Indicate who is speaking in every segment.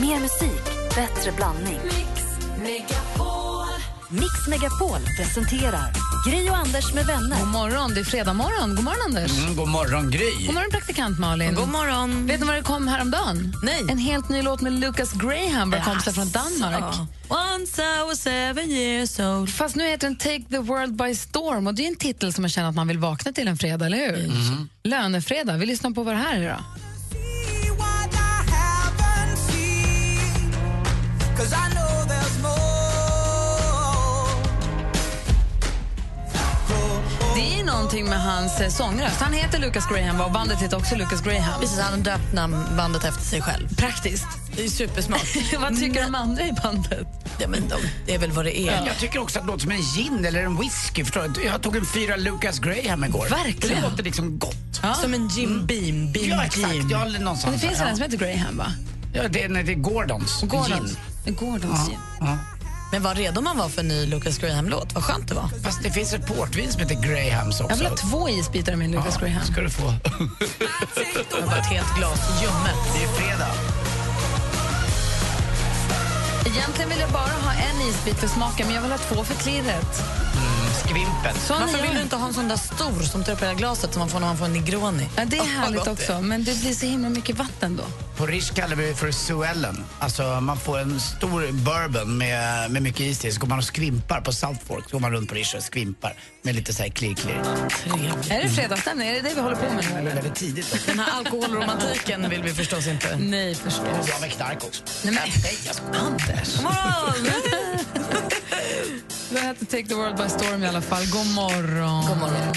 Speaker 1: Mer musik, bättre blandning.
Speaker 2: Mix Megapol.
Speaker 1: Mix Megapol presenterar Gri och Anders med vänner.
Speaker 3: God morgon, det är fredag morgon. God morgon, Anders.
Speaker 4: Mm, god morgon, Gry.
Speaker 3: God morgon, praktikant Malin.
Speaker 5: God morgon.
Speaker 3: Vet ni vad det kom häromdagen?
Speaker 5: Nej.
Speaker 3: En helt ny låt med Lucas Graham, vår kompisar från Danmark.
Speaker 5: Once I was seven years old.
Speaker 3: Fast nu heter den Take the world by storm och det är en titel som man känner att man vill vakna till en fredag, eller hur? Lönefredag. Vi lyssnar på vad det här är då. Det är någonting med hans eh, sångröst. Han heter Lucas Graham va, och bandet heter också Lucas Graham.
Speaker 5: Precis, han har döpt namn, bandet efter sig själv.
Speaker 3: Praktiskt.
Speaker 5: Det är supersmart.
Speaker 3: vad tycker de andra i bandet?
Speaker 5: ja, men de, det är väl vad det är.
Speaker 4: Jag tycker också att det låter som en gin eller en whisky. Förstår du? Jag tog en fyra Lucas Graham igår.
Speaker 3: Verkligen.
Speaker 4: Det låter liksom gott. Mm.
Speaker 5: Som en Jim Beam. Beam
Speaker 4: Ja, exakt.
Speaker 5: Jim.
Speaker 4: Jag håller någonstans
Speaker 3: Det finns
Speaker 4: där.
Speaker 3: en som heter Graham, va?
Speaker 4: ja. ja, det, är- nej, det är Gordons.
Speaker 3: Gordons.
Speaker 4: Gin.
Speaker 3: Gordons gin.
Speaker 5: Men vad redo man var för en ny Lucas Graham-låt. Vad skönt det var.
Speaker 4: Fast det finns ett portvin som heter Grahams också.
Speaker 3: Jag vill ha två isbitar av min Lucas Graham.
Speaker 4: ska du få.
Speaker 5: Det var ett helt glas ljummet.
Speaker 4: Det är fredag.
Speaker 3: Egentligen vill jag bara ha en isbit för smaken, men jag vill ha två för klirret.
Speaker 4: Skvimpet.
Speaker 3: Sån är
Speaker 5: Varför
Speaker 3: jag.
Speaker 5: vill du inte ha en sån där stor som tar upp hela glaset som man får när man får en Negroni?
Speaker 3: Ja, det är
Speaker 5: Åh, vad gott
Speaker 3: härligt
Speaker 5: det är.
Speaker 3: också, men det blir så himla mycket vatten då.
Speaker 4: På Rish kallar vi det för Suellen. Alltså man får en stor bourbon med, med mycket is i. Så går man och skvimpar på South Fork. Så går man runt på Rish och skvimpar med lite så här klirr-klirr.
Speaker 5: Trevligt.
Speaker 3: Är det fredagsstämning? Är det det vi håller på med nu?
Speaker 4: Det är
Speaker 3: eller?
Speaker 4: väldigt tidigt också.
Speaker 5: Den här alkoholromantiken vill vi förstås inte.
Speaker 3: Nej, förstås.
Speaker 4: Jag med knark också.
Speaker 3: Nej, men-
Speaker 4: Nej,
Speaker 5: alltså.
Speaker 4: jag skojar.
Speaker 3: Anders. Det här heter Take the world by storm i alla fall. God morgon. God morgon.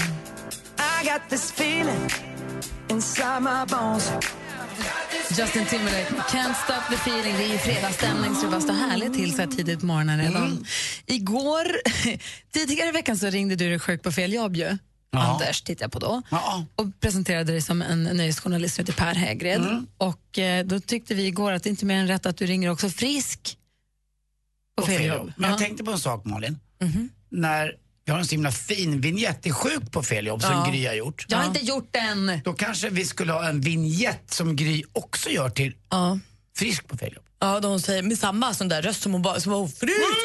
Speaker 3: Justin Timberlake, Can't stop the feeling. Det är ju fredagsstämning så det bara står härligt till så här tidigt på morgonen redan. Igår, tidigare i veckan så ringde du dig sjuk på fel jobb ju. Anders tittade jag på då
Speaker 4: Ja.
Speaker 3: och presenterade dig som en nöjesjournalist som heter Per Hägred. Och eh, då tyckte vi igår att det inte är mer än rätt att du ringer också frisk på fel jobb. Ja.
Speaker 4: Men jag
Speaker 3: Mhm.
Speaker 4: tänkte på en sak Malin. När jag har en så himla fin vignett i Sjuk på fel jobb som Gry har gjort.
Speaker 3: Jag har inte gjort den.
Speaker 4: Då kanske vi skulle ha en vignett som Gry också gör till Frisk på fel jobb.
Speaker 5: Ja, de säger med samma sån där röst som hon bara... Som var frisk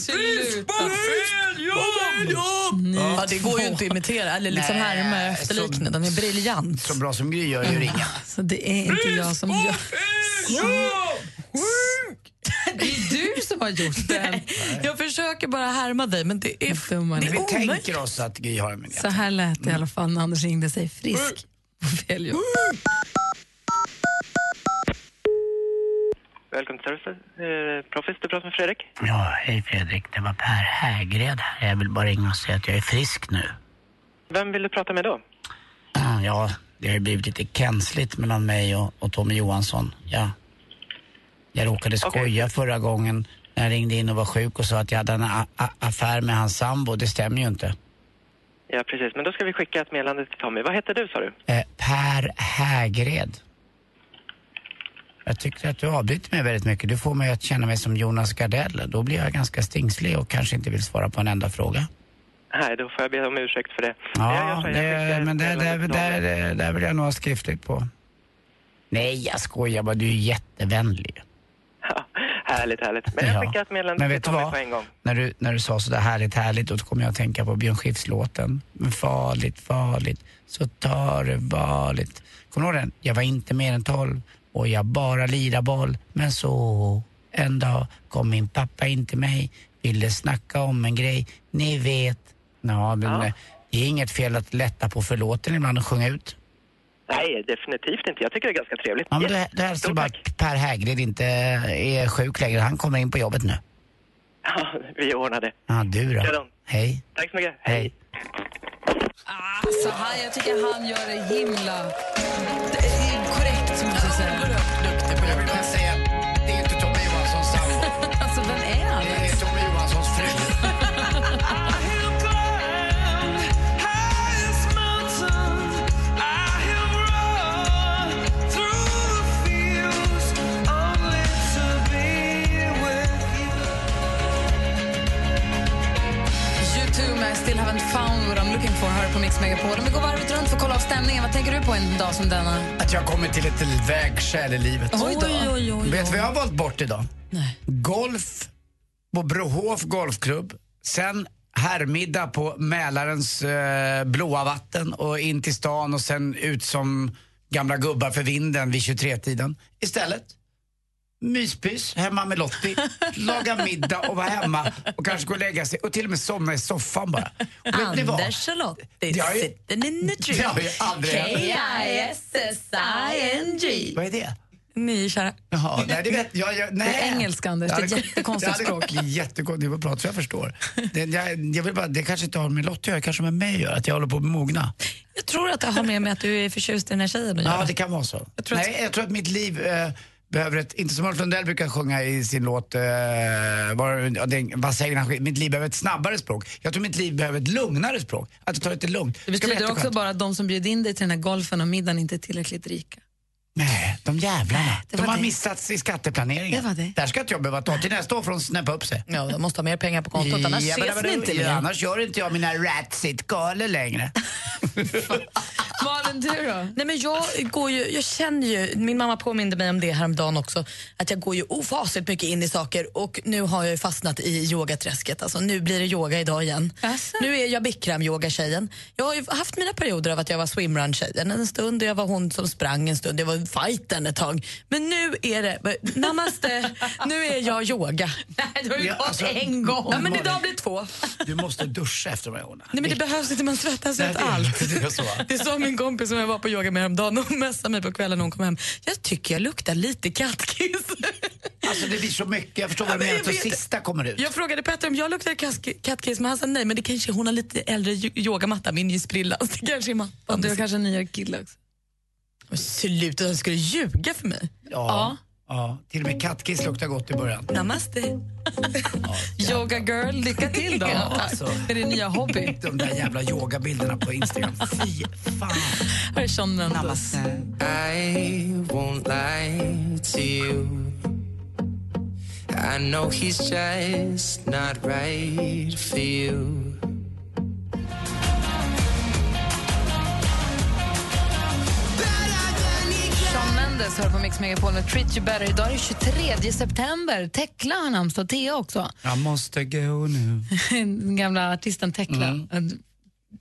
Speaker 3: Sluta.
Speaker 4: fel jobb!
Speaker 5: Ja, det går ju inte att imitera eller liksom
Speaker 4: Nej,
Speaker 5: härma och efterlikna. Den är briljant.
Speaker 4: Så bra som Gry gör är ju ringa.
Speaker 3: Så det är inte jag som gör Det är du som har gjort den.
Speaker 5: Jag försöker bara härma dig, men det är...
Speaker 3: Dumma
Speaker 5: Det
Speaker 3: ni.
Speaker 5: är
Speaker 4: Vi
Speaker 5: omöjligt.
Speaker 4: tänker oss att Gry har en vignett.
Speaker 3: Så här lät det i alla fall när Anders ringde sig frisk på fel jobb.
Speaker 6: Välkommen till servicen. Eh, Proffice, du pratar med Fredrik.
Speaker 4: Ja, hej Fredrik. Det var Per Hägred här. Jag vill bara ringa och säga att jag är frisk nu.
Speaker 6: Vem vill du prata med då?
Speaker 4: Ja, det har ju blivit lite känsligt mellan mig och, och Tommy Johansson. Ja. Jag råkade skoja förra gången när jag ringde in och var sjuk och sa att jag hade en a- a- affär med hans sambo. Det stämmer ju inte.
Speaker 6: Ja, precis. Men då ska vi skicka ett meddelande till Tommy. Vad heter du, sa du?
Speaker 4: Eh, per Hägred. Jag tycker att du avbryter mig väldigt mycket. Du får mig att känna mig som Jonas Gardell. Då blir jag ganska stingslig och kanske inte vill svara på en enda fråga.
Speaker 6: Nej, då får jag be om ursäkt för det. Jag gör
Speaker 4: Ja,
Speaker 6: så här, jag skickar
Speaker 4: det,
Speaker 6: ett
Speaker 4: men det, det, det,
Speaker 6: meddelande till
Speaker 4: det,
Speaker 6: Tommy.
Speaker 4: det, vill jag nog ha skriftligt på. Nej, jag skojar bara. Du är jättevänlig.
Speaker 6: Ja, härligt, härligt. Men jag skickar ett
Speaker 4: Men
Speaker 6: meddelande till
Speaker 4: vet du
Speaker 6: Tommy
Speaker 4: vad?
Speaker 6: på en gång.
Speaker 4: När du, när du sa sådär härligt, härligt, då kom jag att tänka på Björn Skifs låten. Men farligt, farligt, så tar det varligt. Kommer du ihåg den? Jag var inte mer än tolv och jag bara lira boll. Men så en dag kom min pappa in till mig, ville snacka om en grej. Ni vet. Ja, men eh, det är inget fel att lätta på förlåten ibland och sjunga ut.
Speaker 6: Nej, definitivt inte. Jag tycker det är ganska trevligt.
Speaker 4: Ja, men
Speaker 6: Yes.
Speaker 4: yes. Då hälsar du
Speaker 6: Stort
Speaker 4: bara
Speaker 6: tack.
Speaker 4: att Per Hägrid inte eh, är sjuk längre. Han kommer in på jobbet nu.
Speaker 6: Ja, vi ordnar det.
Speaker 4: Ja, du då?
Speaker 6: Redan.
Speaker 4: Hej.
Speaker 6: Tack så mycket.
Speaker 4: Hej.
Speaker 3: Alltså, han, jag tycker han gör det himla det är korrekt, måste jag säga.
Speaker 4: Jag vill bara säga att det är inte Tommy Johanssons sambo.
Speaker 3: Alltså, vem är han?
Speaker 4: Det är Tommy Johanssons fru.
Speaker 3: You too, men I still haven't found what I'm looking Äntligen får höra på Mix Megapol. Om vi går varvet runt för att kolla av stämningen, vad tänker du på en dag som denna?
Speaker 4: Att jag kommer till ett vägskäl i livet.
Speaker 3: Oj då.
Speaker 5: Oj, oj, oj.
Speaker 4: Vet du vad jag har valt bort idag?
Speaker 5: Nej.
Speaker 4: Golf på Brohof golfklubb. Sen herrmiddag på Mälarens eh, blåa vatten och in till stan och sen ut som gamla gubbar för vinden vid 23-tiden. Istället myspys hemma med Lottie, laga middag och vara hemma och kanske gå och lägga sig och till och med somna i soffan bara. Och vet ni vad?
Speaker 5: Anders och Lottie
Speaker 4: Det har ju-
Speaker 5: sitter in i
Speaker 4: Det har ju aldrig hänt.
Speaker 5: K-I-S-S-I-N-G.
Speaker 4: Vad är det?
Speaker 5: Ni är kära.
Speaker 4: Jaha, nej det vet jag. jag nej.
Speaker 3: Det är engelska, Anders. Det är
Speaker 4: hade-
Speaker 3: jättekonstigt
Speaker 4: det hade-
Speaker 3: språk.
Speaker 4: Jättekonstigt det var prat, så jag förstår. Det, jag, jag vill bara, det kanske inte har med Lottie att göra, det kanske har med mig att göra, att jag håller på att mogna.
Speaker 5: Jag tror att det har med mig att du är förtjust i den här tjejen att
Speaker 4: Ja,
Speaker 5: göra.
Speaker 4: det kan vara så.
Speaker 5: tror att-
Speaker 4: nej, jag tror att mitt liv eh, behöver ett, inte som Ulf Lundell brukar sjunga i sin låt, eh, var, ja, den, vad säger han, mitt liv behöver ett snabbare språk. Jag tror mitt liv behöver ett lugnare språk, att du tar det lite lugnt.
Speaker 3: Det
Speaker 4: Ska vara
Speaker 3: betyder också
Speaker 4: jätteskönt.
Speaker 3: bara att de som bjöd in dig till den här golfen och middagen inte är tillräckligt rika.
Speaker 4: Nej, de jävlarna.
Speaker 3: det
Speaker 4: De
Speaker 3: var
Speaker 4: har
Speaker 3: det.
Speaker 4: missats i skatteplaneringen.
Speaker 3: Det var det.
Speaker 4: Där ska inte jag behöva ta till nästa år för att snäppa upp sig.
Speaker 5: Ja, de måste ha mer pengar på kontot, annars
Speaker 4: Ja, men-
Speaker 5: ses
Speaker 4: men-
Speaker 5: ni inte
Speaker 4: ja,
Speaker 5: mer.
Speaker 4: Annars gör inte jag mina Ratsit-galor längre.
Speaker 3: Malin, du då?
Speaker 5: Nej, men jag, går ju, jag känner ju, min mamma påminde mig om det häromdagen också, att jag går ju ofasligt mycket in i saker och nu har jag ju fastnat i yogaträsket. Alltså, nu blir det yoga idag igen.
Speaker 3: Jaså?
Speaker 5: Nu är jag Bikram-yoga-tjejen. Jag har ju haft mina perioder av att jag var swimrun-tjejen en stund och jag var hon som sprang en stund. Jag var fighten ett tag. Men nu är det, namaste, nu är jag yoga. Nej, du har
Speaker 4: ju Ja, gått alltså- en
Speaker 5: gång. Ja, men idag blir det två.
Speaker 4: Du måste duscha efter de här åren.
Speaker 5: Nej, men det behövs inte, man svettas ju åt allt.
Speaker 4: Det är så.
Speaker 5: Det sa min kompis som jag var på yoga med häromdagen. Hon messade mig på kvällen när hon kom hem. Jag tycker jag luktar lite kattkiss.
Speaker 4: Alltså det blir så mycket, jag förstår vad du
Speaker 5: men
Speaker 4: menar,
Speaker 5: jag
Speaker 4: att det
Speaker 5: vet-
Speaker 4: sista kommer ut.
Speaker 5: Jag frågade Petter om jag luktar kask- kattkiss, men han sa nej, men det kanske hon har lite äldre yo- yogamatta. Min är ju sprillans. Det kanske är
Speaker 3: Och
Speaker 5: mattan.
Speaker 3: du har
Speaker 5: Du...
Speaker 3: kanske en nyare kille också.
Speaker 5: Sluta, han skulle ljuga för mig.
Speaker 4: Ja. ja. Till och med kattkiss luktar gott i början.
Speaker 5: Namaste.
Speaker 3: Yoga girl, lycka till då.
Speaker 4: Ja, alltså.
Speaker 3: Med din nya hobby.
Speaker 4: De där jävla yogabilderna på Instagram, fy fan.
Speaker 3: Här är Sean Mendes.
Speaker 7: I won't lie to you. I know he's just not right for you.
Speaker 3: Sean Mendes hör på Mix Megapol med Treat You Better. Idag är det 23 september. Tekla har namnsdag, Thea också.
Speaker 4: Jag måste gå nu.
Speaker 3: Den gamla artisten Tekla.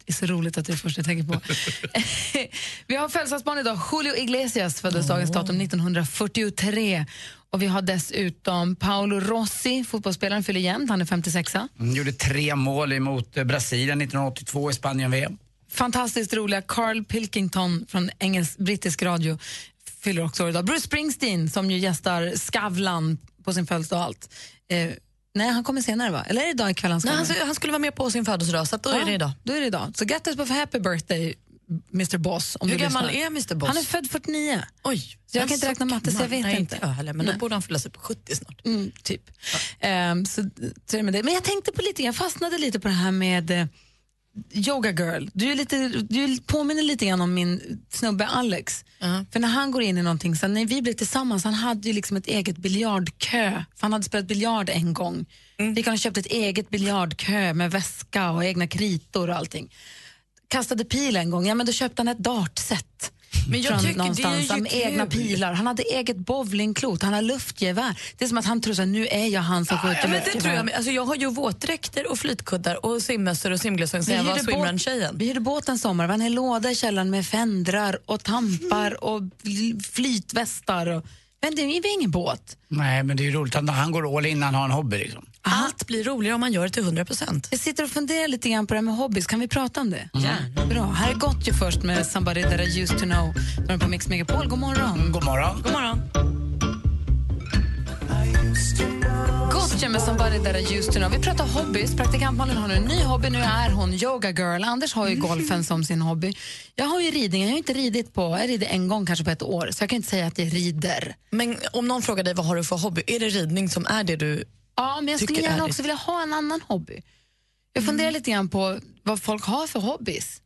Speaker 3: Det är så roligt att det är det första jag tänker på. vi har födelsedagsbarn idag. Julio Iglesias föddes dagens datum 1943. Och vi har dessutom Paolo Rossi, fotbollsspelaren, fyller jämnt. Han är 56.
Speaker 4: Mm, Gjorde tre mål emot eh, Brasilien 1982 i Spanien-VM.
Speaker 3: Fantastiskt roliga Carl Pilkington från engelsk, brittisk radio fyller också år idag. Bruce Springsteen som ju gästar Skavlan på sin födelsedag och allt. Eh, nej, han kommer senare va? Eller är det idag ikväll han ska
Speaker 5: Nej,
Speaker 3: vara
Speaker 5: han,
Speaker 3: med?
Speaker 5: skulle- han skulle vara med på sin födelsedag, så att då är det idag.
Speaker 3: Då är det idag. Så grattis på för happy birthday, Mr Boss. Om
Speaker 5: Hur
Speaker 3: du
Speaker 5: gammal
Speaker 3: lyssnar.
Speaker 5: är Mr Boss?
Speaker 3: Han är född 49.
Speaker 5: Oj,
Speaker 3: jag kan inte räkna matte, så jag vet
Speaker 5: nej,
Speaker 3: inte.
Speaker 5: jag heller, men
Speaker 3: Nej.
Speaker 5: då borde han fylla sig på 70 snart.
Speaker 3: Mm, typ. Ehm, så, så är det med det. Men jag tänkte på lite, jag fastnade lite på det här med eh, Yoga Girl. Du, är lite, du påminner lite grann om min snubbe Alex. För när han går in i någonting, så när vi blev tillsammans, han hade ju liksom ett eget biljardkö. För han hade spelat biljard en gång.
Speaker 5: Mm.
Speaker 3: Vi kan ha köpt ett eget biljardkö med väska och egna kritor och allting. Kastade pil en gång, ja men då köpte han ett dartset.
Speaker 5: Men jag
Speaker 3: Från
Speaker 5: tycker det är
Speaker 3: någonstans,
Speaker 5: ju
Speaker 3: med egna
Speaker 5: kul.
Speaker 3: pilar. Han hade eget bowlingklot, han har luftgevär. Det är som att han tror att nu är jag han som skjuter
Speaker 5: Ja, men det
Speaker 3: luftgevär.
Speaker 5: tror jag. men Alltså, jag har ju våtdräkter och flytkuddar och simmössor och simglasögon sen
Speaker 3: Vi
Speaker 5: jag var
Speaker 3: hyrde båt-
Speaker 5: swimrun-tjejen.
Speaker 3: Vi hyrde båt en sommar. Det var en hel låda i källaren med fendrar och tampar och fl- flytvästar. Och, men det var ingen båt.
Speaker 4: Nej, men det är ju roligt, han, han går all in, han har en hobby liksom.
Speaker 5: Allt blir roligare om man gör det till 100 procent.
Speaker 3: Jag sitter och funderar lite grann på det här med hobbys. Kan vi prata om
Speaker 5: Mm.
Speaker 3: det?
Speaker 4: Mm.
Speaker 3: Ja. Bra. Här är Gott ju först med Somebody That I Used To Know. Då är den på Mix Megapol. God morgon.
Speaker 4: Mm, God morgon.
Speaker 5: God morgon.
Speaker 3: Gotcha med somebody that I used to know. Vi pratar hobbys. Praktikant Malin har nu en ny hobby. Nu är hon yoga girl. Anders har ju golfen som sin hobby. Jag har ju ridningen. Jag har inte ridit på, jag rider en gång kanske på ett år, så jag kan inte säga att jag rider.
Speaker 5: Men om någon frågar dig vad har du för hobby, är det ridning som är det du...
Speaker 3: Ja, men jag skulle
Speaker 5: Tycker
Speaker 3: gärna
Speaker 5: är- Mm.
Speaker 3: också vilja ha en annan hobby. Jag funderar lite grann på vad folk har för hobbys.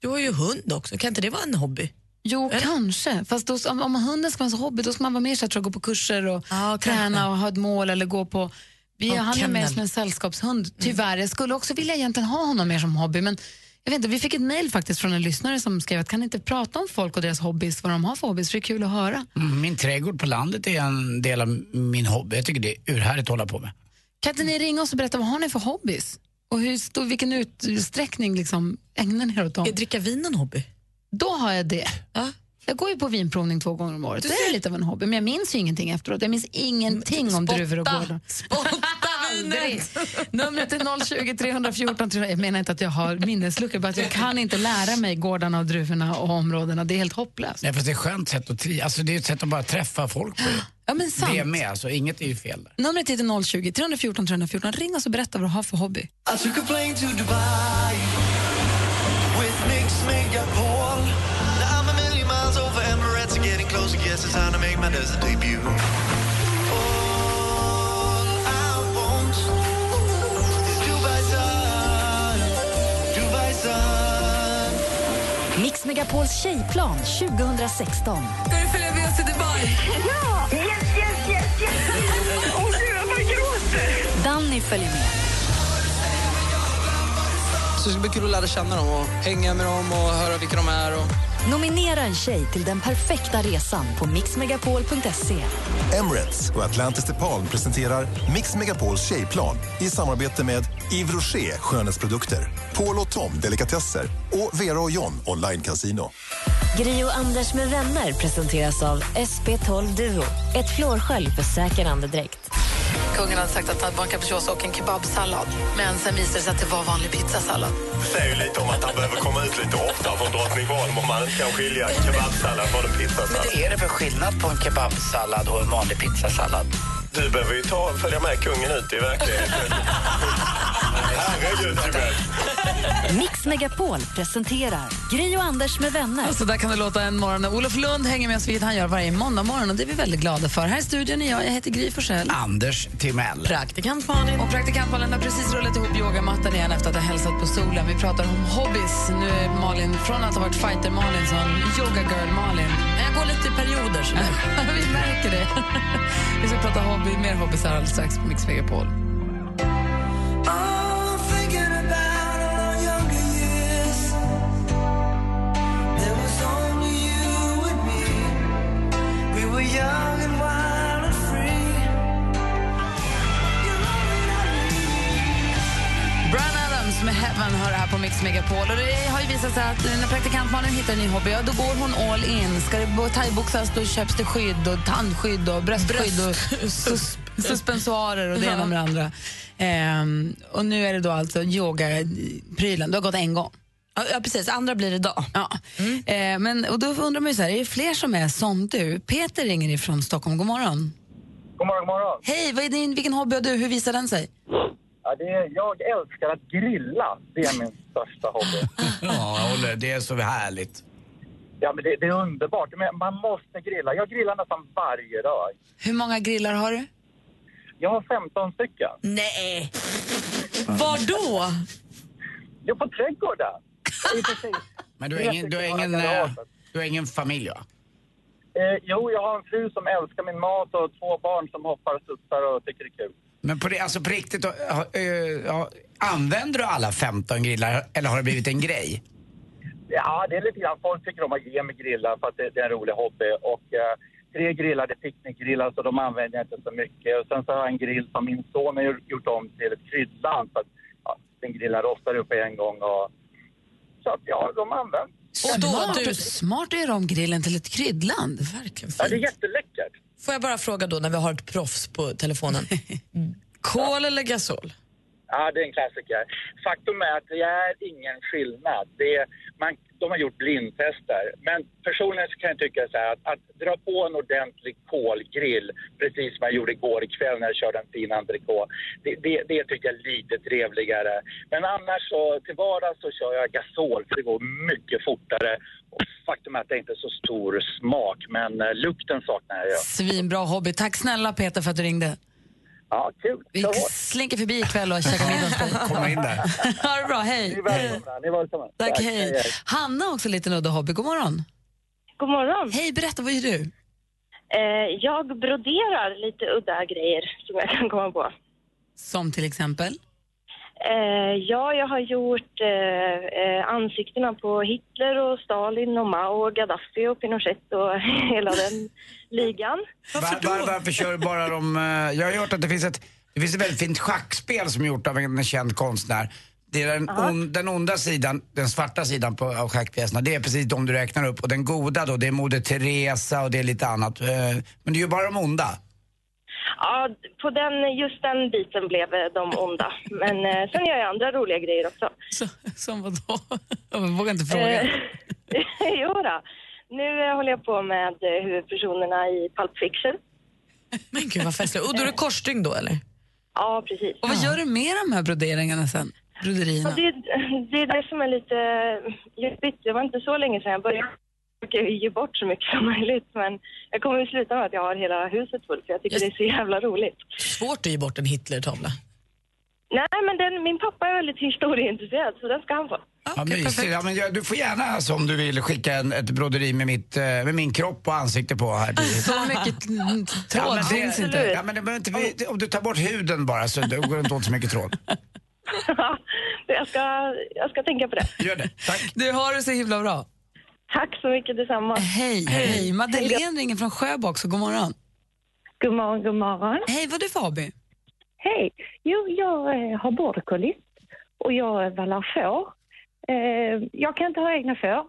Speaker 5: Du har ju hund också, kan inte det vara en hobby?
Speaker 3: Jo,
Speaker 5: Eh?
Speaker 3: kanske. Fast då, om, om hunden ska vara en hobby, då ska man vara mer så att jag går på kurser och
Speaker 5: Ja,
Speaker 3: träna
Speaker 5: kanske.
Speaker 3: och ha ett mål eller gå på... Vi,
Speaker 5: Ja,
Speaker 3: han är mer
Speaker 5: kennel. Mm.
Speaker 3: som en sällskapshund, tyvärr. Jag skulle också vilja egentligen ha honom mer som hobby, men Jag vet inte, vi fick ett mejl faktiskt från en lyssnare som skrev att kan ni inte prata om folk och deras hobbys, vad de har för hobbys, för det är kul att höra.
Speaker 4: Mm, Min trädgård på landet är en del av min hobby. Jag tycker det är urhärligt att hålla på med.
Speaker 3: Kan inte ni ringa oss och berätta vad har ni för hobbys? Och hur stor, vilken utsträckning liksom, ägnar ni er åt dem?
Speaker 5: Är dricka vin en hobby?
Speaker 3: Då har jag det.
Speaker 5: Ja.
Speaker 3: Jag går ju på vinprovning två gånger om året. Det är lite av en hobby, men jag minns ju ingenting efteråt. Jag minns ingenting om druvor och gårdar.
Speaker 5: Spotta
Speaker 3: Aldrig.
Speaker 5: vinet!
Speaker 3: Numret är 020 314 300. Jag menar inte att jag har minnesluckor, bara att jag kan inte lära mig gårdarna och druvorna och områdena. Det är helt hopplöst.
Speaker 4: Nej, fast det är ett skönt sätt att tri- alltså, det är ett sätt att bara träffa folk på.
Speaker 3: Ja, men sant.
Speaker 4: Det är med, alltså, inget är ju fel där.
Speaker 3: Numret hit är 020 314 314. Ring oss och berätta vad du har för hobby.
Speaker 8: I took a plane to Dubai with Nick Singapore. Now I'm a million miles over Emirates and getting closer. Guess it's time to make my desert debut. All I want is Dubai sun, Dubai sun.
Speaker 1: Mix Megapols tjejplan 2016.
Speaker 5: Ska du följa med oss till Dubai?
Speaker 1: Danny följer med.
Speaker 9: Så det ska bli kul att lära känna dem och hänga med dem och höra vilka de är. Och...
Speaker 1: Nominera en tjej till den perfekta resan på mixmegapol.se.
Speaker 10: Emirates och Atlantis DePaul presenterar Mix Megapols tjejplan i samarbete med Yves Rocher skönhetsprodukter, Paul och Tom delikatesser och Vera och John online casino.
Speaker 11: Gri och Anders med vänner presenteras av SP12 Duo. Ett flårskölj för säker andedräkt.
Speaker 3: Kungen hade sagt att han var en capricciosa och en kebabsallad. Men sen visade det sig att det var vanlig pizzasallad.
Speaker 8: säger ju lite om att han behöver komma ut lite oftare från Drottningholm om man inte kan skilja kebabsallad från en pizzasallad.
Speaker 4: Är det för skillnad på en kebabsallad och en vanlig pizzasallad?
Speaker 8: Du behöver ju ta, följa med kungen ut i verkligheten. Herregud, Tibet.
Speaker 1: Mix Megapol presenterar Gri och Anders med vänner.
Speaker 3: Så där kan det låta en morgon när Olof Lund hänger med oss, vilket han gör varje måndag morgon. Och det är vi väldigt glada för. Här i studion är jag, jag heter Gry Forssell.
Speaker 4: Anders Timell.
Speaker 5: Praktikant Malin.
Speaker 3: Och praktikantbollen har precis rullat ihop yogamattan igen efter att ha hälsat på solen. Vi pratar om hobbys. Nu är Malin, från att ha varit fighter-Malin, så har hon yoga-girl-Malin.
Speaker 5: Jag går lite i perioder. sådär.
Speaker 3: Vi märker det. Vi ska prata hobby, mer hobbysar alldeles strax på Mix Megapol. Brian Adams med Heaven hör här på Mix Megapol. Och det har ju visat sig att när praktikantmannen hittar en ny hobby, ja, då går hon all in. Ska det bo- thaiboxas, då köps det skydd och tandskydd och bröstskydd och sus suspensoarer och det ena med det andra. Ehm, och nu är det då alltså yogaprylen. Du har gått en gång.
Speaker 5: Ja, precis. Andra blir det idag.
Speaker 3: Ja. Ehm, men, och då undrar man ju så här, är det fler som är som du? Peter ringer ifrån Stockholm. God morgon.
Speaker 12: God morgon, god morgon.
Speaker 3: Hej, vad är din, vilken hobby har du? Hur visar den sig?
Speaker 12: Ja, det är, jag älskar att grilla. Det är min största hobby.
Speaker 4: Ja, jag håller. Det är så härligt.
Speaker 12: Ja, men det, det är underbart. Men man måste grilla. Jag grillar nästan varje dag.
Speaker 3: Hur många grillar har du?
Speaker 12: Jag har 15 stycken.
Speaker 5: Nej! Var då?
Speaker 12: Jag på trädgården. Det är precis.
Speaker 4: Men du har ingen, du har ingen, eh, du har ingen familj, va?
Speaker 12: Eh, jo, jag har en fru som älskar min mat och två barn som hoppar, studsar och tycker det är kul.
Speaker 4: Men på, det, alltså på riktigt, då, ha- eh, ja, använder du alla 15 grillar eller har det blivit en grej?
Speaker 12: Ja, det är lite grann. Folk tycker om att ge mig grillar för att det, det är en rolig hobby. Och eh, tre grillade picknickgrillar så de använder jag inte så mycket. Och sen så har jag en grill som min son har gjort- gjort om till ett kryddland. Så att, ja, den grillar rostar upp en gång och... Så att ja, de används.
Speaker 5: Och då,
Speaker 3: smart,
Speaker 5: du,
Speaker 3: smart att göra om grillen till ett kryddland.
Speaker 5: Verkligen
Speaker 12: Ja, det är
Speaker 5: fint.
Speaker 12: jätteläckert.
Speaker 5: Får jag bara fråga då när vi har ett proffs på telefonen. Kol eller gasol?
Speaker 12: Ja, det är en klassiker. Faktum är att det är ingen skillnad. Det är, man, de har gjort blindtester. Men personligen så kan jag tycka så här att, att dra på en ordentlig kolgrill, precis som jag gjorde igår kväll när jag körde en fin entrecote, det, det, det tycker jag är lite trevligare. Men annars så, till vardags så kör jag gasol för det går mycket fortare. Och faktum är att det inte är så stor smak, men eh, lukten saknar jag ju.
Speaker 3: Svinbra hobby. Tack snälla Peter för att du ringde.
Speaker 12: Ja, kul.
Speaker 3: Vi
Speaker 12: Kör hårt.
Speaker 3: slinker förbi ikväll och käkar middag hos dig.
Speaker 4: Komma in där.
Speaker 3: Ha det bra,
Speaker 12: Ni
Speaker 3: hej.
Speaker 12: är välkomna. Ni är välkomna.
Speaker 3: Tack, hej. Hanna har också lite en udda hobby. God morgon.
Speaker 11: God morgon.
Speaker 3: Hej, berätta, vad gör du?
Speaker 11: Eh, jag broderar lite udda grejer som jag kan komma på.
Speaker 3: Som till exempel?
Speaker 13: Eh, ja, jag har gjort eh, eh, ansiktena på Hitler och Stalin och Mao och Gaddafi och Pinochet och hela den ligan.
Speaker 4: Var, var, varför kör du bara de... eh, Jag har hört att det finns ett, det finns ett väldigt fint schackspel som är gjort av en känd konstnär. Det är den, on, den onda sidan, den svarta sidan på, av schackpjäserna, det är precis de du räknar upp. Och den goda då, det är Moder Teresa och det är lite annat. Eh, Men det är ju bara de onda.
Speaker 13: Ja, på den, just den biten blev eh, de onda. Men eh, sen gör jag andra roliga grejer också.
Speaker 3: Som vadå? Jag vågar inte fråga.
Speaker 13: Eh, jo då. Nu eh, håller jag på med eh, huvudpersonerna i Pulp Fiction.
Speaker 5: Men gud vad festligt. Och då är det korsstygn då eller?
Speaker 13: Ja, precis.
Speaker 3: Och vad gör du med de här broderingarna sen?
Speaker 13: Ja,
Speaker 3: Broderierna?
Speaker 13: det, det är det som är lite jobbigt. Det var inte så länge sedan jag började. Jag försöker ge bort så mycket som möjligt, men jag kommer att sluta med att jag har hela huset fullt, för jag tycker det är så jävla roligt.
Speaker 5: Svårt att ge bort en Hitler-tavla.
Speaker 13: Nej, men den, min pappa är väldigt historieintresserad, så den ska han få.
Speaker 4: Ja, mysigt. Ja, men jag, du får gärna, alltså, om du vill, skicka en, ett broderi med, mitt, eh, med min kropp och ansikte på. Här.
Speaker 3: Så mycket mm, tråd
Speaker 4: Ja, men det-
Speaker 3: finns inte.
Speaker 4: Ja, men det behöver inte bli, om du tar bort huden bara så det går det inte åt så mycket tråd.
Speaker 13: jag, ska, jag ska tänka på det.
Speaker 4: Gör det. Tack.
Speaker 3: Du har det så himla bra.
Speaker 13: Tack så mycket, detsamma.
Speaker 3: Hej, hej. Madeleine ringer från Sjöbo också. God morgon.
Speaker 14: God morgon, god morgon.
Speaker 3: Hej, vad är du för hobby?
Speaker 14: Hej! Jo, jag eh, har border collie och jag vallar får. Eh, jag kan inte ha egna får,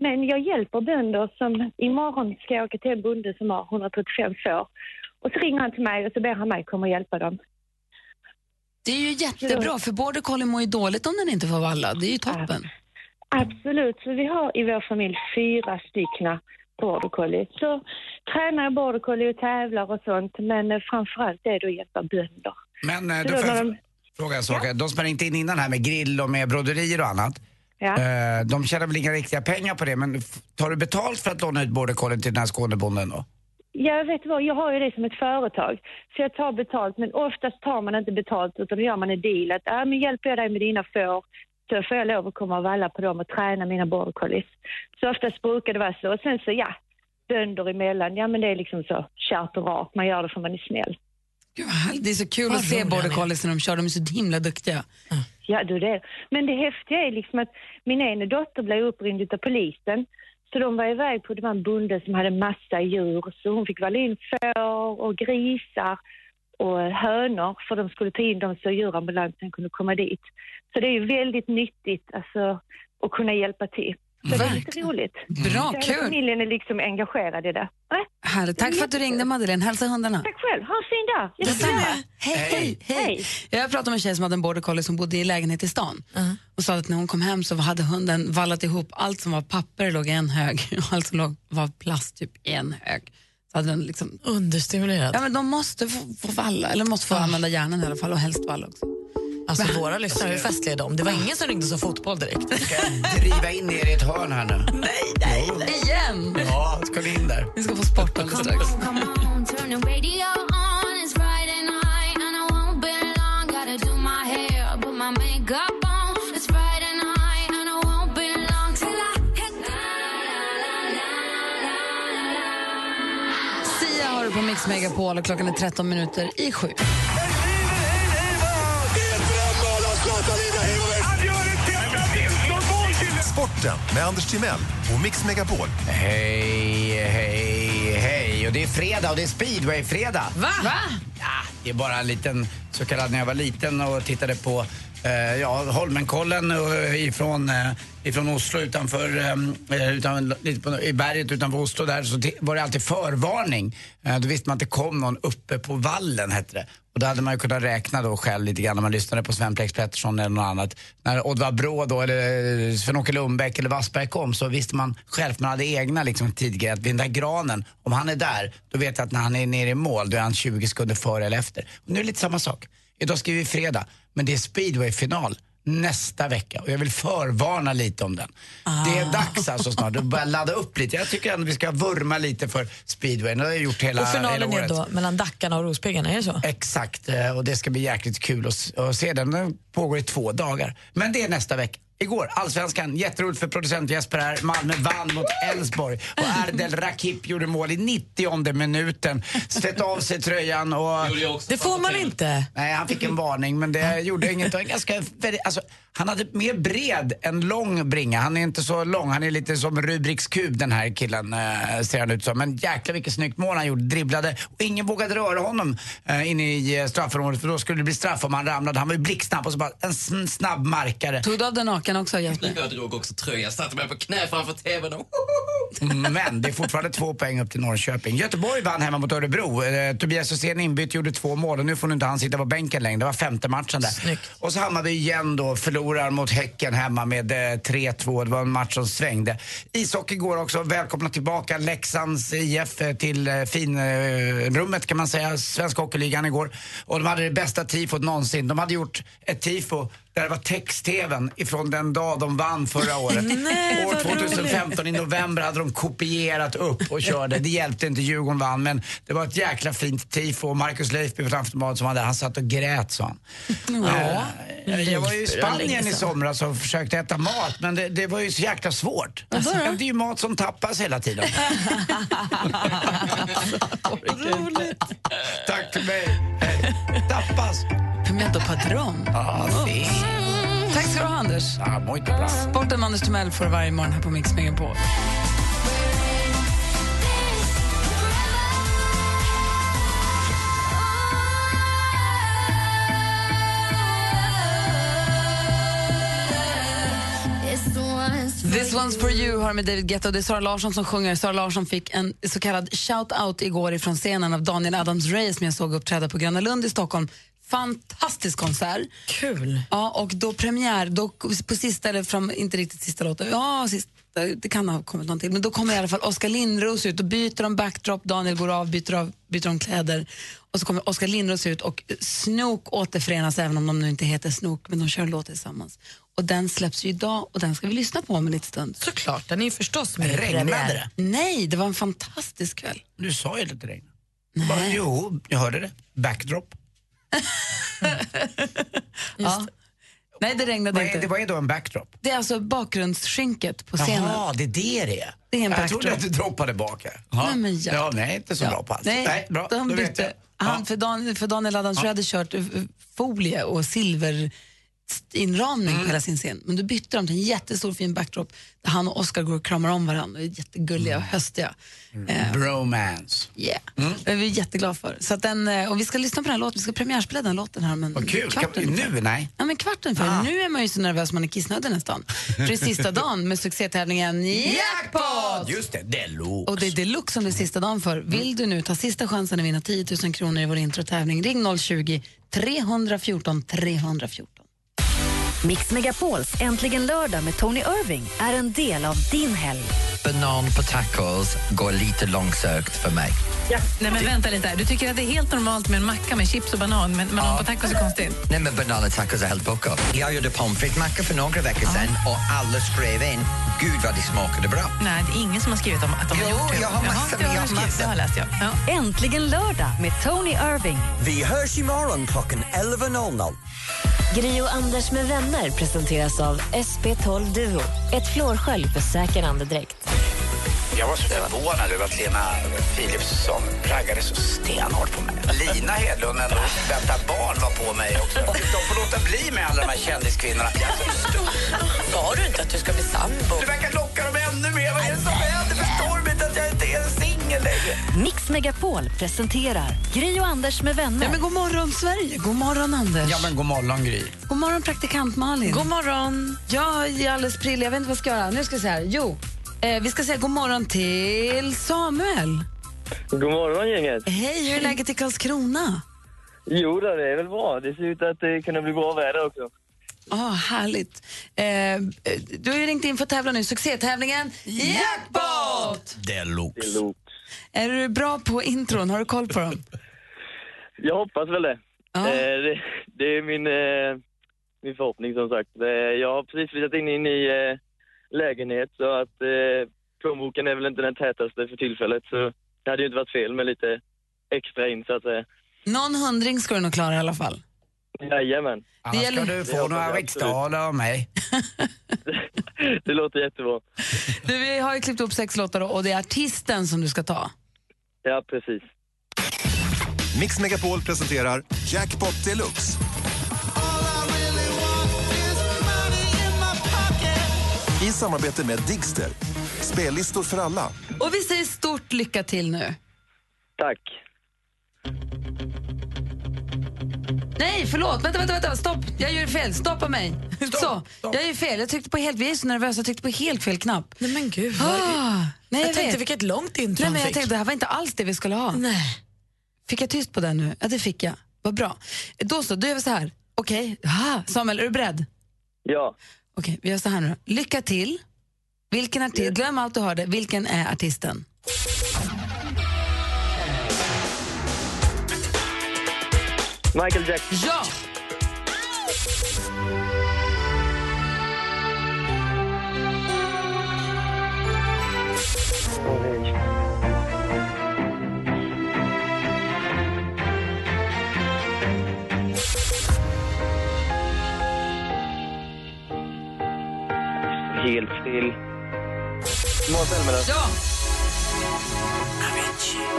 Speaker 14: men jag hjälper bönder som... Imorgon ska jag åka till en bonde som har 135 får. Och så ringer han till mig och så ber han mig komma och hjälpa dem.
Speaker 3: Det är ju jättebra, för border collie mår ju dåligt om den inte får valla. Det är ju toppen.
Speaker 14: Absolut, så vi har i vår familj fyra stycken border collie. Så tränar jag border collie och tävlar och sånt, men eh, framförallt är det att hjälpa bönder.
Speaker 4: Men eh,
Speaker 14: Så
Speaker 4: då
Speaker 14: då
Speaker 4: får jag
Speaker 14: när de-
Speaker 4: fråga en sak. här. De sprang inte in innan här med grill och med broderier och annat.
Speaker 14: Ja.
Speaker 4: Eh, de tjänar väl inga riktiga pengar på det, men f- tar du betalt för att låna ut border collien till den här Skånebonden då?
Speaker 14: Jag vet vad, jag har ju det som ett företag. Så jag tar betalt, men oftast tar man inte betalt utan då gör man en deal att äh, men hjälper jag dig med dina får så får jag lov att komma och valla på dem och träna mina border collies. Så oftast brukar det vara så. Och sen så ja, bönder emellan, ja men det är liksom så kärt och rakt. Man gör det för man är snäll.
Speaker 3: Det är så kul
Speaker 14: Vad
Speaker 3: att se
Speaker 14: roliga
Speaker 3: border
Speaker 14: ni är.
Speaker 3: collies när de kör. De är så himla duktiga.
Speaker 14: Ja, du det. Men det häftiga är liksom att min ena dotter blev uppringd av polisen. Så de var iväg på, det var en bonde som hade massa djur. Så hon fick valla in får och grisar och hönor för de skulle ta in dem så djurambulansen kunde komma dit. Så det är ju väldigt nyttigt alltså, att kunna hjälpa till. Så det är lite roligt.
Speaker 3: Bra,
Speaker 14: så hela
Speaker 3: kul.
Speaker 14: familjen är liksom engagerad i det. Nej,
Speaker 3: Härligt. Tack för att du ringde, Madeleine. Hälsa hundarna.
Speaker 14: Tack själv. Ha en fin dag. Jag ska
Speaker 3: Detsamma. Hej, hej, hej. Jag pratade med en tjej som hade en border collie som bodde i en lägenhet i stan.
Speaker 5: Uh-huh.
Speaker 3: Och sa att när hon kom hem så hade hunden vallat ihop allt som var papper låg i en hög och allt som låg, var plast typ i en hög. Så hade den liksom...
Speaker 5: Understimulerad. Ah.
Speaker 3: Ja, men de måste få, få valla, eller måste få använda hjärnan i alla fall och helst valla också. Ah.
Speaker 5: Alltså våra lyssnare, hur festliga de Det var ingen som ringde och sa fotboll direkt.
Speaker 4: Driva in er i ett hörn här nu. Nej, nej, nej.
Speaker 3: Igen!
Speaker 4: Ja, ska ni in där?
Speaker 3: Vi ska få sport alldeles strax. Sia har du på Mix Megapol och klockan är 13 minuter i sju.
Speaker 10: Sporten med Anders Timell och Mix Megapol.
Speaker 4: Hej, hej, hej. Och det är fredag och det är speedway-fredag.
Speaker 3: Va?
Speaker 4: Ja, det är bara en liten så kallad när jag var liten och tittade på eh, ja, Holmenkollen eh, ifrån, eh, ifrån Oslo utanför, eh, utan, lite på, i berget utanför Oslo där så ti- var det alltid förvarning. Eh, då visste man att det kom någon uppe på vallen hette det. Och då hade man ju kunnat räkna då själv lite grann när man lyssnade på Sven Plex Pettersson eller något annat. När Oddvar Brå då eller eh, Sven-Åke Lundbäck eller Wassberg kom så visste man själv, man hade egna liksom tidgrejer att vid den där granen, om han är där, då vet jag att när han är nere i mål då är han 20 sekunder före eller efter. Och nu är det lite samma sak. Idag skriver vi fredag, men det är speedwayfinal nästa vecka och jag vill förvarna lite om den. Det
Speaker 5: Ah.
Speaker 4: är dags alltså snart att börja ladda upp lite. Jag tycker ändå vi ska vurma lite för speedway. Det har jag gjort hela,
Speaker 5: och finalen
Speaker 4: hela
Speaker 5: är
Speaker 4: året.
Speaker 5: då mellan Dackarna och Rospiggarna, är det så?
Speaker 4: Exakt, eh, och det ska bli jäkligt kul att, s- att se den. Den pågår i två dagar. Men det är nästa vecka. Igår, Allsvenskan. Jätteroligt för producent Jesper här. Malmö vann mot Elfsborg och Erdel Rakip gjorde mål i 90 minuten. Slet av sig tröjan och...
Speaker 5: Det får man inte.
Speaker 4: Nej, han fick en varning men det gjorde inget. Han, ganska, väldigt- alltså, han hade mer bred än lång bringa. Han är inte så lång, han är lite som Rubriks kub den här killen eh, ser han ut som. Men jäklar vilket snyggt mål han gjorde. Dribblade och ingen vågade röra honom eh, inne i eh, straffområdet för då skulle det bli straff om han ramlade. Han var ju blixtsnabb och så bara en sn- snabb markare.
Speaker 3: Tog du av dig naken också Jesper?
Speaker 15: Jag drog också tröjan, satte mig på knä framför tvn och...
Speaker 4: Mm, Men det är fortfarande två poäng upp till Norrköping. Göteborg vann hemma mot Örebro. Eh, Tobias Hysén inbytt gjorde två mål och nu får nu inte han sitta på bänken längre. Det var femte matchen där. Och så Hammarby igen då, förlorar mot Häcken hemma med eh, 3-2. Det var en match som svängde. Ishockey går också. Välkomna tillbaka Leksands IF eh, till eh, finrummet kan man säga. Svenska Hockeyligan igår. Och de hade det bästa tifot någonsin. De hade gjort ett tifo där det var text-tvn ifrån den dag de vann förra året.
Speaker 5: Nej,
Speaker 4: År
Speaker 5: vad
Speaker 4: 2015 i november hade de kopierat upp och körde. Det hjälpte inte, Djurgården vann. Men det var ett jäkla fint tifo och Marcus Leifby på Aftonbladet som hade, han satt och grät sa han.
Speaker 5: Ja.
Speaker 4: Eh, Jag var ju i
Speaker 5: Leifby, det var länge
Speaker 4: Spanien i
Speaker 5: sedan.
Speaker 4: somras och försökte äta mat men det, det var ju så jäkla svårt. Ja, Det är ju mat som tappas hela tiden. Roligt. Tack för mig. Hej. Tappas.
Speaker 3: Pimento padron.
Speaker 4: Ja, fint.
Speaker 3: Tack ska du ha, Anders.
Speaker 4: Ja, muito bra.
Speaker 3: Sporten med Anders Timell får du varje morgon här på Mix Megapol. This one's for you har med David Guetta och det är Sara Larsson som sjunger. Sara Larsson fick en så kallad shout-out igår ifrån scenen av Daniel Adams-Ray som jag såg uppträda på Gröna Lund i Stockholm. Fantastisk konsert.
Speaker 5: Kul.
Speaker 3: Ja, och då premiär, då på sista, eller fram, inte riktigt sista låten, ja, sista, det kan ha kommit någon till, men då kommer i alla fall Oskar Lindros ut och byter om backdrop, Daniel går av, byter, av, byter om kläder och så kommer Oskar Lindros ut och Snook återförenas även om de nu inte heter Snook, men de kör en låt tillsammans. Och den släpps ju idag och den ska vi lyssna på om en liten stund.
Speaker 5: Såklart, den är ju förstås
Speaker 4: med i Regnade premiär.
Speaker 3: Nej, det var en fantastisk kväll.
Speaker 4: Du sa ju lite regn. Bara, jo, jag hörde det. Backdrop.
Speaker 3: Ja. Nej, det regnade
Speaker 4: Vad är,
Speaker 3: inte.
Speaker 4: det, vad är då en backdrop?
Speaker 3: Det är alltså bakgrundsskynket på scenen.
Speaker 4: Jaha, det är det det är.
Speaker 3: Det är en
Speaker 4: jag
Speaker 3: backdrop.
Speaker 4: trodde att du droppade bak här. Ja.
Speaker 3: Nej, men jag-
Speaker 4: ja, nej, inte så
Speaker 3: Ja.
Speaker 4: bra på alls.
Speaker 3: Nej,
Speaker 4: bra.
Speaker 3: de
Speaker 4: då vet
Speaker 3: bytte.
Speaker 4: jag.
Speaker 3: Han, för, Dan, för Daniel Adams
Speaker 4: Ja.
Speaker 3: ja. hade kört eh, folie och silverinramning
Speaker 4: Mm.
Speaker 3: på hela sin scen. Men då bytte de till en jättestor fin backdrop där han och Oscar går och kramar om varandra och är jättegulliga
Speaker 4: Mm.
Speaker 3: och höstiga. Eh,
Speaker 4: Bromance.
Speaker 3: Yeah.
Speaker 4: Mm.
Speaker 3: Det är vi jätteglada för. Så att den, eh, och vi ska lyssna på den här låten, vi ska premiärspela den låten här om en
Speaker 4: Vad kul.
Speaker 3: kvart
Speaker 4: Kan,
Speaker 3: ungefär.
Speaker 4: nu? Ah. Nej.
Speaker 3: Ja, men kvart ungefär. Nu är man ju så nervös man är kissnödig nästan. För det är sista dagen med succétävlingen Jackpot!
Speaker 4: Just det, deluxe.
Speaker 3: Och det är deluxe som det är sista dagen för.
Speaker 4: Mm.
Speaker 3: Vill du nu ta sista chansen att vinna 10 000 kronor i vår introtävling, ring 020-314 314.
Speaker 1: Mix Megapols Äntligen lördag med Tony Irving är en del av din helg.
Speaker 15: Banan på tacos går lite långsökt för mig.
Speaker 16: Nej, men vänta lite. här. Du tycker att det är helt normalt med en macka med chips och banan, men banan på tacos är konstigt?
Speaker 15: Nej men banala tacos är helt bucko. Jag gjorde pommes frites-macka för några veckor sedan och alla skrev in, gud vad det smakade bra.
Speaker 16: Nej, det är ingen som har skrivit om att de har gjort det.
Speaker 15: jag har
Speaker 16: Jaha,
Speaker 15: massor,
Speaker 16: det har
Speaker 15: jag
Speaker 16: de
Speaker 15: har
Speaker 16: skrivit.
Speaker 15: massor.
Speaker 16: Det har jag läst, ja. ja.
Speaker 1: Äntligen lördag med Tony Irving.
Speaker 17: Vi hörs imorgon klockan 11.00.
Speaker 11: Gri och Anders med vänner presenteras av SP12 Duo. Ett flårskölj för säker andedräkt.
Speaker 4: Jag var så förvånad över att Lena Philipsson raggade så stenhårt på mig. Lina Hedlund, ändå, vänta barn, var på mig också. De får låta bli med alla de här kändiskvinnorna.
Speaker 5: Sa du inte att du ska bli sambo?
Speaker 4: Du verkar locka dem ännu mer. Vad är det som händer? Förstår de inte att jag inte är en singel längre?
Speaker 1: Mix Megapol presenterar Gri och Anders med vänner.
Speaker 3: Ja, men god morgon, Sverige! God morgon, Anders!
Speaker 4: Ja, men god morgon, Gry.
Speaker 3: God morgon, praktikant Malin!
Speaker 16: God morgon!
Speaker 3: Jag är alldeles prillig. Jag vet inte vad jag ska göra. Nu ska jag säga här. Jo, eh, vi ska säga god morgon till Samuel.
Speaker 18: God morgon gänget!
Speaker 3: Eh, Hej, hur är läget i Karlskrona?
Speaker 18: Jo då, det är väl bra. Det ser ut att det kan bli bra väder också.
Speaker 3: Ja, Ah, härligt. Eh, eh, du har ju ringt in för att tävla nu. Succétävlingen Jackpot!
Speaker 15: Deluxe.
Speaker 3: Är du bra på intron? Har du koll på dem?
Speaker 18: Jag hoppas väl det.
Speaker 3: Ja.
Speaker 18: Eh, det, det är min, eh, min förhoppning som sagt. Eh, jag har precis flyttat in i en ny eh, lägenhet så att eh, plånboken är väl inte den tätaste för tillfället så det hade ju inte varit fel med lite extra in så att säga.
Speaker 3: Någon hundring ska du nog klara i alla fall.
Speaker 18: Jajamän.
Speaker 4: Annars ska du
Speaker 18: Det
Speaker 4: få
Speaker 18: hoppas
Speaker 4: några
Speaker 18: jag
Speaker 4: riksdaler av mig.
Speaker 18: absolut. Det låter jättebra.
Speaker 3: Du, vi har ju klippt upp sex låtar och det är artisten som du ska ta.
Speaker 18: Ja, precis.
Speaker 10: Mix Megapol presenterar Jackpot Deluxe. I samarbete med Digster. Spellistor för alla.
Speaker 3: Och vi säger stort lycka till nu.
Speaker 18: Tack.
Speaker 3: Nej, förlåt. Vänta, vänta, vänta. Stopp. Jag gör fel. Stoppa mig. Så. Jag gör fel. Jag tryckte på helt... Vi är så nervösa. Jag tryckte på helt fel knapp.
Speaker 5: Nej, men gud.
Speaker 3: Ah,
Speaker 5: vad- jag,
Speaker 3: nej, jag
Speaker 5: tänkte
Speaker 3: vet.
Speaker 5: vilket långt intro
Speaker 3: Nej, men
Speaker 5: han
Speaker 3: jag
Speaker 5: fick.
Speaker 3: tänkte, det här var inte alls det vi skulle ha.
Speaker 5: Nej.
Speaker 3: Fick jag tyst på den nu? Ja, det fick jag. Vad bra. Då så, då gör vi så här. Okej, Ah, Samuel, är du beredd?
Speaker 18: Ja.
Speaker 3: Okej, vi gör så här nu. Lycka till. Vilken artist, glöm allt du hörde, vilken är artisten?
Speaker 18: Michael Jackson.
Speaker 3: Ja!
Speaker 18: Helt still. Måns Zelmerlöw.
Speaker 3: Ja!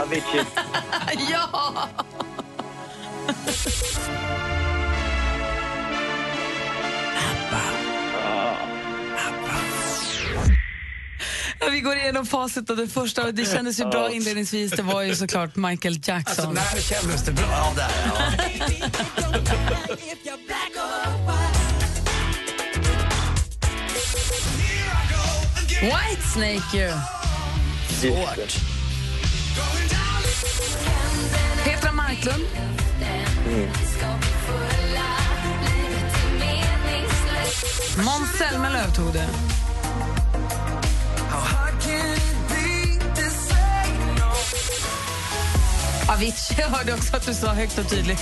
Speaker 18: Avicii.
Speaker 3: ja!
Speaker 16: Ah.
Speaker 3: Ja, Vi går igenom facit och det första, och det kändes ju bra inledningsvis, det var ju såklart Michael Jackson.
Speaker 2: Alltså, när kändes det bra? Ja, där, ja.
Speaker 3: Whitesnake ju!
Speaker 18: Svårt.
Speaker 3: Petra Marklund.
Speaker 18: Mm.
Speaker 3: Måns Zelmerlöw tog det. Avicii jag hörde också att du sa högt och tydligt.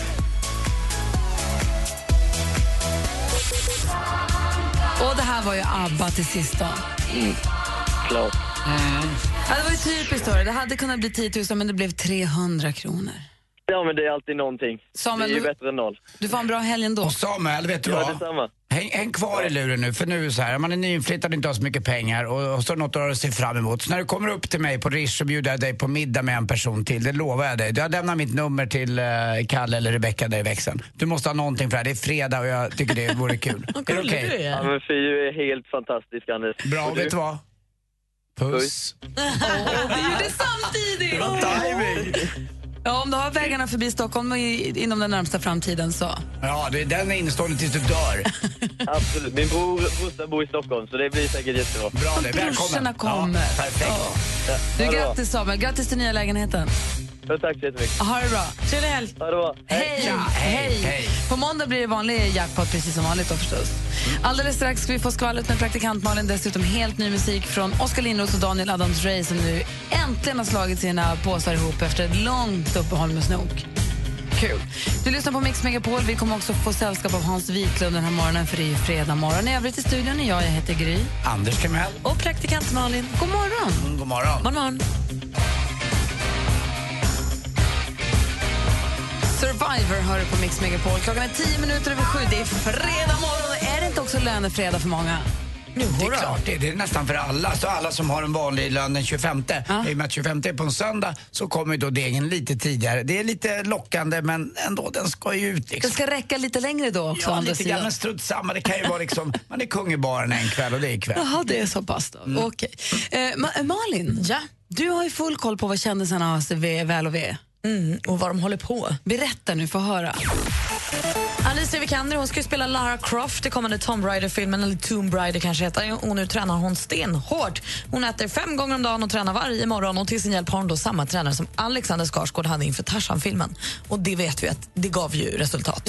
Speaker 3: Och det här var ju ABBA till sist då.
Speaker 18: Mm. Klart.
Speaker 3: Ja, det var ju typiskt då. Det hade kunnat bli 10 000 men det blev 300 kronor.
Speaker 18: Ja, men det är alltid någonting.
Speaker 3: Samuel,
Speaker 18: det är ju
Speaker 3: du-
Speaker 18: bättre än noll.
Speaker 3: Du får ha en bra helg ändå.
Speaker 4: Och Samuel, vet du
Speaker 18: Ja,
Speaker 4: vad?
Speaker 18: detsamma.
Speaker 4: Häng, häng kvar i luren nu, för nu är det så här, man är nyinflyttad och inte har så mycket pengar och, och så är det något att se fram emot. Så när du kommer upp till mig på Rish så bjuder jag dig på middag med en person till, det lovar jag dig. Jag lämnar mitt nummer till eh, Kalle eller Rebecca där i växeln. Du måste ha någonting för det här, det är fredag och jag tycker det vore kul. är det okej?
Speaker 18: Ja, men för du är helt fantastisk, Anders.
Speaker 4: Bra,
Speaker 18: Och du-
Speaker 4: vet du vad? Puss.
Speaker 3: Vi gjorde samtidigt! Ja, om du har vägarna förbi Stockholm i, inom den närmsta framtiden så.
Speaker 4: Ja, det, den är innestående tills du dör.
Speaker 18: Absolut. Min bror, brorsa bor i Stockholm, så det blir säkert jättebra.
Speaker 4: Bra det.
Speaker 3: Brorsorna kommer.
Speaker 4: perfekt.
Speaker 3: Du, grattis Samuel, grattis till nya lägenheten.
Speaker 18: Ja, tack så jättemycket.
Speaker 3: Ha det bra. Trevlig helg.
Speaker 18: Ha det bra.
Speaker 3: Hej. hej. På måndag blir det vanlig jackpot precis som vanligt då förstås. Alldeles strax ska vi få skvallret med praktikant Malin. Dessutom helt ny musik från Oskar Lindros och Daniel Adams Ray som nu äntligen har slagit sina påsar ihop efter ett långt uppehåll med snok. Kul. Du lyssnar på Mix Megapol. Vi kommer också få sällskap av Hans Wiklund den här morgonen för det är ju fredag morgon. I övrigt i studion är jag, jag heter Gry.
Speaker 4: Anders Timell.
Speaker 3: Och praktikant Malin. God morgon.
Speaker 4: Mm, God morgon.
Speaker 3: God morgon. Survivor hör du på Mix Megapol. Klockan är tio minuter över sju. Det är fredag morgon. Är det inte också lönefredag för många?
Speaker 4: Det är klart, det, det är nästan för alla. Så alla som har en vanlig lön den 25. I och med att 25 är på en söndag så kommer ju då degen lite tidigare. Det är lite lockande men ändå, den ska ju ut
Speaker 3: Det
Speaker 4: liksom.
Speaker 3: ska räcka lite längre då också. å
Speaker 4: Ja,
Speaker 3: andra
Speaker 4: lite grann,
Speaker 3: sidan.
Speaker 4: men strunt samma. Det kan ju vara liksom, man är kung i baren en kväll och det är kväll.
Speaker 3: Jaha, det är så pass då.
Speaker 5: Mm.
Speaker 3: Okej. Eh, Ma- Malin, ja? du har ju full koll på vad kändisarna har sig ve- väl och ve.
Speaker 5: Mm, och vad de håller på.
Speaker 3: Berätta nu, få höra.
Speaker 5: Alicia Vikander hon ska ju spela Lara Croft i kommande Tomb Raider-filmen, eller Tomb Raider kanske heter och nu tränar hon stenhårt. Hon äter fem gånger om dagen och tränar varje morgon och till sin hjälp har hon då samma tränare som Alexander Skarsgård hade inför Tarzan-filmen. Och det vet vi att det gav ju resultat.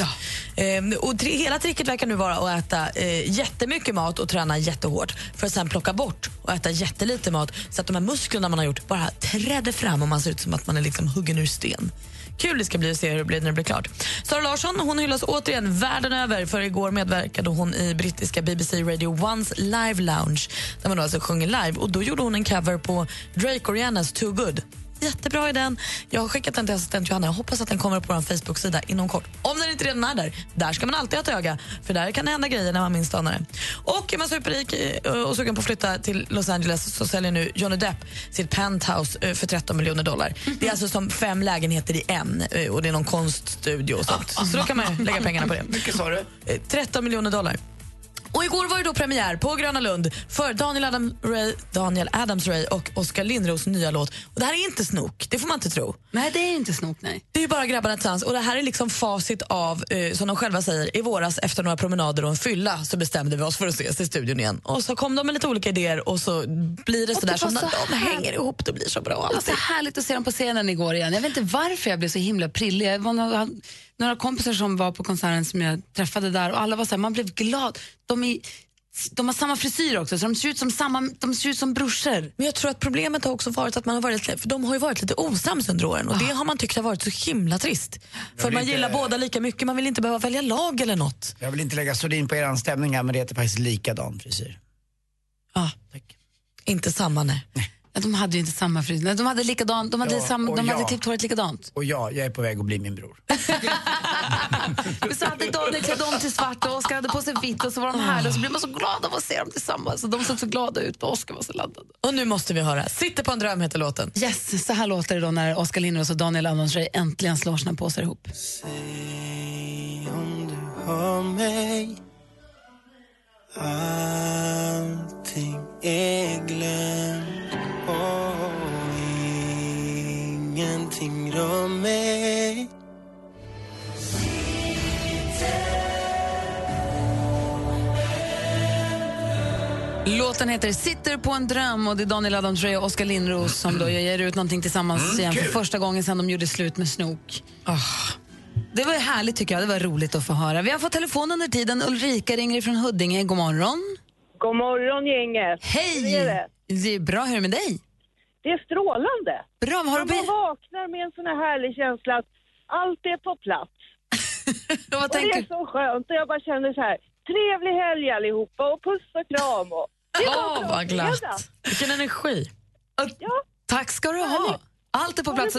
Speaker 5: Ehm, och tri- hela tricket verkar nu vara att äta eh, jättemycket mat och träna jättehårt för att sen plocka bort och äta jättelite mat så att de här musklerna man har gjort bara träder fram och man ser ut som att man är liksom huggen ur sten. Kul det ska bli att se hur det blir när det blir klart. Sara Larsson hon hyllas återigen världen över för igår medverkade hon i brittiska BBC Radio Ones live lounge där man då alltså sjunger live och då gjorde hon en cover på Drake och Rihannas Too Good. jättebra i den. Jag har skickat den till assistent Johanna. Jag hoppas att den kommer upp på vår Facebook-sida inom kort. Om den inte redan är där. Där ska man alltid ha ett öga, för där kan det hända grejer när man minst anar det. Och är man superrik eh, och sugen på att flytta till Los Angeles så säljer nu Johnny Depp sitt penthouse eh, för 13 miljoner dollar. Det är alltså som fem lägenheter i en eh, och det är någon konststudio och sånt. Så då kan man ju lägga pengarna på det.
Speaker 4: Mycket sa du?
Speaker 5: Eh, 13 miljoner dollar. Och igår var det då premiär på Gröna Lund för Daniel, Adam Ray, Daniel Adams-Ray och Oskar Lindros nya låt. Och det här är inte snok, det får man inte tro.
Speaker 3: Nej, det är inte snok, nej.
Speaker 5: Det är ju bara grabbarna tillsammans och det här är liksom facit av, eh, som de själva säger, i våras efter några promenader och en fylla så bestämde vi oss för att ses i studion igen. Och så kom de med lite olika idéer och så blir det
Speaker 3: Och
Speaker 5: sådär
Speaker 3: det
Speaker 5: som
Speaker 3: var
Speaker 5: när
Speaker 3: så
Speaker 5: de
Speaker 3: här-
Speaker 5: hänger ihop, det blir så bra
Speaker 3: Det var så
Speaker 5: alltid.
Speaker 3: härligt att se dem på scenen igår igen. Jag vet inte varför jag blev så himla prillig. Det var några, några kompisar som var på konserten som jag träffade där och alla var så här, man blev glad. De, är, de har samma frisyr också, så de ser ut som, samma, de ser ut som brorsor.
Speaker 5: Men jag tror att problemet har också varit att man har varit, lite- för de har ju varit lite osams under åren och det har man tyckt har varit så himla trist. För
Speaker 4: vill
Speaker 5: man
Speaker 4: inte-
Speaker 5: gillar båda lika mycket, man vill inte behöva välja lag eller något.
Speaker 4: Jag vill inte lägga sordin på er stämning här men det heter faktiskt likadan frisyr.
Speaker 5: Inte samma, nej.
Speaker 3: De hade ju inte samma frisyr. Nej, De hade, likadan, de hade,
Speaker 4: Ja,
Speaker 3: samma,
Speaker 4: och
Speaker 3: de hade
Speaker 4: jag.
Speaker 3: klippt håret likadant.
Speaker 4: Och ja, jag är på väg att bli min bror.
Speaker 3: Men så hade Daniel klätt om till svart och Oskar hade på sig vitt och så var de härliga och så blev man så glad av att se dem tillsammans. Och de såg så glada ut och Oskar var så laddad.
Speaker 5: Och nu måste vi höra Sitter på en dröm heter låten.
Speaker 3: Yes, så här låter det då när Oskar Lindros och Daniel Adams-Ray äntligen slår sina påsar ihop.
Speaker 8: Hör mig Allting är glömt och ingenting rör mig
Speaker 3: Låten heter Sitter på en dröm och det är Daniel Adams-Ray och Oskar Lindros som då ger ut någonting tillsammans
Speaker 5: Mm,
Speaker 3: igen för
Speaker 5: kul. Ah.
Speaker 3: första gången sedan de gjorde slut med Snook. Det var ju härligt tycker jag, det var roligt att få höra. Vi har fått telefon under tiden. Ulrika ringer från Huddinge, god morgon.
Speaker 19: God morgon gänget!
Speaker 3: Hej!
Speaker 19: Hur är det?
Speaker 3: Det är bra, hur är det med dig?
Speaker 19: Det är strålande!
Speaker 3: Bra, har du
Speaker 19: Man vaknar med en sån här härlig känsla att allt är på plats. och det är så skönt och jag bara känner så här, trevlig helg allihopa och puss och kram. Och... Det är bara
Speaker 5: Åh,
Speaker 19: så
Speaker 5: vad
Speaker 19: fredag.
Speaker 5: glatt. Vilken energi.
Speaker 3: Tack ska du ha. Allt är på plats.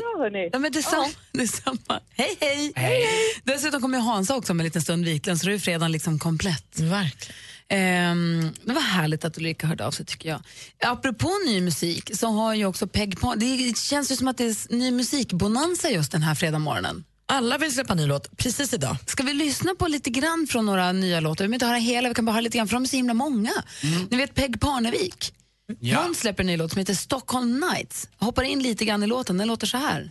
Speaker 3: Ja, men detsamma, detsamma. Hej, hej, hej! Dessutom kommer ju Hansa också om en liten stund, Wiklund, så då är ju fredagen liksom komplett. Ehm,
Speaker 5: Verkligen.
Speaker 3: det var härligt att Ulrika hörde av sig, tycker jag. Apropå ny musik så har ju också Peg Pan... Det känns ju som att det är ny musikbonanza just den här fredag morgonen.
Speaker 5: Alla vill släppa ny låt precis idag.
Speaker 3: Ska vi lyssna på lite grann från några nya låtar? Vi behöver inte höra hela, vi kan bara höra lite grann, för de är så himla många.
Speaker 4: Mm.
Speaker 3: Ni vet Peg Parnevik?
Speaker 5: Ja.
Speaker 3: Hon släpper en ny låt som heter Stockholm Nights. Jag hoppar in lite grann i låten, den låter så här.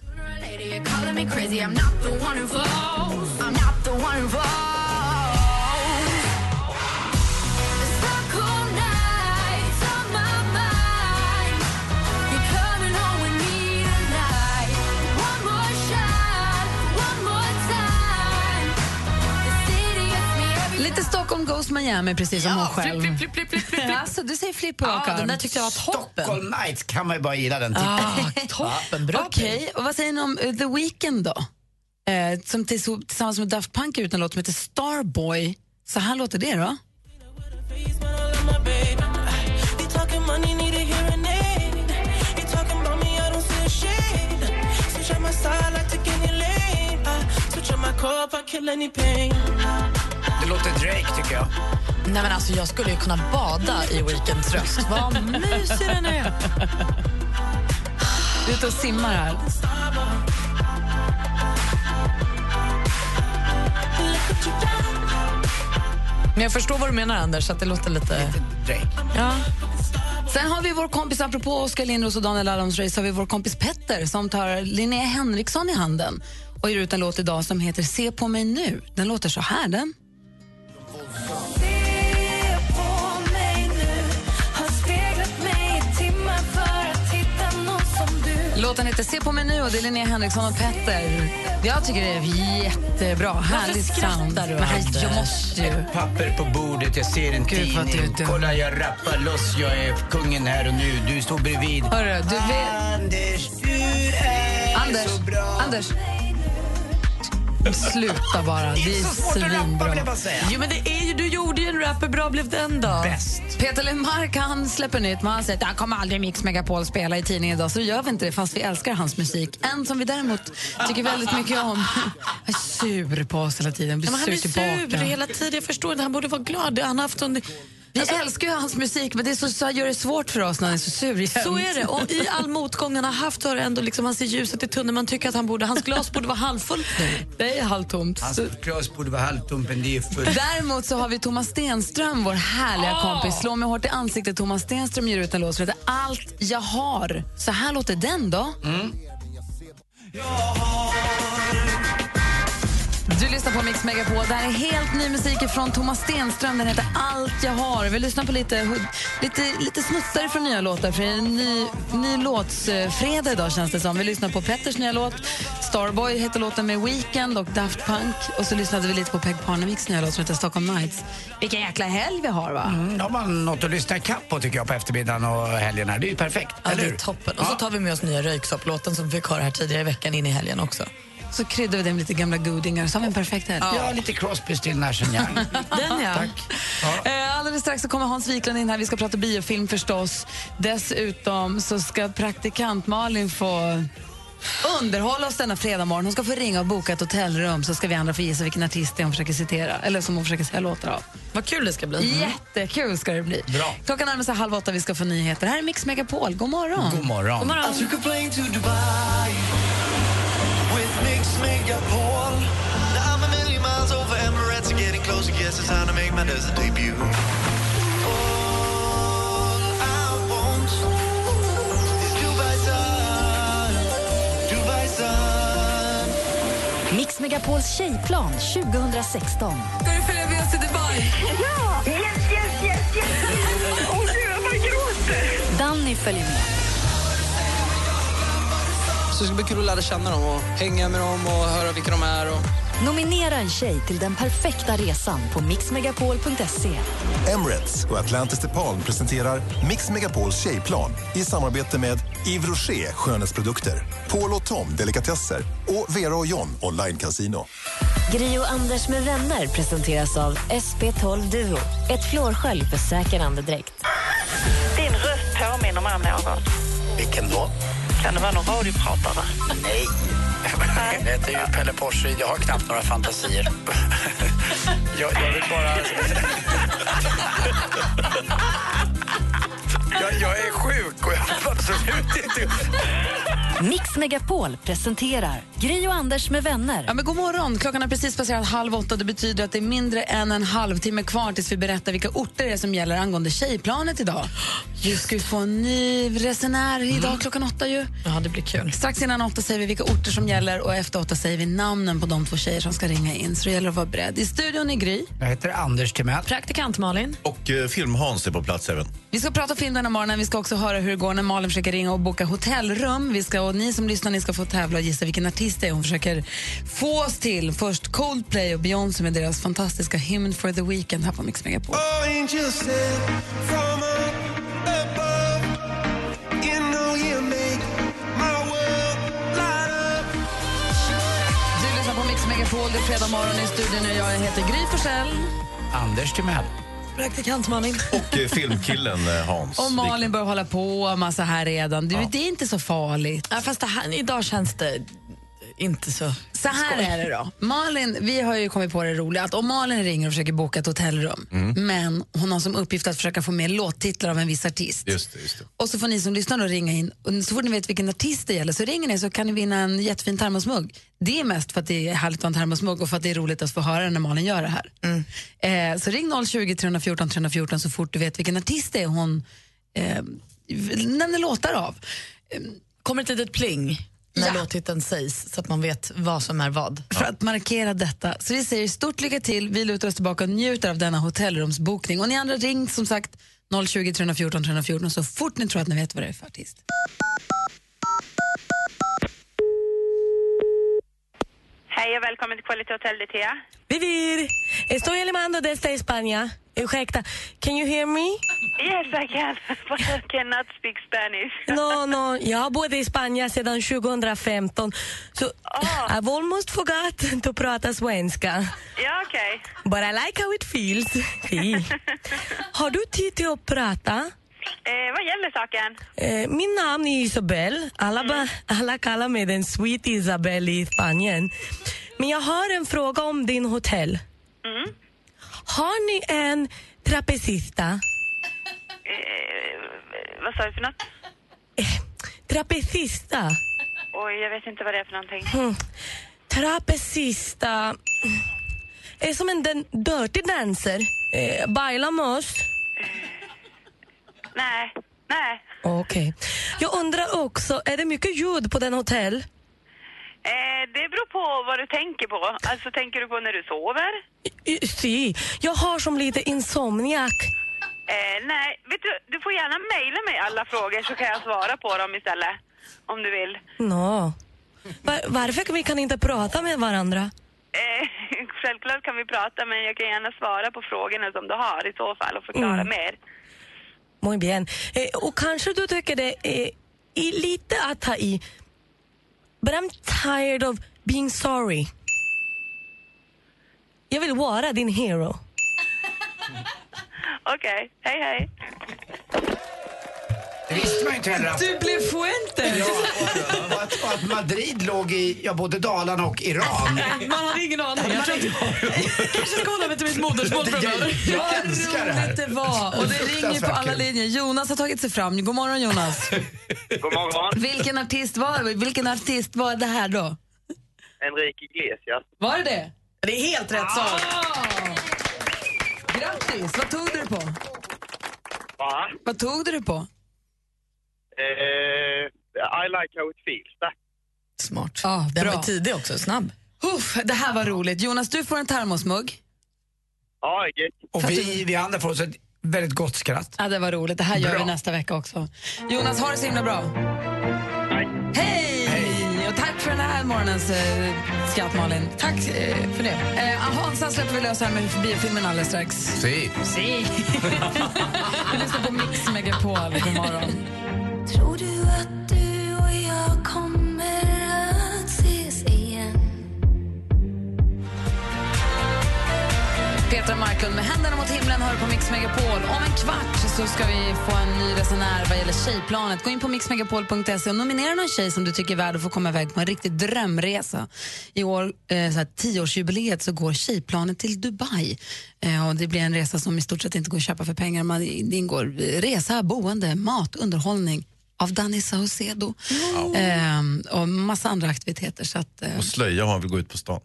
Speaker 3: Lite Stockholm Goes Miami, precis som hon själv. Flipp, flipp, flipp, flipp, flipp, Alltså, du säger flipp på rak
Speaker 4: Ja,
Speaker 3: arm.
Speaker 4: den där tyckte jag var toppen. Stockholm Nights kan man ju bara gilla den titeln.
Speaker 3: Ah,
Speaker 5: toppen,
Speaker 4: bra
Speaker 3: Okej, och vad säger ni om eh, The Weeknd då? Eh, som tills- tillsammans med Daft Punk är ut en låt som heter Starboy. Så här låter det då.
Speaker 16: Uh,
Speaker 4: Det låter Drake tycker jag.
Speaker 5: Nej men alltså jag skulle ju kunna bada i Weekends röst. Vad mysig den är.
Speaker 3: Ute och simmar här.
Speaker 5: Men jag förstår vad du menar Anders, att det låter lite... Ja.
Speaker 3: Sen har vi vår kompis, apropå Oskar Lindros och Daniel Adams-Ray, så har vi vår kompis Petter som tar Linnea Henriksson i handen och ger ut en låt idag som heter Se på mig nu. Den låter så här den. Låten heter Se på mig nu och det är Linnea Henriksson och Petter. Jag tycker det är jättebra. Härligt sound. Men jag måste ju.
Speaker 2: Ett papper på bordet, jag ser en
Speaker 3: Gud, vad
Speaker 2: tidning. Kolla, jag rappar loss, jag är kungen här och nu. Du står bredvid.
Speaker 3: Hörru, du vet... Anders, Anders. Sluta bara.
Speaker 5: Det är inte så svårt att rappa,
Speaker 3: svinbra.
Speaker 5: vill jag bara säga.
Speaker 3: Jo, men det är ju, du gjorde ju en rap. Hur bra blev den då?
Speaker 5: Bäst.
Speaker 3: Peter Lemark han släpper nytt, men han säger att han kommer aldrig Mix Megapol spela i tidningen idag, så då gör vi inte det fast vi älskar hans musik. En som vi däremot tycker väldigt mycket om. Jag är sur på oss hela tiden. Blir
Speaker 5: Men han
Speaker 3: sur
Speaker 5: är sur
Speaker 3: tillbaka.
Speaker 5: hela tiden. Jag förstår inte. Han borde vara glad. Han har haft Alltså- en...
Speaker 3: Vi älskar ju hans musik, men det är så, så här gör det svårt för oss när han är så sur jämt.
Speaker 5: Så är det. Och I all motgång han har haft har det ändå liksom, han ser ljuset i tunneln. Man tycker att han borde, hans glas borde vara halvfullt nu. Det är halvtomt.
Speaker 2: Hans
Speaker 5: Så-
Speaker 2: glas borde vara halvtomt, men det är fullt.
Speaker 3: Däremot så har vi Thomas Stenström, vår härliga kompis. Slå mig hårt i ansiktet. Thomas Stenström ger ut en låt som heter Allt jag har. Så här låter den då. Du lyssnar på Mix Megapol. Det här är helt ny musik från Thomas Stenström. Den heter Allt jag har. Vi lyssnar på lite, lite, lite snuttar från nya låtar. För det är en ny, ny låtsfredag idag känns det som. Vi lyssnar på Petters nya låt. Starboy heter låten med Weekend och Daft Punk. Och så lyssnade vi lite på Peg Parneviks nya låt som heter Stockholm Nights. Vilken jäkla helg vi har va?
Speaker 4: Mm, då har man något att lyssna ikapp på tycker jag på eftermiddagen och helgen här. Det är ju perfekt,
Speaker 5: Ja,
Speaker 4: eller
Speaker 5: det
Speaker 4: hur?
Speaker 5: är toppen. Och så tar vi med oss nya Röyksopp-låten som vi fick höra här tidigare i veckan in i helgen också.
Speaker 3: Så kryddar vi det med lite gamla godingar så har vi en perfekt helg.
Speaker 4: Ja, lite Crosby, Still Nash Young.
Speaker 3: Den ja. Eh, Alldeles strax så kommer Hans Wiklund in här. Vi ska prata biofilm förstås. Dessutom så ska praktikant Malin få underhålla oss denna fredag morgon. Hon ska få ringa och boka ett hotellrum så ska vi andra få gissa vilken artist det är hon försöker citera, eller som hon försöker säga låtar av.
Speaker 5: Vad kul det ska bli.
Speaker 4: Mhm.
Speaker 3: Jättekul ska det bli.
Speaker 5: Bra.
Speaker 3: Klockan närmar sig halv åtta, vi ska få nyheter. Här är Mix Megapol. God morgon.
Speaker 4: God morgon. God
Speaker 8: I took a plane to Dubai with Mix Megapol. Now I'm a million miles over Emirates and getting closer. Guess it's time to make my desert debut. All I want is Dubai sun, Dubai sun.
Speaker 1: Mix Megapols tjejplan 2016.
Speaker 3: Ska du följa med oss till Dubai?
Speaker 1: Ja! Yes, yes, yes, yes! Åh oh, gud, jag bara gråter! Danny följer med.
Speaker 9: Så det ska bli kul att lära känna dem och hänga med dem och höra vilka de är. Och...
Speaker 1: Nominera en tjej till den perfekta resan på mixmegapol.se.
Speaker 10: Emirates och Atlantis DePaul presenterar Mix Megapols tjejplan i samarbete med Yves Rocher skönhetsprodukter, Paul och Tom delikatesser och Vera och John online casino.
Speaker 11: Gri och Anders med vänner presenteras av SP12 Duo. Ett flårskölj för säker andedräkt.
Speaker 20: Din röst påminner mig om någon.
Speaker 2: Vilken då?
Speaker 20: Kan det vara någon radiopratare?
Speaker 2: Nej. Det är ju Pelle Porsche. Jag har knappt några fantasier. Jag, jag vill bara... Jag, jag är sjuk och jag vill absolut inte...
Speaker 1: Mix Megapol presenterar Gri och Anders med vänner.
Speaker 3: Ja, men god morgon. Klockan är precis passerat halv åtta. Det betyder att det är mindre än en halvtimme kvar tills vi berättar vilka orter det är som gäller angående tjejplanet idag. Vi ska ju få en ny resenär idag
Speaker 1: Mm.
Speaker 3: klockan åtta ju.
Speaker 5: Ja, det blir kul.
Speaker 3: Strax innan åtta säger vi vilka orter som gäller och efter åtta säger vi namnen på de två tjejer som ska ringa in. Så det gäller att vara beredd. I studion är Gry.
Speaker 4: Jag heter Anders Timell.
Speaker 3: Praktikant Malin.
Speaker 21: Och eh, film-Hans är på plats även.
Speaker 3: Vi ska prata film den här morgonen. Vi ska också höra hur det går när Malin försöker ringa och boka hotellrum. Vi ska, och ni som lyssnar ni ska få tävla och gissa vilken artist det är hon försöker få oss till. Först Coldplay och Beyoncé med deras fantastiska Hymn for the Weekend här på Mix Megapol.
Speaker 8: Oh, angels sent from up above. You know you make my world light up.
Speaker 3: Du lyssnar på Mix Megapol. Det är fredag morgon i studion och jag heter Gry Forssell.
Speaker 4: Anders Timell.
Speaker 3: Praktikant Malin.
Speaker 21: Och eh, filmkillen eh, Hans.
Speaker 3: Och Malin börjar hålla på en massa här redan. Du, Det är inte så farligt.
Speaker 5: Ja, fast det här, idag känns det inte så...
Speaker 3: Så här
Speaker 5: Skoj.
Speaker 3: är det då. Malin, vi har ju kommit på det roliga att om Malin ringer och försöker boka ett hotellrum
Speaker 21: Mm.
Speaker 3: men hon har som uppgift att försöka få med låttitlar av en viss artist.
Speaker 21: Just det, just det.
Speaker 3: Och så får ni som lyssnar då ringa in. Och så fort ni vet vilken artist det gäller så ringer ni så kan ni vinna en jättefin termosmugg. Det är mest för att det är härligt att ha en termosmugg och för att det är roligt att få höra när Malin gör det här.
Speaker 21: Mm.
Speaker 3: Eh, så ring 020 314 314 så fort du vet vilken artist det är hon eh, nämner låtar av.
Speaker 5: Kommer ett litet pling när låttiteln sägs så att man vet vad som är vad.
Speaker 3: för att markera detta. Så vi säger stort lycka till, vi lutar oss tillbaka och njuter av denna hotellrumsbokning. Och ni andra ring som sagt 020 314 314 så fort ni tror att ni vet vad det är för artist.
Speaker 20: Hej och välkommen till Quality Hotel DT.
Speaker 6: Vivir! Estoy llamando desde España. Ursäkta, can you hear me?
Speaker 20: Yes, I can. But I cannot speak Spanish.
Speaker 6: No, no, jag bodde i Spanien sedan 2015. Så
Speaker 20: Ah.
Speaker 6: I've almost forgotten to prata svenska.
Speaker 20: Ja, okej.
Speaker 6: But I like how it feels. Fy. Har du tid till att prata?
Speaker 20: Eh, vad gäller saken? Mm.
Speaker 6: Eh, min namn är Isabel. Alla, ba, alla kallar mig den sweet Isabel i Spanien. Men jag har en fråga om din hotell.
Speaker 20: Mm.
Speaker 6: Har ni en trapezista?
Speaker 20: Eh, vad sa du för något?
Speaker 6: Trapezista?
Speaker 20: Oj, jag vet inte vad det är för någonting.
Speaker 6: Hmm. Trapezista är som en den- dirty dancer. Eh, bailamos.
Speaker 20: Nej, nej.
Speaker 6: Okej. Jag undrar också, är det mycket ljud på den hotell?
Speaker 20: Eh, det beror på vad du tänker på. Alltså, tänker du på när du sover?
Speaker 6: Y- Si, jag har som lite insomniak.
Speaker 20: Eh, nej, vet du, du får gärna mejla mig alla frågor så kan jag svara på dem istället. Om du vill.
Speaker 6: Nå. Var, varför kan vi kan inte prata med varandra?
Speaker 20: Eh, självklart kan vi prata men jag kan gärna svara på frågorna som du har i så fall och förklara
Speaker 6: Mm.
Speaker 20: mer.
Speaker 6: Muy bien. Eh, och kanske du tycker det är är lite att ta i. But I'm tired of being sorry. Jag vill vara din hero.
Speaker 20: Okej, hej hej.
Speaker 4: Det visste man ju inte heller. att-
Speaker 3: Du blev fuente!
Speaker 4: Ja, och, och, att, och att Madrid låg i ja, både Dalarna och Iran.
Speaker 3: Man hade ingen aning. Jag tror att- kanske ska hålla mig till mitt modersmål
Speaker 4: Jag-
Speaker 3: framöver.
Speaker 4: jag
Speaker 3: Vad
Speaker 4: älskar det här.
Speaker 3: roligt det var. Och det ringer på
Speaker 4: Fruktansvärt
Speaker 3: alla
Speaker 4: kul.
Speaker 3: linjer. Jonas har tagit sig fram. God morgon, Jonas.
Speaker 22: God morgon.
Speaker 3: Vilken artist var det? Vilken artist var det här då?
Speaker 22: Enrique Iglesias.
Speaker 3: Var det det? Det är helt
Speaker 22: rätt svar.
Speaker 3: Grattis! Vad tog du det på?
Speaker 22: Va?
Speaker 3: Vad tog du det på?
Speaker 22: Eh, I like how it feels. Tack.
Speaker 5: Smart.
Speaker 3: Ah,
Speaker 5: Den
Speaker 3: bra.
Speaker 5: var tidig också, snabb.
Speaker 3: Uff, det här var roligt. Jonas, du får en termosmugg.
Speaker 22: Ja, gött.
Speaker 4: Och vi, vi andra får oss ett väldigt gott skratt.
Speaker 3: Ja, det var roligt. Det här gör vi nästa vecka också. Jonas, ha det så himla bra. Hej! Och tack för den här morgonens eh, skratt, Malin. Tack eh, för det. Eh, Hansa släpper vi lös här med biofilmen alldeles strax.
Speaker 23: Si.
Speaker 3: Si. Vi lyssnar på Mix Megapol. God morgon.
Speaker 24: Tror du att du och jag kommer att ses igen?
Speaker 3: Petra Marklund med Händerna mot himlen hör på Mix Megapol. Om en kvart så ska vi få en ny resenär vad gäller tjejplanet. Gå in på mixmegapol.se och nominera någon tjej som du tycker är värd att få komma iväg på en riktig drömresa. I år, eh, så här, tioårsjubileet, så går tjejplanet till Dubai. Eh, och det blir en resa som i stort sett inte går att köpa för pengar. Man, det ingår resa, boende, mat, underhållning av Danny Saucedo eh, och massa andra aktiviteter. Så att, eh,
Speaker 21: Och slöja har vi gå ut på stan.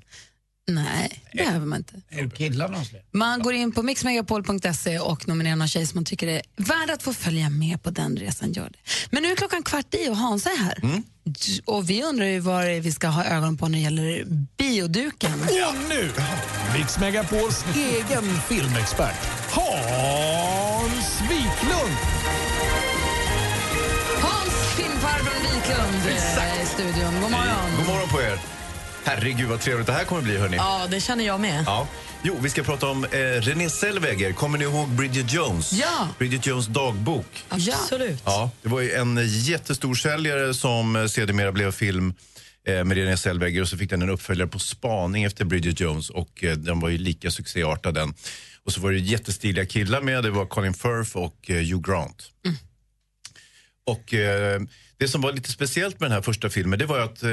Speaker 3: nej, det behöver man inte.
Speaker 4: Killarna
Speaker 3: Man går in på mixmegapol.se och nominerar någon tjej som man tycker är värd att få följa med på den resan. Gör det. Men nu är klockan kvart i och Hansa är här.
Speaker 21: Mm.
Speaker 3: Och vi undrar ju vad det är vi ska ha ögon på när det gäller bioduken.
Speaker 23: Och nu, Mix Megapols egen filmexpert Hans Wiklund.
Speaker 3: Hans filmfarbror Wiklund är i studion. God morgon.
Speaker 21: God morgon på er. Herregud vad trevligt det här kommer bli hörni.
Speaker 5: Ja, det känner jag med.
Speaker 21: Ja. Jo, vi ska prata om eh, René Zellweger. Kommer ni ihåg Bridget Jones?
Speaker 5: Ja.
Speaker 21: Bridget Jones dagbok.
Speaker 5: Absolut.
Speaker 21: Ja, det var ju en jättestor säljare som eh, sedermera blev film eh, med René Zellweger och så fick den en uppföljare på spaning efter Bridget Jones och eh, den var ju lika succéartad den. Och så var det ju jättestiliga killar med, det var Colin Firth och eh, Hugh Grant. Och eh, det som var lite speciellt med den här första filmen det var ju att eh,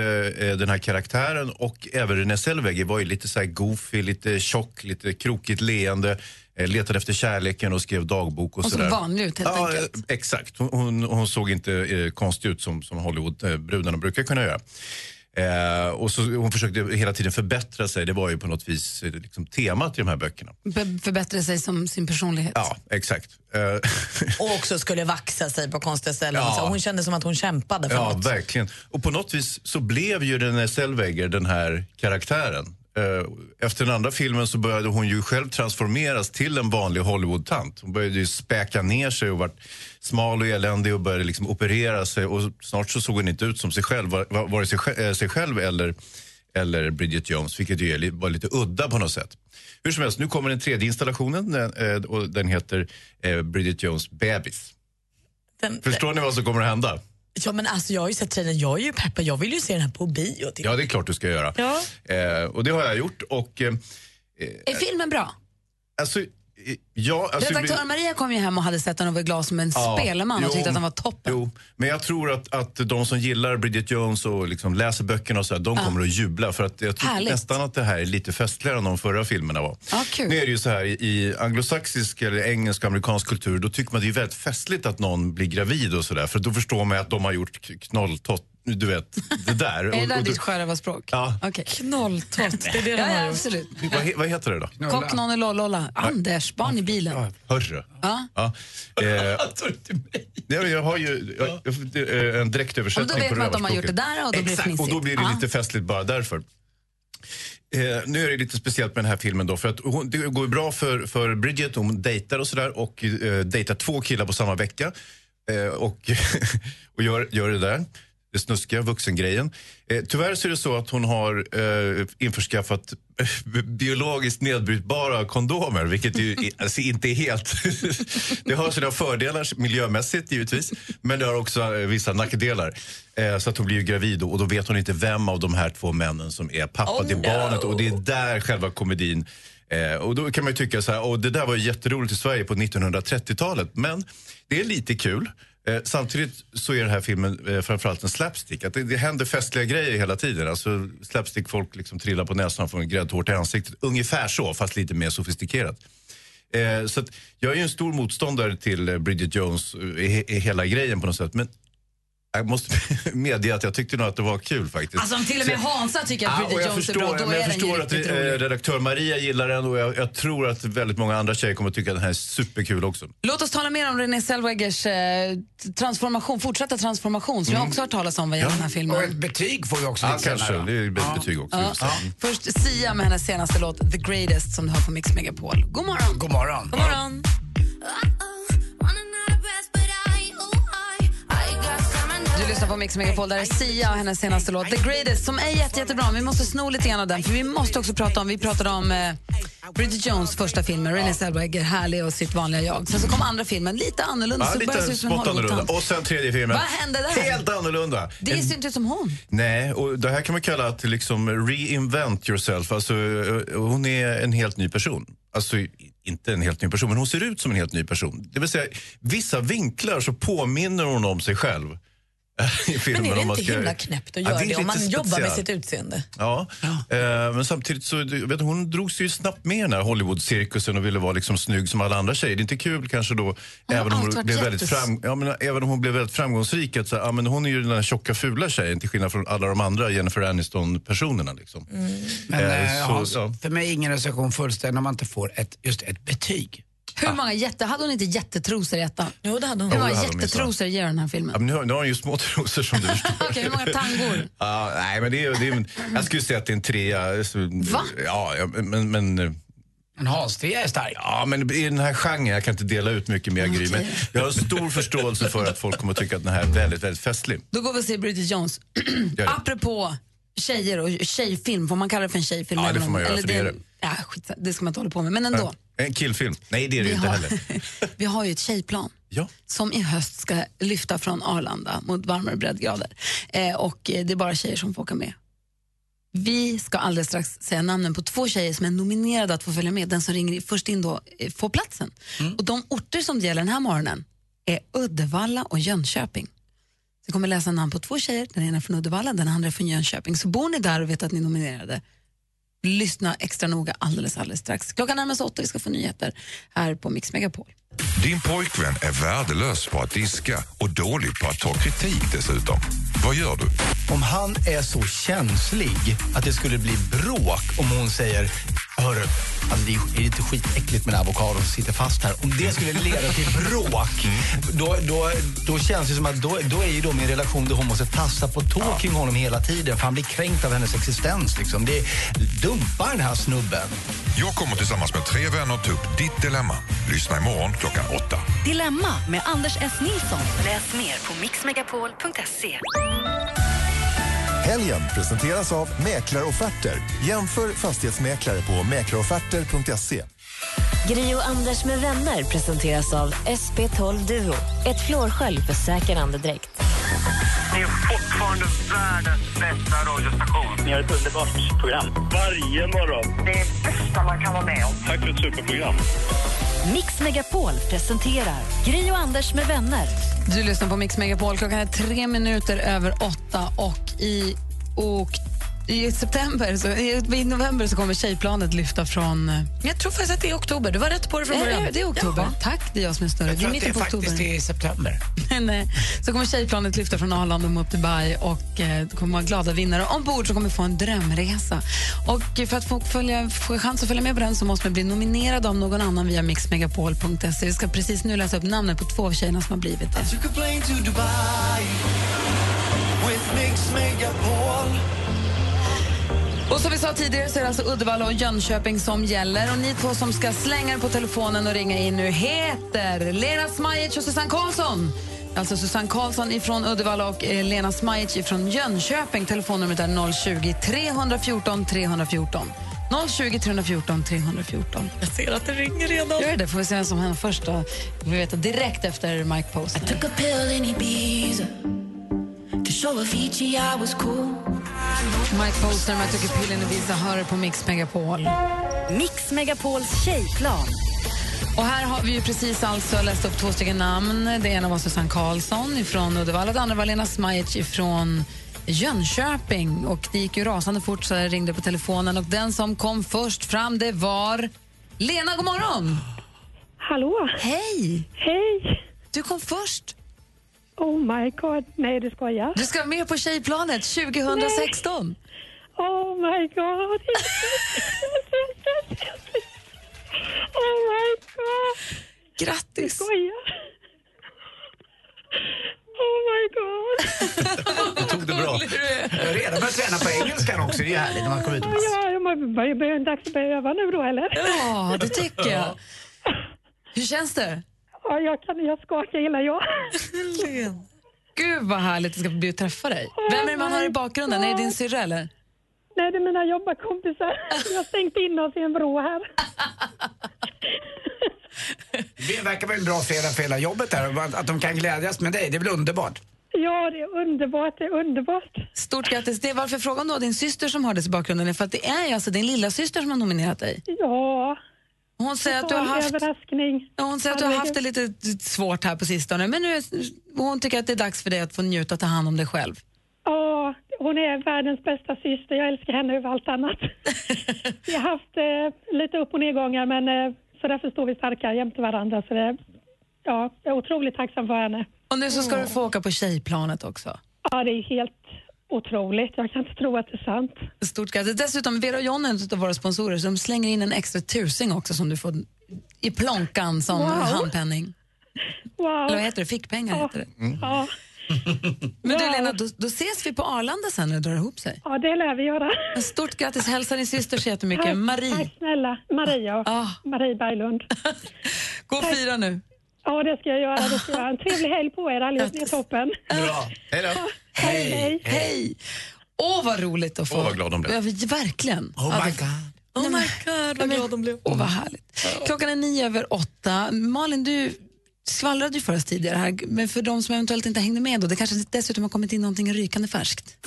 Speaker 21: eh, den här karaktären och även Renée Zellweger var ju lite så här goofy, lite tjock, lite krokigt leende. Eh, letade efter kärleken och skrev dagbok och
Speaker 3: Hon såg
Speaker 21: sådär.
Speaker 3: vanlig ut, helt
Speaker 21: ja,
Speaker 3: enkelt.
Speaker 21: eh, Exakt, hon, hon, hon såg inte eh, konstig ut som, som Hollywoodbrudarna brukar kunna göra. Eh, och så, hon försökte hela tiden förbättra sig, det var ju på något vis eh, liksom, temat i de här böckerna.
Speaker 3: Be- förbättrade sig som sin personlighet.
Speaker 21: Ja, exakt. Eh,
Speaker 5: Och också skulle vaxa sig på konstiga ställen.
Speaker 21: Ja.
Speaker 5: Så hon kände som att hon kämpade för
Speaker 21: Ja,
Speaker 5: något.
Speaker 21: verkligen. Och på något vis så blev ju Renée Zellweger den här karaktären. Eh, Efter den andra filmen så började hon ju själv transformeras till en vanlig Hollywood-tant. Hon började ju späka ner sig och vart smal och eländig och började liksom operera sig och snart så såg hon inte ut som sig själv, var- var- vare sig, sj- eh, sig själv eller eller Bridget Jones, vilket ju är li- var lite udda på något sätt. Hur som helst, nu kommer den tredje installationen den, eh, och den heter eh, Bridget Jones bebis. Förstår ni vad som kommer att hända?
Speaker 5: Ja, men alltså, jag har ju sett trailern, jag är ju peppad. Jag vill ju se den här på bio. till-
Speaker 21: Ja, det är klart du ska göra.
Speaker 5: Ja.
Speaker 21: Eh, och det har jag gjort och... Eh, eh,
Speaker 3: Är filmen bra?
Speaker 21: alltså, eh, ja, alltså,
Speaker 3: Redaktör Maria kom ju hem och hade sett den och var glad som en
Speaker 21: Ja,
Speaker 3: spelman och
Speaker 21: jo,
Speaker 3: tyckte att den var topp.
Speaker 21: Jo, men jag tror att, att de som gillar Bridget Jones och liksom läser böckerna och så här, de
Speaker 3: Ja.
Speaker 21: kommer att jubla för att jag tror
Speaker 3: Härligt.
Speaker 21: nästan att det här är lite festligare än de förra filmerna var.
Speaker 3: Ja, kul.
Speaker 21: Nu är det ju så här, i anglosaxisk eller engelsk och amerikansk kultur då tycker man det är väldigt festligt att någon blir gravid och sådär för då förstår man att de har gjort k- knolltott, du vet, det där.
Speaker 3: Är det där
Speaker 21: och, och,
Speaker 3: ditt skärvarspråk?
Speaker 21: Ja.
Speaker 3: Okay. Knolltott, det är det
Speaker 5: de
Speaker 3: ja,
Speaker 5: har
Speaker 3: ja,
Speaker 5: gjort.
Speaker 3: absolut.
Speaker 21: vad, he- vad heter det då?
Speaker 3: Kock, nonne, lollolla. Anders, barn i bilen.
Speaker 21: Hörru.
Speaker 3: Ja.
Speaker 21: Ja. Eh, jag, jag har ju jag, jag, eh, en direktöversättning
Speaker 3: Ja, men då vet
Speaker 21: på
Speaker 3: man att de har
Speaker 21: rövarspråket.
Speaker 3: gjort det där och då blir det
Speaker 21: Exakt, och
Speaker 3: fnissigt.
Speaker 21: då blir det
Speaker 3: Ja.
Speaker 21: lite festligt bara därför. Eh, nu är det lite speciellt med den här filmen då för att hon, det går ju bra för, för Bridget, hon dejtar och sådär och eh, dejtar två killar på samma vecka eh, och, och gör, gör det där. Det snuskiga, vuxengrejen. Eh, tyvärr så är det så att hon har eh, införskaffat eh, biologiskt nedbrytbara kondomer, vilket ju i- alltså inte är helt... det har sina fördelar miljömässigt givetvis, men det har också eh, vissa nackdelar. Eh, så att hon blir ju gravid då, och då vet hon inte vem av de här två männen som är pappa
Speaker 7: Oh,
Speaker 21: till
Speaker 7: no.
Speaker 21: barnet och det är där själva komedin Eh, och då kan man ju tycka så här, "Åh, det där var ju jätteroligt i Sverige på 1930-talet, men det är lite kul. Eh, samtidigt så är den här filmen eh, framförallt en slapstick. Att det, det händer festliga grejer hela tiden. Alltså slapstick, folk liksom trillar på näsan och får en gräddtårta i ansiktet. Ungefär så, fast lite mer sofistikerat. Eh, så att, jag är ju en stor motståndare till eh, Bridget Jones eh, i, i hela grejen på något sätt. Men jag måste medge att jag tyckte nog att det var kul faktiskt.
Speaker 3: Alltså om till och
Speaker 21: Så
Speaker 3: med
Speaker 21: jag-
Speaker 3: Hansa tycker att
Speaker 21: Ja,
Speaker 3: Bridget
Speaker 21: och jag
Speaker 3: Jones är
Speaker 21: förstår,
Speaker 3: bra, då
Speaker 21: men
Speaker 3: är
Speaker 21: jag
Speaker 3: den ju
Speaker 21: förstår att
Speaker 3: riktigt
Speaker 21: eh,
Speaker 3: rolig.
Speaker 21: redaktör Maria gillar den och jag, jag tror att väldigt många andra tjejer kommer tycka att den här är superkul också.
Speaker 3: Låt oss tala mer om Renée Zellwegers eh, transformation, fortsatta transformation
Speaker 21: Mm.
Speaker 3: som jag också har hört talas om vad gäller den här filmen.
Speaker 4: Och ett betyg får vi också
Speaker 21: Ja,
Speaker 4: lite
Speaker 21: kanske.
Speaker 4: senare.
Speaker 21: Det är ett betyg också.
Speaker 3: Ja.
Speaker 21: just det.
Speaker 3: Först Sia med hennes senaste låt The Greatest som du har på Mix Megapol. God morgon!
Speaker 4: God morgon!
Speaker 3: God morgon. Du lyssnar på Mix Megapol, där är Sia och hennes senaste låt The Greatest som är jätte, jättebra. Men Vi måste sno lite grann av den för vi måste också prata om, vi pratade om eh, Bridget Jones första filmen, Renée Zellweger, härlig och sitt vanliga jag. Sen så kom andra filmen, lite annorlunda,
Speaker 21: Ja,
Speaker 3: så det började se
Speaker 21: lite
Speaker 3: ut som
Speaker 21: smått
Speaker 3: en
Speaker 21: annorlunda.
Speaker 3: Hollywoodtant.
Speaker 21: Och sen tredje filmen.
Speaker 3: Vad hände där?
Speaker 21: Helt annorlunda.
Speaker 3: Det ser inte ut som hon.
Speaker 21: Nej, och det här kan man kalla att liksom reinvent yourself. Alltså, eh, hon är en helt ny person. Alltså, i- inte en helt ny person, men hon ser ut som en helt ny person. Det vill säga, vissa vinklar så påminner hon om sig själv. I filmen,
Speaker 5: Men är det
Speaker 21: om man
Speaker 5: inte
Speaker 21: ska-
Speaker 5: himla knäppt att
Speaker 21: Ja,
Speaker 5: göra
Speaker 21: är
Speaker 5: det om man
Speaker 21: lite
Speaker 5: jobbar med
Speaker 21: speciellt.
Speaker 5: sitt utseende?
Speaker 21: Ja, eh, men samtidigt så du vet, hon drog sig ju snabbt med i den här Hollywood-cirkusen och ville vara liksom snygg som alla andra tjejer. Det är inte kul kanske då, även om,
Speaker 7: alltid
Speaker 21: hon
Speaker 7: varit
Speaker 21: blev väldigt
Speaker 7: jättes-
Speaker 21: fram, ja, men, även om hon blev väldigt framgångsrik. Att, så, här, ja, men hon är ju den här tjocka, fula tjejen till skillnad från alla de andra Jennifer Aniston-personerna. Liksom.
Speaker 4: Men,
Speaker 21: Eh,
Speaker 4: eh,
Speaker 21: så,
Speaker 4: Hans,
Speaker 21: ja.
Speaker 4: För mig är ingen recension fullständig om man inte får ett, just ett betyg.
Speaker 3: Hur många jätte, hade hon inte jättetrosor i ettan?
Speaker 5: Jo, det hade
Speaker 3: Hur
Speaker 21: Ah. Jo, det
Speaker 3: många
Speaker 21: hade hon
Speaker 3: jättetrosor ger den här filmen?
Speaker 21: Ja, men nu, har- nu har hon ju små trosor som du förstår.
Speaker 3: Okej, hur många tangor?
Speaker 21: Ja, nej, men det är, det är, jag skulle säga att det är en trea. Så-
Speaker 3: Va?
Speaker 21: Ja, ja, men... men eh,
Speaker 4: en halstrea är stark.
Speaker 21: Ja, men i den här genren, jag kan inte dela ut mycket mer Gry, men jag har stor förståelse för att folk kommer att tycka att den här är väldigt, väldigt festlig.
Speaker 3: Då går vi och ser Bridget Jones.
Speaker 21: det.
Speaker 3: Apropå tjejer och tjejfilm, får man kalla det för en tjejfilm?
Speaker 21: Ja, det
Speaker 3: även
Speaker 21: får
Speaker 3: om-
Speaker 21: man göra, för det är det.
Speaker 3: Ja, skit, det ska man inte hålla på med, men ändå.
Speaker 21: Eh, En killfilm. Nej, det är det
Speaker 3: Vi
Speaker 21: inte
Speaker 3: har-
Speaker 21: heller.
Speaker 3: Vi har ju ett tjejplan
Speaker 21: Ja.
Speaker 3: som i höst ska lyfta från Arlanda mot varmare breddgrader. Eh, och eh, det är bara tjejer som får åka med. Vi ska alldeles strax säga namnen på två tjejer som är nominerade att få följa med. Den som ringer i- först in då eh, får platsen. Och de orter som det gäller den här morgonen är Uddevalla och Jönköping. Så jag kommer läsa namn på två tjejer, den ena är från Uddevalla, den andra är från Jönköping. Så bor ni där och vet att ni är nominerade, lyssna extra noga alldeles, alldeles strax. Klockan närmar sig åtta, vi ska få nyheter här på Mix Megapol.
Speaker 12: Din pojkvän är värdelös på att diska och dålig på att ta kritik dessutom. Vad gör du?
Speaker 7: Om han är så känslig att det skulle bli bråk om hon säger Hörru, alltså det är lite skitäckligt med den här avokadon som sitter fast här. Om det skulle leda till bråk, då, då, då känns det som att då, då är ju då min relation där hon måste tassa på tå kring honom hela tiden för han blir kränkt av hennes existens. Liksom. Det dumpar den här snubben.
Speaker 12: Jag kommer tillsammans med tre vänner ta upp ditt dilemma. Lyssna imorgon klockan åtta.
Speaker 1: Dilemma med Anders S. Nilsson. Läs mer på mixmegapol.se.
Speaker 10: Helgen presenteras av Mäklarofferter. Jämför fastighetsmäklare på mäklarofferter.se.
Speaker 11: Gri och Anders med vänner presenteras av SP12 Duo. Ett flårskölj för säker andedräkt.
Speaker 22: Ni är fortfarande världens bästa radiostation. Ni har ett underbart program. Varje morgon. Det är det bästa man kan vara med om. Tack för ett superprogram.
Speaker 1: Mix Megapol presenterar Gri och Anders med vänner.
Speaker 3: Du lyssnar på Mix Megapol. Klockan är tre minuter över åtta och i, och i september, så, i, i november så kommer tjejplanet lyfta från... eh,
Speaker 5: Jag tror faktiskt att det är oktober. Du var rätt på det från
Speaker 3: Är det-
Speaker 5: början.
Speaker 3: det är oktober. Tack, det är jag som är större.
Speaker 4: Jag
Speaker 3: Det är
Speaker 4: tror att det
Speaker 3: mitten
Speaker 4: är
Speaker 3: på oktober.
Speaker 4: faktiskt är i september.
Speaker 3: Nej. eh, Så kommer tjejplanet lyfta från Arlanda mot Dubai och eh, det kommer vara glada vinnare ombord som kommer få en drömresa. Och eh, för att få, följa, få chans att följa med på den så måste man bli nominerad av någon annan via mixmegapol.se. Vi ska precis nu läsa upp namnen på två av tjejerna som har blivit det.
Speaker 8: Took a plane to Dubai with Mix Megapol.
Speaker 3: Och som vi sa tidigare så är det alltså Uddevalla och Jönköping som gäller. Och ni två som ska slänga er på telefonen och ringa in nu heter Lena Smajic och Susanne Karlsson. Alltså Susanne Karlsson ifrån Uddevalla och eh, Lena Smajic ifrån Jönköping. Telefonnumret är 020 314 314. 020 314 314.
Speaker 5: Jag ser att det ringer redan.
Speaker 3: Gör det, får vi se vem som händer först då. Vi får veta direkt efter Mike Posner.
Speaker 24: Took a pill in Ibiza to show Avicii I was cool.
Speaker 3: Mike Posner med Tucker Pillen och Visa hör på Mix Megapol.
Speaker 1: Mix Megapols tjejplan.
Speaker 3: Och här har vi ju precis alltså läst upp två stycken namn. Det ena var Susanne Karlsson från Uddevalla, det andra var Lena Smajic från Jönköping. Och det gick ju rasande fort så jag ringde på telefonen och den som kom först fram det var Lena, god morgon!
Speaker 13: Hallå!
Speaker 3: Hej!
Speaker 13: Hej!
Speaker 3: Du kom först!
Speaker 13: Oh my god, nej du skojar.
Speaker 3: Du ska med på Tjejplanet 2016.
Speaker 13: Oh my god! oh my god!
Speaker 3: Grattis! Du
Speaker 13: skojar. Oh my god!
Speaker 7: Du tog det bra.
Speaker 4: Jag har redan börjat träna på engelskan också. Det är ju härligt när man kommer ut.
Speaker 13: Ja, jag börjar börja dags att börja öva nu då eller?
Speaker 3: Ja, det tycker jag. Hur känns det?
Speaker 13: Ja, jag, kan, jag skakar hela jag.
Speaker 3: Gud vad härligt det ska bli att träffa dig. Vem är det man har i bakgrunden? Är det din syrra eller?
Speaker 13: Nej, det är mina jobbarkompisar. Jag har stängt in oss i en vrå här.
Speaker 4: Det verkar vara en bra fredag för hela jobbet här. och Att de kan glädjas med dig, det är väl underbart?
Speaker 13: Ja, det är underbart, det är underbart.
Speaker 3: Stort grattis. Det är varför frågan då din syster som hördes i bakgrunden är för att det är ju alltså din lilla syster som har nominerat dig.
Speaker 13: Ja.
Speaker 3: Hon säger att du har
Speaker 13: Total
Speaker 3: haft...
Speaker 13: överraskning.
Speaker 3: Ja, Hon säger att du har haft det lite svårt här på sistone, men nu är, hon tycker att det är dags för dig att få njuta och ta hand om dig själv.
Speaker 13: Ja, hon är världens bästa syster. Jag älskar henne över allt annat. Vi har haft eh, lite upp och nedgångar, men eh, så därför står vi starka jämte varandra. Så det, ja, jag är otroligt tacksam för henne. Mm.
Speaker 3: Och nu så ska du få åka på tjejplanet också.
Speaker 13: Ja, det är helt otroligt. Jag kan inte tro att det är sant.
Speaker 3: Stort grattis. Dessutom, Vera och John är en av våra sponsorer, så de slänger in en extra tusing också som du får i plånkan som
Speaker 13: Wow.
Speaker 3: handpenning.
Speaker 13: Wow.
Speaker 3: Eller vad heter det? Fickpengar heter det.
Speaker 13: Ja,
Speaker 3: Men du Lena, då, då ses vi på Arlanda sen när det drar ihop sig.
Speaker 13: ja det lär vi göra.
Speaker 3: Stort grattis, hälsa din syster så jättemycket.
Speaker 13: Tack,
Speaker 3: Marie, Ah.
Speaker 13: Tack snälla. Maria. Marie Berglund.
Speaker 3: gå och fira nu.
Speaker 13: Ja, det ska jag göra. Det ska jag göra. En trevlig helg på er allihop. Ni är toppen.
Speaker 7: Bra. Hej då.
Speaker 13: Hej, hej.
Speaker 3: Äh. Hej! Åh, vad roligt att få.
Speaker 7: Åh, vad glad de blev.
Speaker 3: Ja, verkligen.
Speaker 7: Oh my god.
Speaker 3: Oh my god, vad glad de blev. Åh, vad härligt. Klockan är nio över åtta. Malin, du skvallrade ju för oss tidigare här, men för de som eventuellt inte hängde med då, det kanske dessutom har kommit in någonting rykande färskt.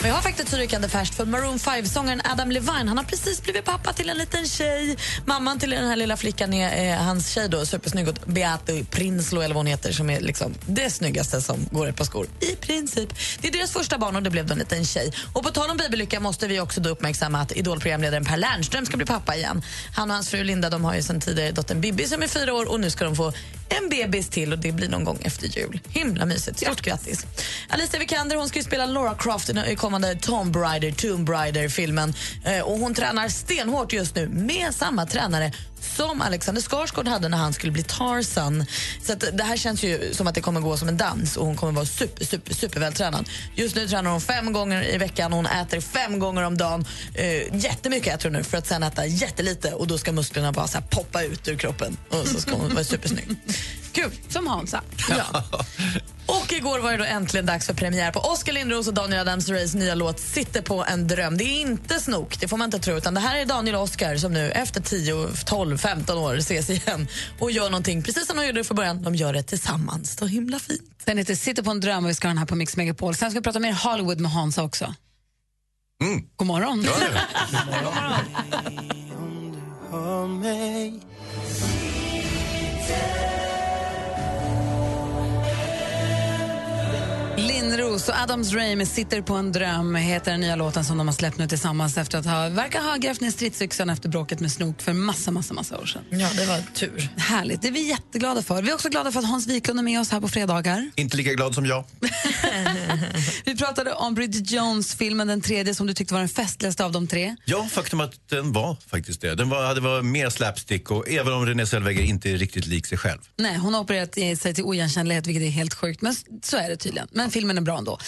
Speaker 5: Men jag har faktiskt rykande färskt för Maroon 5-sångaren Adam Levine han har precis blivit pappa till en liten tjej. Mamman till den här lilla flickan är eh, hans tjej, då, supersnygg. Och Beate Prinsloo eller vad hon heter, som är liksom det snyggaste som går i ett par skor. I princip. Det är deras första barn och det blev då en liten tjej. Och på tal om babylycka måste vi också då uppmärksamma att idolprogramledaren Per Lernström ska bli pappa igen. Han och hans fru Linda de har ju sedan tidigare dottern Bibi som är fyra år och nu ska de få en bebis till och det blir någon gång efter jul. Himla mysigt. Stort grattis. Alicia Vikander hon ska ju spela Laura Croft i den- i kommande Tomb Raider, Tomb Raider-filmen. Eh, och hon tränar stenhårt just nu med samma tränare som Alexander Skarsgård hade när han skulle bli Tarzan. Så att det här känns ju som att det kommer gå som en dans och hon kommer vara super, super, super vältränad. Just nu tränar hon fem gånger i veckan och hon äter fem gånger om dagen. Eh, jättemycket äter hon nu för att sen äta jättelite och då ska musklerna bara så här poppa ut ur kroppen och så ska hon vara supersnygg.
Speaker 3: Kul, som Hansa.
Speaker 5: Och igår var det då äntligen dags för premiär på Oskar Lindros och Daniel Adams Rays nya låt Sitter på en dröm. Det är inte snok, det får man inte tro, utan det här är Daniel och Oskar som nu efter 10, 12, 15 år ses igen och gör någonting precis som de gjorde från början. De gör det tillsammans. Så himla fint.
Speaker 3: Den heter Sitter på en dröm och vi ska ha den här på Mix Megapol. Sen ska vi prata mer Hollywood med Hansa också.
Speaker 7: Mm.
Speaker 3: God morgon.
Speaker 24: Hör mig.
Speaker 3: Lindros och Adams Ray med Sitter på en dröm heter den nya låten som de har släppt nu tillsammans efter att ha, verkar ha grävt ner stridsyxan efter bråket med Snook för massa, massa, massa år sedan.
Speaker 5: Ja, det var tur.
Speaker 3: Härligt, det är vi jätteglada för. Vi är också glada för att Hans Wiklund är med oss här på fredagar.
Speaker 21: Inte lika glad som jag.
Speaker 3: Vi pratade om Bridget Jones-filmen, den tredje som du tyckte var den festligaste av de tre.
Speaker 21: Ja, faktum att den var faktiskt det. Den var, hade varit mer slapstick och även om Renée Zellweger inte är riktigt lik sig själv.
Speaker 3: Nej, hon har opererat i sig till oigenkännlighet, vilket är helt sjukt. Men s- så är det tydligen. Men filmen är bra ändå.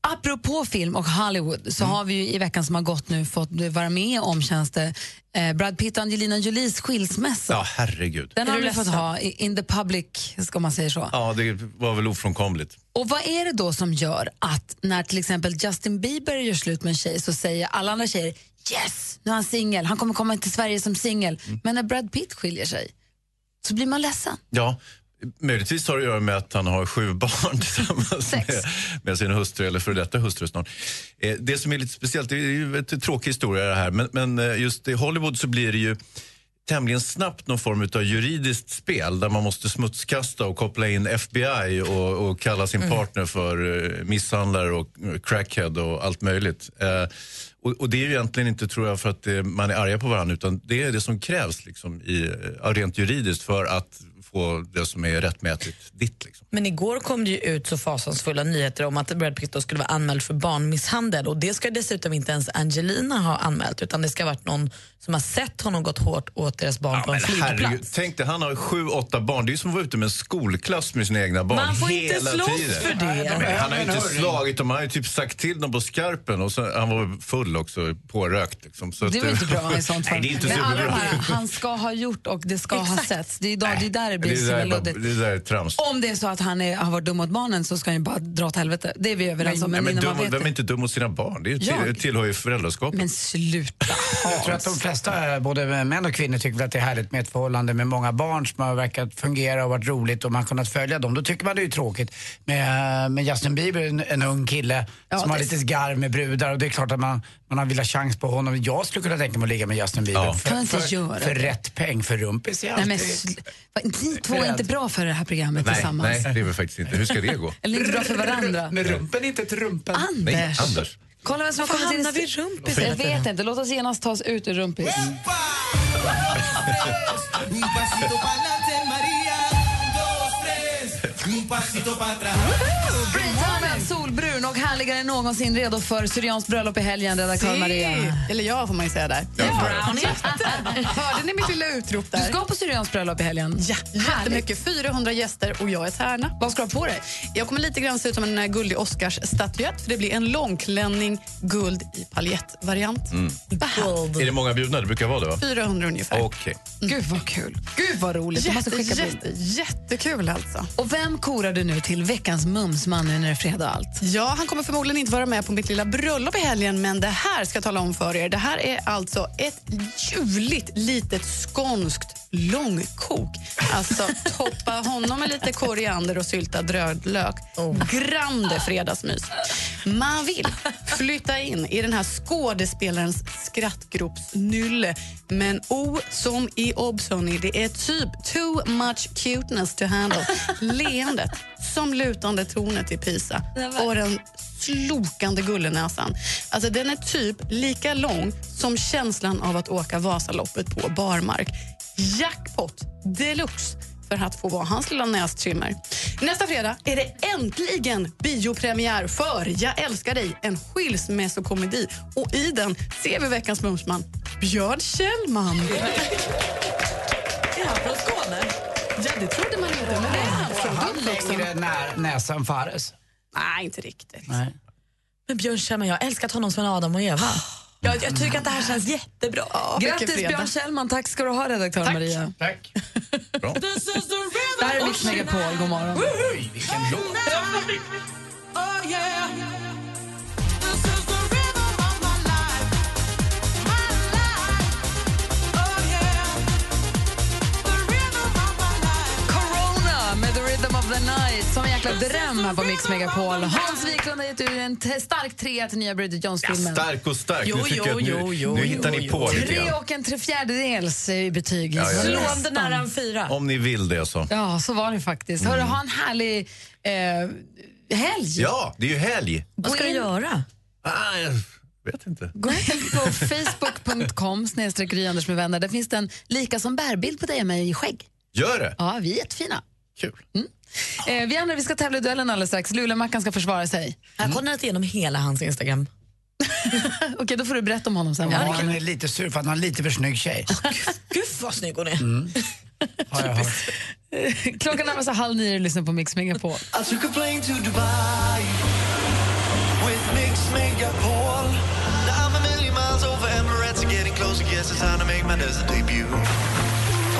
Speaker 3: Apropå film och Hollywood så har vi ju i veckan som har gått nu fått vara med om, känns det, eh, Brad Pitt och Angelina Jolies skilsmässa.
Speaker 21: Ja, herregud.
Speaker 3: Den har vi fått ha i- in the public, ska man säga så.
Speaker 21: Ja, det var väl ofrånkomligt.
Speaker 3: Och vad är det då som gör att när till exempel Justin Bieber gör slut med en tjej så säger alla andra tjejer yes, nu är han singel, han kommer komma till Sverige som singel. Men när Brad Pitt skiljer sig så blir man ledsen.
Speaker 21: Ja, möjligtvis har det att göra med att han har sju barn tillsammans med, med sin hustru, eller före detta hustru snart. Eh, det som är lite speciellt, det är ju en tråkig historia det här, men, men eh, just i Hollywood så blir det ju tämligen snabbt någon form av juridiskt spel där man måste smutskasta och koppla in FBI och, och kalla sin
Speaker 14: Mm.
Speaker 21: partner för eh, misshandlare och eh, crackhead och allt möjligt. Eh, och, och det är ju egentligen inte tror jag för att eh, man är arga på varandra utan det är det som krävs liksom, i, eh, rent juridiskt för att få det som är rättmätigt ditt. Liksom.
Speaker 5: Men igår kom det ju ut så fasansfulla nyheter om att Brad Pitt då skulle vara anmäld för barnmisshandel och det ska dessutom inte ens Angelina ha anmält utan det ska ha varit någon som har sett honom gått hårt åt deras barn på en
Speaker 21: Men
Speaker 5: flygplats.
Speaker 21: herregud, tänk dig, han har sju, åtta barn. Det är ju som att vara ute med en skolklass med sina egna barn
Speaker 5: Man får inte
Speaker 21: hela
Speaker 5: slåss
Speaker 21: tiden.
Speaker 5: för det. Nej, de är
Speaker 21: Men han har ju
Speaker 5: en
Speaker 21: inte
Speaker 5: hörning.
Speaker 21: slagit dem, han har ju typ sagt till dem på skarpen. Och så, han var full också, pårökt. Liksom. Så
Speaker 3: Det är
Speaker 21: att
Speaker 3: väl inte bra i sånt fall.
Speaker 21: Nej, det är inte
Speaker 3: Men alla de
Speaker 21: superbra.
Speaker 3: här, han ska ha gjort och det ska ha setts. Det är, idag, det är där det blir
Speaker 21: det,
Speaker 3: så
Speaker 21: där
Speaker 3: himla
Speaker 21: är bara,
Speaker 3: luddigt.
Speaker 21: det där är trams.
Speaker 3: Om det är så att han är, har varit dum mot barnen så ska han ju bara dra åt helvete. Det är vi överens om.
Speaker 21: Nej,
Speaker 3: Men,
Speaker 21: men
Speaker 3: innan man
Speaker 21: dum,
Speaker 3: vet
Speaker 21: vem är
Speaker 3: det.
Speaker 21: inte dum mot sina barn? Det är till,
Speaker 3: Jag.
Speaker 21: tillhör ju föräldraskapet.
Speaker 3: Men sluta.
Speaker 4: Jag tror att de flesta, eh, både män och kvinnor, tycker väl att det är härligt med ett förhållande med många barn som har verkat fungera och varit roligt och man har kunnat följa dem. Då tycker man det är ju tråkigt. Med, eh, med Justin Bieber, en, en ung kille
Speaker 15: Ja,
Speaker 4: som har
Speaker 15: det-
Speaker 4: lite garv med brudar och det är klart att man, man har velat chans på honom. Jag skulle kunna tänka mig att ligga med Justin Bieber.
Speaker 15: Ja.
Speaker 4: För,
Speaker 3: Kan man inte
Speaker 4: för,
Speaker 3: göra
Speaker 4: för
Speaker 3: det?
Speaker 4: rätt peng, för rumpis är
Speaker 3: Nej, men,
Speaker 4: alltid-
Speaker 3: sl- Va, ni två är inte bra för det här programmet
Speaker 21: nej,
Speaker 3: tillsammans.
Speaker 21: nej, det är väl faktiskt inte. Hur ska det gå?
Speaker 3: Eller inte bra för varandra.
Speaker 4: Men rumpen är inte ett rumpen.
Speaker 3: Anders.
Speaker 21: Nej, Anders.
Speaker 3: Kolla vem som har
Speaker 5: Varför
Speaker 3: kommit in.
Speaker 5: hamnar vi i rumpis
Speaker 3: Jag
Speaker 5: hela
Speaker 3: vet inte. Låt oss genast ta oss ut ur rumpis.
Speaker 16: Un pasito pa'lante, María. Un, dos, tres. Un pasito para atrás.
Speaker 3: Britannien, solbrun och härligare än någonsin redo för Syrians bröllop i helgen, redaktör
Speaker 17: Si.
Speaker 3: Maria.
Speaker 17: Eller jag får man ju säga där.
Speaker 3: Ja, brownie.
Speaker 17: Hörde ni mitt lilla utrop där?
Speaker 3: Du ska på Syrians bröllop i helgen.
Speaker 17: Ja, jättemycket. 400 gäster och jag är tärna.
Speaker 3: Vad ska du ha på dig?
Speaker 17: Jag kommer lite grann se ut som en eh, guldig Oscarsstatyett för det blir en långklänning, guld i paljettvariant.
Speaker 21: Mm. Är det många bjudna? Det brukar vara det, va?
Speaker 17: 400 ungefär.
Speaker 21: Okej.
Speaker 17: Gud vad kul.
Speaker 3: Gud vad roligt. Jag måste
Speaker 17: Jätte,
Speaker 3: skicka bild.
Speaker 17: jätte, jättekul alltså.
Speaker 3: Och vem korar du nu till veckans mumsman nu när det är fredag och allt?
Speaker 17: Ja, han kommer förmodligen inte vara med på mitt lilla bröllop i helgen, men det här ska jag tala om för er. Det här är alltså ett ljuvligt litet skånskt långkok. Alltså toppa honom med lite koriander och syltad rödlök. Grande fredagsmys. Man vill flytta in i den här skådespelarens skrattgropsnylle. Men O som i Obsony, det är typ too much cuteness to handle. Leendet som lutande tronet i Pisa och den slokande gullenäsan. Alltså den är typ lika lång som känslan av att åka Vasaloppet på barmark. Jackpot deluxe för att få vara hans lilla nästrimmer. Nästa fredag är det äntligen biopremiär för Jag älskar dig, en skilsmässokomedi. Och i den ser vi veckans mumsman Björn Kjellman.
Speaker 5: Är han från Skåne?
Speaker 17: Ja, det trodde man inte, men det är han.
Speaker 4: Har
Speaker 17: Från
Speaker 4: han
Speaker 17: Dubbla också.
Speaker 4: längre när, näsa än Fares?
Speaker 17: Nej, inte riktigt.
Speaker 4: Nej.
Speaker 5: Men Björn Kjellman, jag har älskat honom som en Adam och Eva. Jag, jag tycker att det här känns jättebra.
Speaker 17: vilken
Speaker 3: Grattis
Speaker 17: fredag.
Speaker 3: Björn Kjellman, tack ska du ha redaktör Maria.
Speaker 21: Tack.
Speaker 17: This is the rhythm.
Speaker 3: Det här är Mix Megapol, god morgon.
Speaker 16: Oj, vilken låt! Oh yeah.
Speaker 3: Corona med The Rhythm of the Night som en jäkla dröm här på Mix Megapol. Hans Wiklund har gett ut en t- stark trea till nya Bridget Jones-filmen.
Speaker 21: Stark och stark.
Speaker 3: Jo,
Speaker 21: nu tycker jag att
Speaker 3: jo,
Speaker 21: nu,
Speaker 3: jo,
Speaker 21: nu
Speaker 3: jo,
Speaker 21: hittar ni på lite
Speaker 3: Tre
Speaker 21: grann.
Speaker 3: och en trefjärdedels i betyg.
Speaker 21: Ja, ja, ja.
Speaker 3: Nästan.
Speaker 5: Nära en fyra.
Speaker 21: Om ni vill det alltså. så.
Speaker 3: Ja, så var det faktiskt. Hörru, ha en härlig eh, helg.
Speaker 21: Ja, det är ju helg.
Speaker 3: Vad ska du göra?
Speaker 21: Ah, jag vet inte.
Speaker 3: Gå in på facebook.com snedstreck Gry Anders med vänner. Där finns det en lika som bärbild på dig och mig i skägg.
Speaker 21: Gör det.
Speaker 3: Ja, vi är jättefina.
Speaker 21: Kul.
Speaker 3: Mm. Eh, vi andra vi ska tävla i duellen alldeles strax. Lulemackan ska försvara sig.
Speaker 5: Jag har kollat igenom hela hans Instagram.
Speaker 3: Okej, då får du berätta om honom sen.
Speaker 5: Ja, det kan-
Speaker 25: Han är lite sur för att han är en lite för snygg tjej.
Speaker 5: Gud vad snygg hon är.
Speaker 4: Mm.
Speaker 3: Eh, Klockan närmar sig halv nio och lyssnar på Mix Megapol.
Speaker 26: I took a plane to Dubai with Mix Megapol. Now I'm a million miles over Emirates, getting closer. Guess it's time to make my desert debut.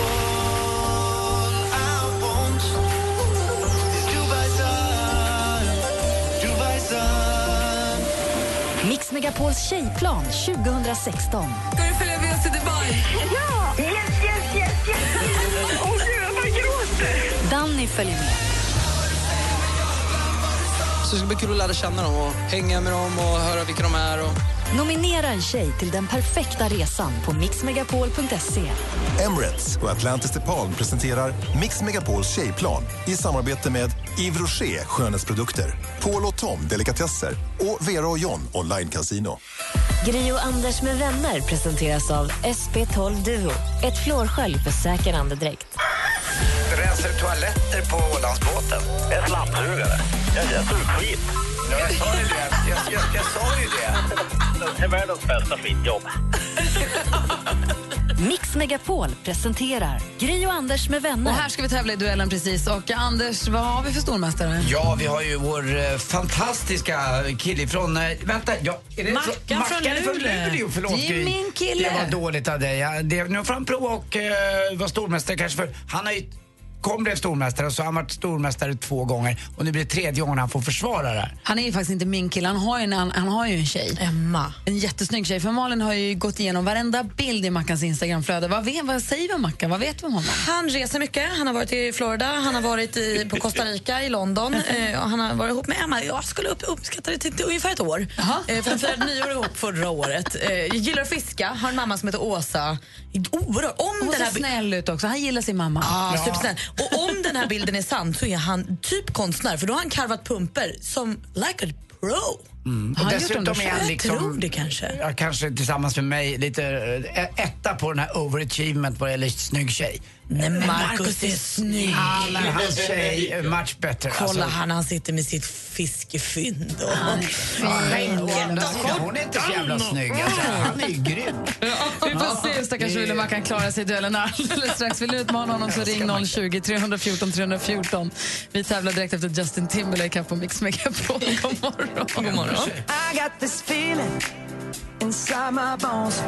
Speaker 26: All I want is Dubai sun, Dubai sun.
Speaker 1: Mix Megapols tjejplan 2016.
Speaker 3: Ska du följa med oss till Dubai?
Speaker 1: Ja! Yes, yes, yes, yes! Åh gud, jag bara gråter! Danny följer med.
Speaker 9: Så det ska bli kul att lära känna dem och hänga med dem och höra vilka de är. Och...
Speaker 1: Nominera en tjej till den perfekta resan på mixmegapol.se.
Speaker 10: Emirates och Atlantis DePaul presenterar Mix Megapols tjejplan i samarbete med Yves Rocher skönhetsprodukter, Paul och Tom delikatesser och Vera och John online casino.
Speaker 11: Gri och Anders med vänner presenteras av SP12 Duo. Ett flårskölj för säker andedräkt.
Speaker 27: Rensar du toaletter på Ålandsbåten? Ett lapptug eller? Jag jag tog skit. Ja, jag sa ju det. Jag, jag, jag sa ju det. Det är världens bästa skitjobb.
Speaker 1: Mix Megapol presenterar Gri och Anders med vänner.
Speaker 3: Och här ska vi tävla i duellen precis. Och Anders, vad har vi för stormästare?
Speaker 4: Ja, vi har ju vår eh, fantastiska kille från... Eh, vänta, ja, är det
Speaker 3: Mackan
Speaker 4: från,
Speaker 3: från
Speaker 4: Mackan är från
Speaker 3: Luleå.
Speaker 4: Luleå? Förlåt,
Speaker 3: Det är
Speaker 4: Gry.
Speaker 3: min kille.
Speaker 4: Det var dåligt av dig. Ja, det, nu får han prova och eh, vara stormästare kanske för... Han har ju, kom blev stormästare och så har han varit stormästare två gånger och nu blir det tredje gången han får försvara det här.
Speaker 3: Han är ju faktiskt inte min kille, han har ju en, han, han har ju en tjej.
Speaker 5: Emma.
Speaker 3: En jättesnygg tjej. För Malin har ju gått igenom varenda bild i Mackans Instagramflöde. Vad, vet, vad säger vi om Mackan? Vad vet vi om honom?
Speaker 5: Han reser mycket. Han har varit i Florida, han har varit i, på Costa Rica, i London. Eh, och han har varit ihop med Emma. Jag skulle upp, uppskatta det till, till ungefär ett år. Eh, för de firade nyår ihop förra året. Eh, jag gillar att fiska, har en mamma som heter Åsa. Oerhört. Om
Speaker 3: Hon
Speaker 5: den
Speaker 3: ser
Speaker 5: här bi-
Speaker 3: snäll ut också. Han gillar sin mamma.
Speaker 5: Ja, supersnäll. Och om den här bilden är sann så är han typ konstnär för då har han karvat pumper som like a pro.
Speaker 4: Mm.
Speaker 5: Har
Speaker 4: Och
Speaker 5: han gjort
Speaker 4: dessutom
Speaker 5: dem då?
Speaker 4: är han
Speaker 5: Jag
Speaker 4: liksom,
Speaker 5: tror det kanske.
Speaker 4: Ja, kanske tillsammans med mig lite eh, etta på den här overachievement vad gäller snygg tjej.
Speaker 5: Nej,
Speaker 4: Men
Speaker 5: Marcus är snygg.
Speaker 4: Ah, men hans tjej är much better.
Speaker 5: Kolla
Speaker 4: alltså.
Speaker 5: han, han sitter med sitt fiskefynd. Och...
Speaker 4: Å andra
Speaker 5: alltså,
Speaker 4: sidan, Hon är inte så jävla snygg. Alltså. Han är ju grym.
Speaker 3: Vi får se hur stackars
Speaker 4: Det-
Speaker 3: Wilhelm kan klara sig i duellen alldeles strax. Vill du utmana honom så ring 020 314 314. Vi tävlar direkt efter Justin Timberlake här på Mix Megapol. God morgon. God morgon.
Speaker 16: I got this feeling inside my bones.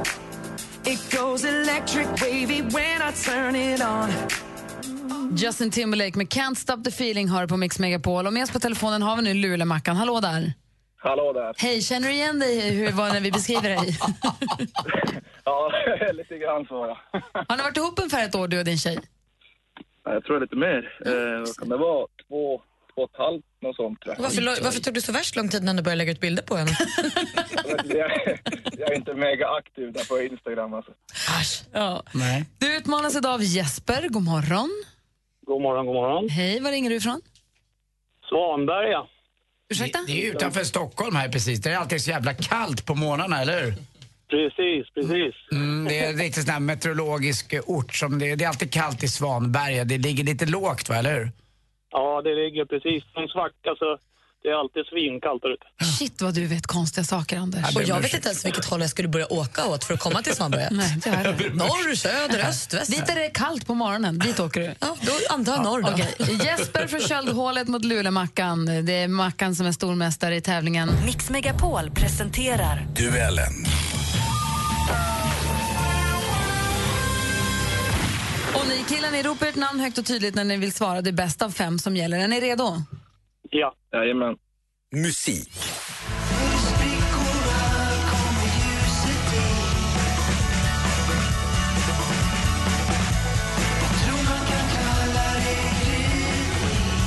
Speaker 16: It goes electric wavy when I turn it on.
Speaker 3: Justin Timberlake med Can't Stop the Feeling har du på Mix Megapol. Och med oss på telefonen har vi nu Luleå-Mackan. Hallå där!
Speaker 12: Hallå där.
Speaker 3: Hej, känner du igen dig hur det var när vi beskriver dig?
Speaker 12: Ja, lite grann så ja.
Speaker 3: Har ni varit ihop ungefär ett år, du och din tjej?
Speaker 12: Nej, Jag tror lite mer. Eh, vad kan det vara två, två och ett halvt, något sånt. tror jag.
Speaker 5: Varför, lo- varför tog det så värst lång tid när du började lägga ut bilder på henne?
Speaker 12: jag, jag är inte mega aktiv där på Instagram alltså.
Speaker 3: Ja.
Speaker 4: Nej.
Speaker 3: Du utmanas idag av Jesper. God morgon.
Speaker 12: God morgon, god morgon.
Speaker 3: Hej, var ringer du ifrån?
Speaker 12: Svanberga.
Speaker 3: Ursäkta?
Speaker 4: Det, det är utanför Stockholm här precis. Det är alltid så jävla kallt på morgnarna, eller hur?
Speaker 12: Precis, precis.
Speaker 4: Mm, det är lite sån här meteorologisk ort som det är. Det är alltid kallt i Svanberga. Det ligger lite lågt, va, eller hur?
Speaker 12: Ja, det ligger precis som svacka så det är alltid svinkallt där ute.
Speaker 3: Shit vad du vet konstiga saker, Anders.
Speaker 5: Och jag vet inte ens vilket håll jag skulle börja åka åt för att komma till Svanberga.
Speaker 3: Nej, det är det.
Speaker 5: Norr, söder, öst, väst.
Speaker 3: Dit är det kallt på morgonen. Dit åker du.
Speaker 5: Ja, då antar jag norr då.
Speaker 3: Okej. Jesper från Köldhålet mot Lulemackan. Det är Mackan som är stormästare i tävlingen.
Speaker 1: Mix Megapol presenterar
Speaker 27: Duellen.
Speaker 3: Och ni Killar, ni ropar ert namn högt och tydligt när ni vill svara. Det är bäst av fem som gäller. Är ni redo?
Speaker 10: Ja. Jajamän. Musik.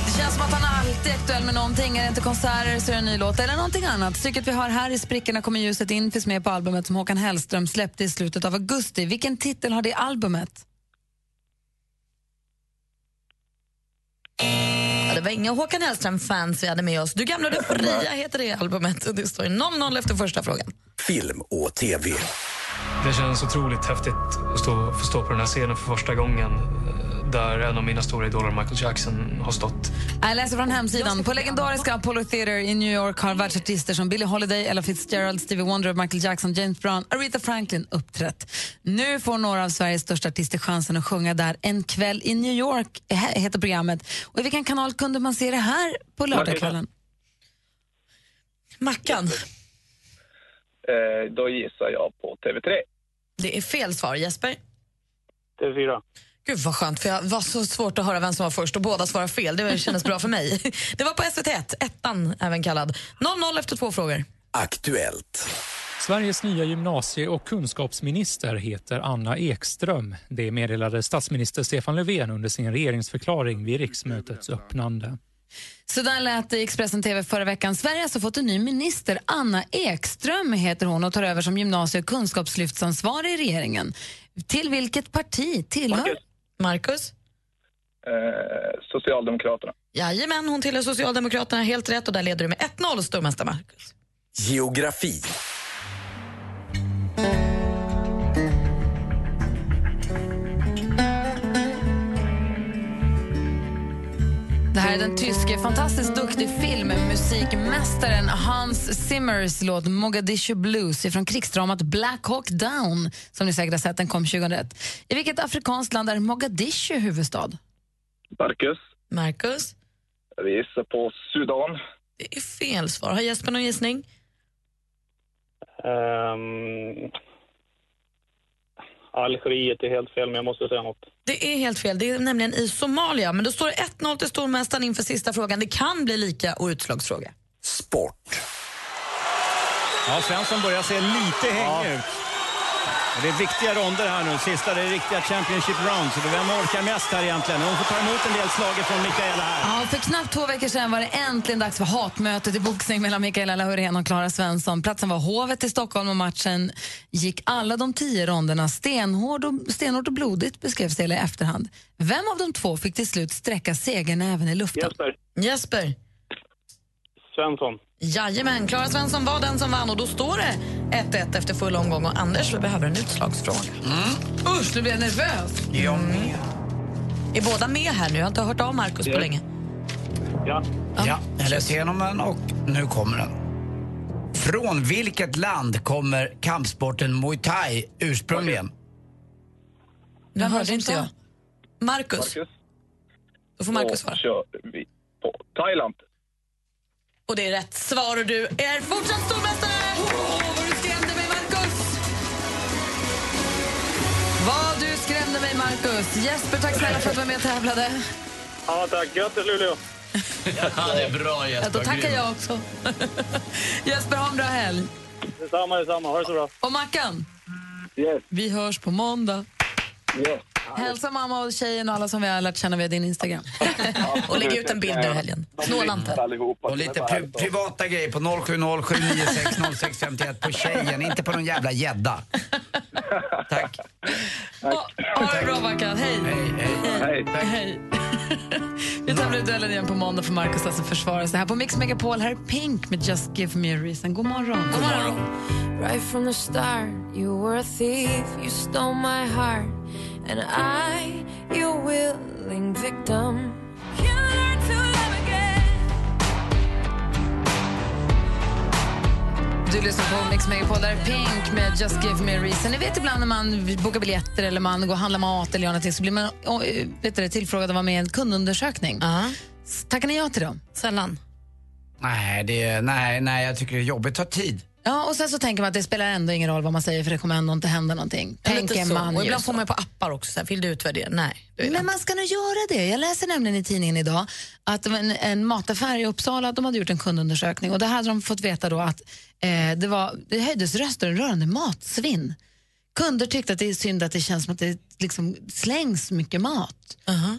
Speaker 3: Det känns som att han alltid är aktuell med någonting. Är det inte konserter så är det en ny låt eller någonting annat. Stycket vi har här i Sprickorna kommer ljuset in finns med på albumet som Håkan Hellström släppte i slutet av augusti. Vilken titel har det albumet?
Speaker 5: Ja, det var inga Håkan Hellström-fans vi hade med oss. Du gamla du fria heter det albumet. Och Det står 0-0 efter första frågan.
Speaker 28: Film och TV.
Speaker 29: Det känns otroligt häftigt att stå, få stå på den här scenen för första gången eh, där en av mina stora idoler, Michael Jackson, har stått.
Speaker 3: Jag läser från hemsidan. På legendariska Apollo Theater i New York har världsartister som Billie Holiday, Ella Fitzgerald, Stevie Wonder, Michael Jackson, James Brown, Aretha Franklin uppträtt. Nu får några av Sveriges största artister chansen att sjunga där. En kväll i New York he- heter programmet. Och I vilken kanal kunde man se det här på lördagskvällen?
Speaker 5: Mackan.
Speaker 10: Eh, då gissar jag på TV3.
Speaker 5: Det är fel svar, Jesper.
Speaker 10: TV4.
Speaker 5: Gud vad skönt, för jag var så svårt att höra vem som var först och båda svarade fel. Det var- kändes bra för mig. Det var på SVT1, ettan även kallad. 0-0 efter två frågor.
Speaker 28: Aktuellt.
Speaker 16: Sveriges nya gymnasie och kunskapsminister heter Anna Ekström. Det meddelade statsminister Stefan Löfven under sin regeringsförklaring vid riksmötets öppnande.
Speaker 3: Så där lät det i Expressen TV förra veckan. Sverige har alltså fått en ny minister. Anna Ekström heter hon och tar över som gymnasie och kunskapslyftsansvarig i regeringen. Till vilket parti tillhör
Speaker 5: Marcus?
Speaker 10: Eh, Socialdemokraterna.
Speaker 5: Jajamän, hon tillhör Socialdemokraterna helt rätt och där leder du med 1-0 stormästare Marcus.
Speaker 28: Geografi.
Speaker 3: Det här är den tyske fantastiskt duktig filmmusikmästaren Hans Zimmers låt Mogadishu Blues från krigsdramat Black Hawk Down som ni säkert har sett, den kom 2001. I vilket afrikanskt land är Mogadishu huvudstad?
Speaker 10: Marcus.
Speaker 5: Marcus?
Speaker 10: Vi gissar på Sudan.
Speaker 5: Det är fel svar. Har Jesper någon gissning?
Speaker 19: Um, Algeriet är helt fel, men jag måste säga något.
Speaker 5: Det är helt fel. Det är nämligen i Somalia. Men då står det 1-0 till stormästaren inför sista frågan. Det kan bli lika och utslagsfråga.
Speaker 28: Sport.
Speaker 21: Ja, Svensson börjar se lite hängig ut. Och Det är viktiga ronder här nu. Sista, det är riktiga Championship rounds. Så vem orkar mest här egentligen? Hon får ta emot en del slag från Mikaela här.
Speaker 3: Ja, för knappt två veckor sedan var det äntligen dags för hatmötet i boxning mellan Mikaela Laurén och Klara Svensson. Platsen var Hovet i Stockholm och matchen gick alla de tio ronderna stenhård och, stenhårt och blodigt beskrevs det i efterhand. Vem av de två fick till slut sträcka segernäven i luften?
Speaker 19: Jesper.
Speaker 5: Jesper.
Speaker 19: Svensson.
Speaker 5: Jajamän, Klara Svensson var den som vann och då står det 1-1 efter full omgång och Anders
Speaker 19: Mm.
Speaker 5: vi behöver en utslagsfråga. Mm. Usch, nu blir jag nervös.
Speaker 19: Ja.
Speaker 5: Är båda med här nu? Jag har inte hört av Markus på länge.
Speaker 19: Ja.
Speaker 4: Ja, jag läste igenom den och nu kommer den. Från vilket land kommer kampsporten muay thai ursprungligen?
Speaker 5: Nu hörde inte jag. Markus. Då får Markus svara.
Speaker 10: kör vi på Thailand.
Speaker 5: Och det är rätt svar och du är fortsatt stormästare! Åh, vad du skrämde mig, Markus!
Speaker 3: Vad du skrämde mig, Markus. Jesper, tack snälla för att du var med och tävlade.
Speaker 19: Ja, tack. Grattis, Luleå.
Speaker 30: Ja, det är bra
Speaker 3: Ja, då tackar jag också. Jesper, ha en bra helg.
Speaker 19: Detsamma, detsamma. Ha det så bra.
Speaker 3: Och Mackan, vi hörs på måndag. Hälsa mamma och tjejen och alla som vi har lärt känna via din Instagram.
Speaker 5: Och lägg ut en bild nu i helgen. Snåla inte.
Speaker 4: Och lite pri- privata grejer på 0707960651 på tjejen, inte på någon jävla gädda.
Speaker 3: Ha det bra, Mackan. Hej.
Speaker 4: Hej,
Speaker 3: Hej. Vi tävlar i duellen igen på måndag för Markus alltså försvara sig. Här på Mix Megapol här är Pink med Just Give Me A Reason. God morgon. God morgon.
Speaker 22: Right from the start, you were a thief, you stole my heart, and I, your willing victim. You learned to love again.
Speaker 3: Du lyssnar på Mix Megapol, där är Pink med Just Give Me A Reason. Ni vet ibland när man bokar biljetter eller man går och handlar mat eller gör någonting så blir man å- ö, vet du, det, tillfrågad att vara med i en kundundersökning. S- Tackar ni ja till dem?
Speaker 5: Sällan.
Speaker 4: Nej, det, är- nej, nej, jag tycker det är jobbigt. Ta tid.
Speaker 3: Ja, och sen så tänker man att det spelar ändå ingen roll vad man säger för det kommer ändå inte hända någonting.
Speaker 5: Ja, lite
Speaker 3: Tänker
Speaker 5: så.
Speaker 3: man
Speaker 5: Och
Speaker 3: ju
Speaker 5: ibland
Speaker 3: så.
Speaker 5: får man ju på appar också. Så här, vill du utvärdera? Nej.
Speaker 3: Men man ska nog göra det. Jag läser nämligen i tidningen idag att det var en, en mataffär i Uppsala de hade gjort en kundundersökning och där hade de fått veta då att eh, det, var, det höjdes röster rörande matsvinn. Kunder tyckte att det är synd att det känns som att det liksom slängs mycket mat.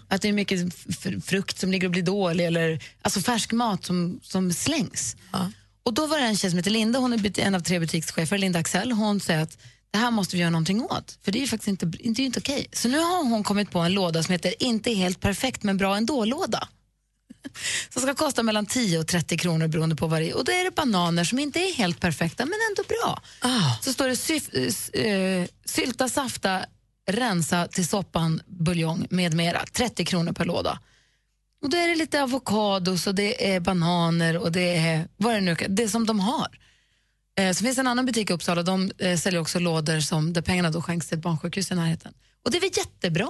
Speaker 3: Att det är mycket f- frukt som ligger och blir dålig eller alltså färsk mat som, som slängs. Och då var det en tjej som heter Linda, hon är but- en av tre butikschefer, Linda Axell, hon säger att det här måste vi göra någonting åt, för det är ju faktiskt inte, det är ju inte okej. Så nu har hon kommit på en låda som heter Inte helt perfekt men bra ändå-låda. Som ska kosta mellan 10 och 30 kronor beroende på vad det är. Och då är det bananer som inte är helt perfekta men ändå bra. Så står det syf, eh, s- eh, sylta, safta, rensa till soppan, buljong med mera. 30 kronor per låda. Och då är det lite avokados och det är bananer och det är vad det nu kan- det som de har. Eh, så finns det en annan butik i Uppsala, de eh, säljer också lådor som, där pengarna då skänks till ett barnsjukhus i närheten. Och det är väl jättebra?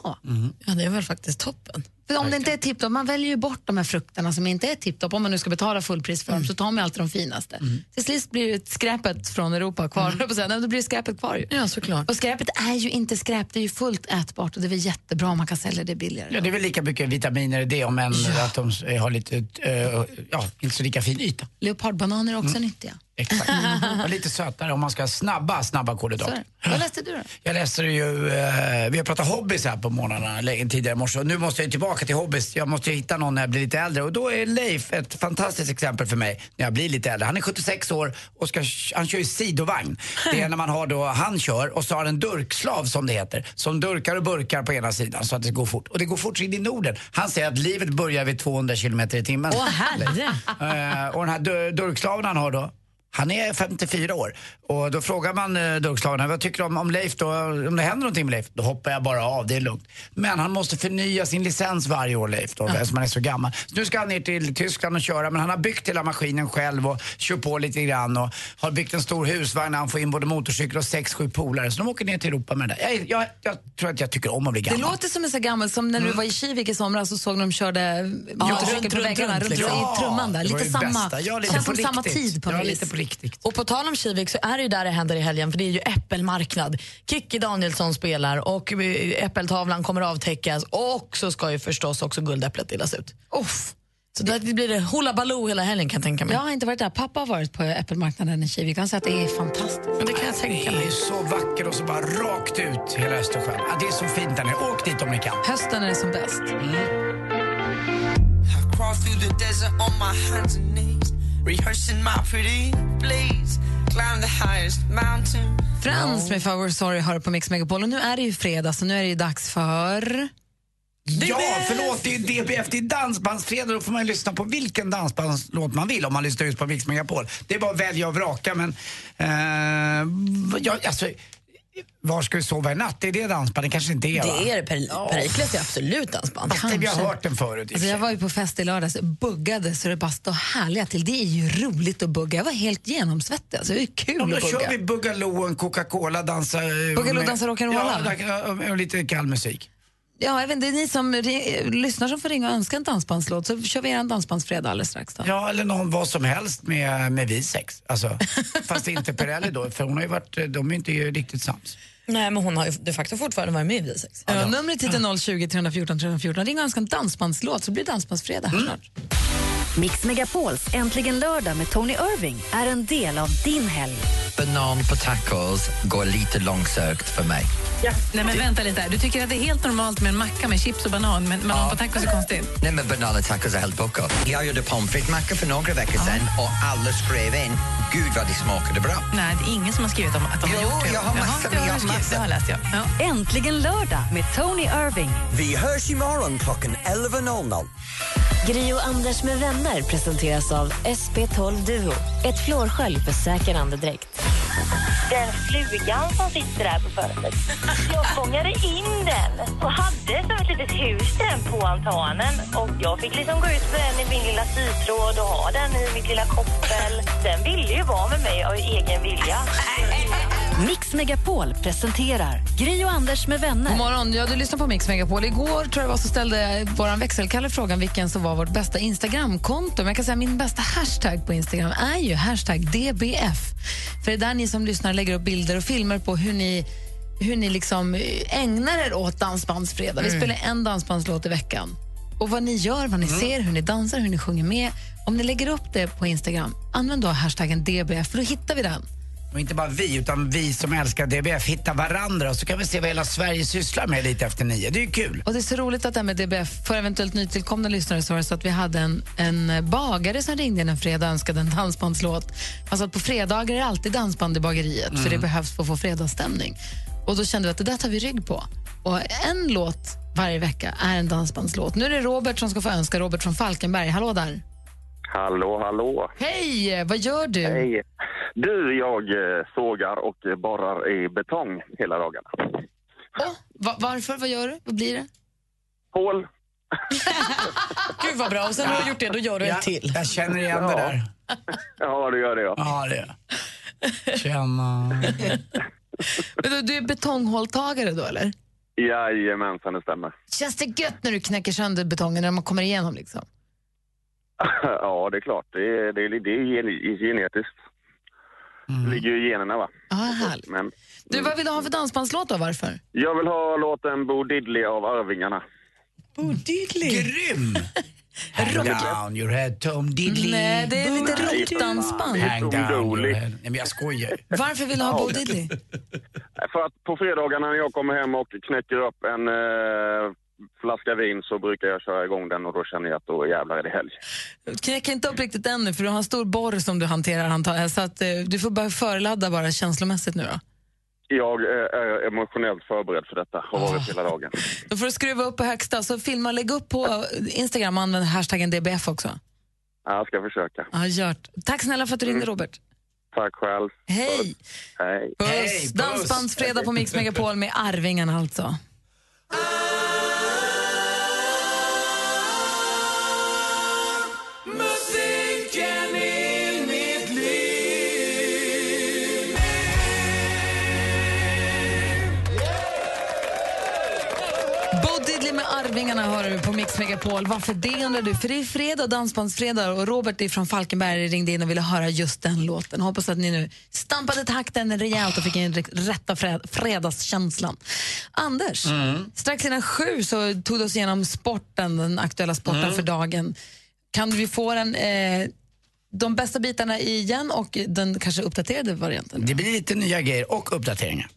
Speaker 3: Ja, det är väl faktiskt toppen. För om det inte är tipptopp, man väljer ju bort de här frukterna som inte är tipptopp, om man nu ska betala fullpris för
Speaker 4: Mm.
Speaker 3: dem, så tar man ju alltid de finaste. Till slut blir det skräpet från Europa kvar, mm. Nej, då blir det skräpet kvar ju. Ja, såklart. Och skräpet är ju inte skräp, det är ju fullt ätbart och det är väl jättebra om man kan sälja det billigare.
Speaker 4: Ja, det är väl lika mycket vitaminer i det om än att de eh, har lite, eh, ja, inte så lika fin yta.
Speaker 3: Leopardbananer är också
Speaker 4: Mm.
Speaker 3: nyttiga.
Speaker 4: Exakt. Och lite sötare om man ska ha snabba, snabba
Speaker 3: Så är
Speaker 4: kolhydrater.
Speaker 3: det. Vad läste du då?
Speaker 4: Jag läste ju, eh, vi har pratat hobbys här på morgnarna länge tidigare i morse och nu måste jag ju tillbaka till hobbys. Jag måste ju hitta någon när jag blir lite äldre och då är Leif ett fantastiskt exempel för mig när jag blir lite äldre. Han är 76 år och ska, han kör ju sidovagn. Det är när man har då, han kör och så har en durkslav som det heter, som durkar och burkar på ena sidan så att det går fort. Och det går fort in i Norden. Han säger att livet börjar vid 200 kilometer i timmen.
Speaker 31: Åh, herre.
Speaker 4: Eh, och den här dur- durkslaven han har då, han är 54 år. Och då frågar man eh, durkslaven, vad tycker du om, om Leif då? Om det händer någonting med Leif? Då hoppar jag bara av, det är lugnt. Men han måste förnya sin licens varje år Leif då, eftersom han är så gammal. Så nu ska han ner till Tyskland och köra, men han har byggt hela maskinen själv och kör på lite grann och har byggt en stor husvagn där han får in både motorcykel och sex, sju polare. Så de åker ner till Europa med det där. Jag, jag, jag tror att jag tycker om att bli
Speaker 3: Det
Speaker 4: gammal. Mm.
Speaker 3: låter som en så gammal som när du var i Kivik i somras och såg när de körde
Speaker 4: Ja,
Speaker 3: motorcykel
Speaker 4: runt,
Speaker 3: på
Speaker 4: runt,
Speaker 3: väggarna
Speaker 4: runt,
Speaker 3: runt,
Speaker 4: liksom.
Speaker 3: i trumman där.
Speaker 4: Ja, det var
Speaker 3: Lite
Speaker 4: ju
Speaker 3: samma,
Speaker 4: bästa. Ja, lite
Speaker 3: känns
Speaker 4: på
Speaker 3: som samma
Speaker 4: riktigt.
Speaker 3: tid på
Speaker 4: Ja,
Speaker 3: något
Speaker 4: lite
Speaker 3: vis.
Speaker 4: på riktigt.
Speaker 5: Och på tal om Kivik så är det ju där det händer i helgen för det är ju äppelmarknad. Kikki Danielsson spelar och eh, äppeltavlan kommer avtäckas och så ska ju förstås också guldäpplet delas ut.
Speaker 3: Uff.
Speaker 5: Så där blir det hullabaloo hela helgen kan jag tänka mig.
Speaker 3: Jag har inte varit där. Pappa har varit på äppelmarknaden i Kivik. Han sa att det är fantastiskt.
Speaker 5: det kan jag tänka
Speaker 4: mig. Så vacker och så bara rakt ut hela Östersjön. Ja, det är så fint där nere. Åk dit om ni kan. Mm.
Speaker 3: Hösten är det som bäst.
Speaker 16: Crawl through the desert on my hands and knees, rehearsing my pretty please. Climb the highest mountain.
Speaker 3: Frans med If I Were Sorry hör på Mix Megapol och nu är det ju fredag så nu är det ju dags för...
Speaker 4: Ja, förlåt, det är ju DBF, det är dansbandsfredag. Då får man ju lyssna på vilken dansbandslåt man vill om man lyssnar just på Mix Megapol. Det är bara att välja och vraka, men... Eh, jag, alltså, var ska vi sova i natt? Det är det dansbandet kanske inte är, va?
Speaker 5: Det är det. Per- Perikles är absolut dansband.
Speaker 4: Fast vi har hört den förut. i och
Speaker 3: Alltså
Speaker 4: för
Speaker 3: jag var ju på fest i lördags, buggade så det bara står härliga till. Det är ju roligt att bugga. Jag var helt genomsvettig. Alltså, det är kul
Speaker 4: Ja, men
Speaker 3: att
Speaker 4: då
Speaker 3: bugga.
Speaker 4: kör vi Boogaloo och en Coca-Cola, dansa... eh,
Speaker 3: Boogaloo,
Speaker 4: med-
Speaker 3: dansa rock'n'rolla.
Speaker 4: Ja, och- och lite kall musik.
Speaker 3: Ja, även det är ni som ri- lyssnar som får ringa och önska en dansbandslåt så kör vi er en dansbandsfredag alldeles strax. Då.
Speaker 4: Ja, eller någon vad som helst med, med vi sex. Alltså, fast inte Perrelli då, för hon har ju varit, de är inte ju riktigt sams.
Speaker 5: Nej, men hon har ju de facto fortfarande varit med i Visex.
Speaker 3: Ja, numret hit är 020 314 314. Ring och önska en dansbandslåt så blir det dansbandsfredag här snart.
Speaker 1: Mix Megapols Äntligen lördag med Tony Irving är en del av din helg.
Speaker 15: Banan på tacos går lite långsökt för mig.
Speaker 32: Nej men vänta lite här. Du tycker att det är helt normalt med en macka med chips och banan, men banan på tacos är konstigt?
Speaker 15: Nej, men banan och tacos är helt bucko. Jag gjorde pommes frites-macka för några veckor sedan och alla skrev in gud vad det smakade bra.
Speaker 32: Nej, det är ingen som har skrivit om att de har gjort det.
Speaker 15: jag har massor,
Speaker 32: Jaha, det
Speaker 15: jag har
Speaker 32: du skrivit. Det har jag läst, ja. ja.
Speaker 1: Äntligen lördag med Tony Irving.
Speaker 33: Vi hörs imorgon klockan 11.00.
Speaker 11: Gri och Anders med vänner presenteras av SP12 Duo. Ett flårskölj för säker andedräkt.
Speaker 22: Den flugan som sitter där på fönstret. Jag fångade in den och hade som ett litet hus den på altanen. Och jag fick liksom gå ut med den i min lilla sytråd och ha den i mitt lilla koppel. Den ville ju vara med mig av egen vilja.
Speaker 1: Mix Megapol presenterar Gri och Anders med vänner.
Speaker 3: God morgon, ja, du lyssnar på Mix Megapol. Igår tror jag det var så ställde vår växelkalle frågan vilken som var vårt bästa Instagramkonto. Men jag kan säga min bästa hashtag på Instagram är ju hashtag DBF. För det är där ni som lyssnar lägger upp bilder och filmer på hur ni hur ni liksom ägnar er åt Dansbandsfredag. Vi
Speaker 5: Mm.
Speaker 3: spelar en dansbandslåt i veckan. Och vad ni gör, vad ni ser, hur ni dansar, hur ni sjunger med. Om ni lägger upp det på Instagram, använd då hashtaggen DBF, för då hittar vi den.
Speaker 4: Och inte bara vi, utan vi som älskar DBF hittar varandra och så kan vi se vad hela Sverige sysslar med lite efter nio. Det är ju kul.
Speaker 3: Och det är så roligt att det här med DBF, för eventuellt nytillkomna lyssnare så var det så att vi hade en, en bagare som ringde in en fredag och önskade en dansbandslåt. Alltså att på fredagar är det alltid dansband i bageriet
Speaker 5: Mm.
Speaker 3: för det behövs för att få fredagsstämning. Och då kände vi att det där tar vi rygg på. Och en låt varje vecka är en dansbandslåt. Nu är det Robert som ska få önska, Robert från Falkenberg. Hallå där!
Speaker 19: Hallå, hallå.
Speaker 3: Hej! Vad gör du?
Speaker 19: Hej. Du, jag eh, sågar och eh, borrar i betong hela dagarna.
Speaker 3: Va- varför? Vad gör du? Vad blir det?
Speaker 19: Hål.
Speaker 5: Gud vad bra. Och sen när du har gjort det, då gör du
Speaker 4: Ja,
Speaker 5: ett till.
Speaker 4: Jag känner igen det där.
Speaker 19: Ja, det gör det, ja.
Speaker 4: Ja, det gör jag. Tjena.
Speaker 3: Men du, du är betonghålltagare då, eller?
Speaker 19: Jajamensan, det stämmer.
Speaker 3: Känns det gött när du knäcker sönder betongen när man kommer igenom? Liksom?
Speaker 19: ja, det är klart. Det är, det är, det är gen- genetiskt.
Speaker 4: Mm.
Speaker 19: Det ligger ju i generna, va.
Speaker 3: Ja, Ah, härligt.
Speaker 19: Men
Speaker 3: Du, vad vill du ha för dansbandslåt då? Varför?
Speaker 19: jag vill ha låten Bo Diddley av Arvingarna.
Speaker 3: Bodidly.
Speaker 4: Grym! Hang down your head, Tom Diddley.
Speaker 3: Nej, det är lite rockdansband.
Speaker 4: Hang down your
Speaker 19: Otroligt.
Speaker 4: head. Nej, men jag skojar ju.
Speaker 3: Varför vill du ha Bo Diddley?
Speaker 19: För att på fredagarna när jag kommer hem och knäcker upp en eh, flaska vin så brukar jag köra igång den och då känner jag att då jävlar är det helg.
Speaker 3: Knäck inte upp riktigt ännu, för du har en stor borr som du hanterar. Antar jag, så att, eh, du får bara förladda bara känslomässigt nu. Då.
Speaker 19: Jag är- är emotionellt förberedd för detta och har varit hela dagen.
Speaker 3: då får du skruva upp på högsta, så filma och lägg upp på eh, Instagram och använd hashtaggen DBF också.
Speaker 19: Ja, Jag ska försöka.
Speaker 3: Ja, gjort. Tack snälla för att du ringde, Robert.
Speaker 19: Tack själv.
Speaker 3: Hej!
Speaker 19: Hej.
Speaker 3: Puss! Dansbandsfredag på Mix Megapol med Arvingarna alltså.
Speaker 16: Musiken i mitt liv
Speaker 3: Bo Diddley med Arvingarna hör du på Mix Megapol. Varför det undrar du? För det är fredag, dansbandsfredag och Robert är från Falkenberg ringde in och ville höra just den låten. Hoppas att ni nu stampade takten rejält och fick in rätta fred- fredagskänslan. Anders,
Speaker 5: Mm.
Speaker 3: strax innan sju så tog du oss igenom sporten, den aktuella sporten
Speaker 5: Mm.
Speaker 3: för dagen. Kan vi få den, eh, de bästa bitarna igen och den kanske uppdaterade varianten?
Speaker 4: Det blir lite nya grejer och uppdateringar.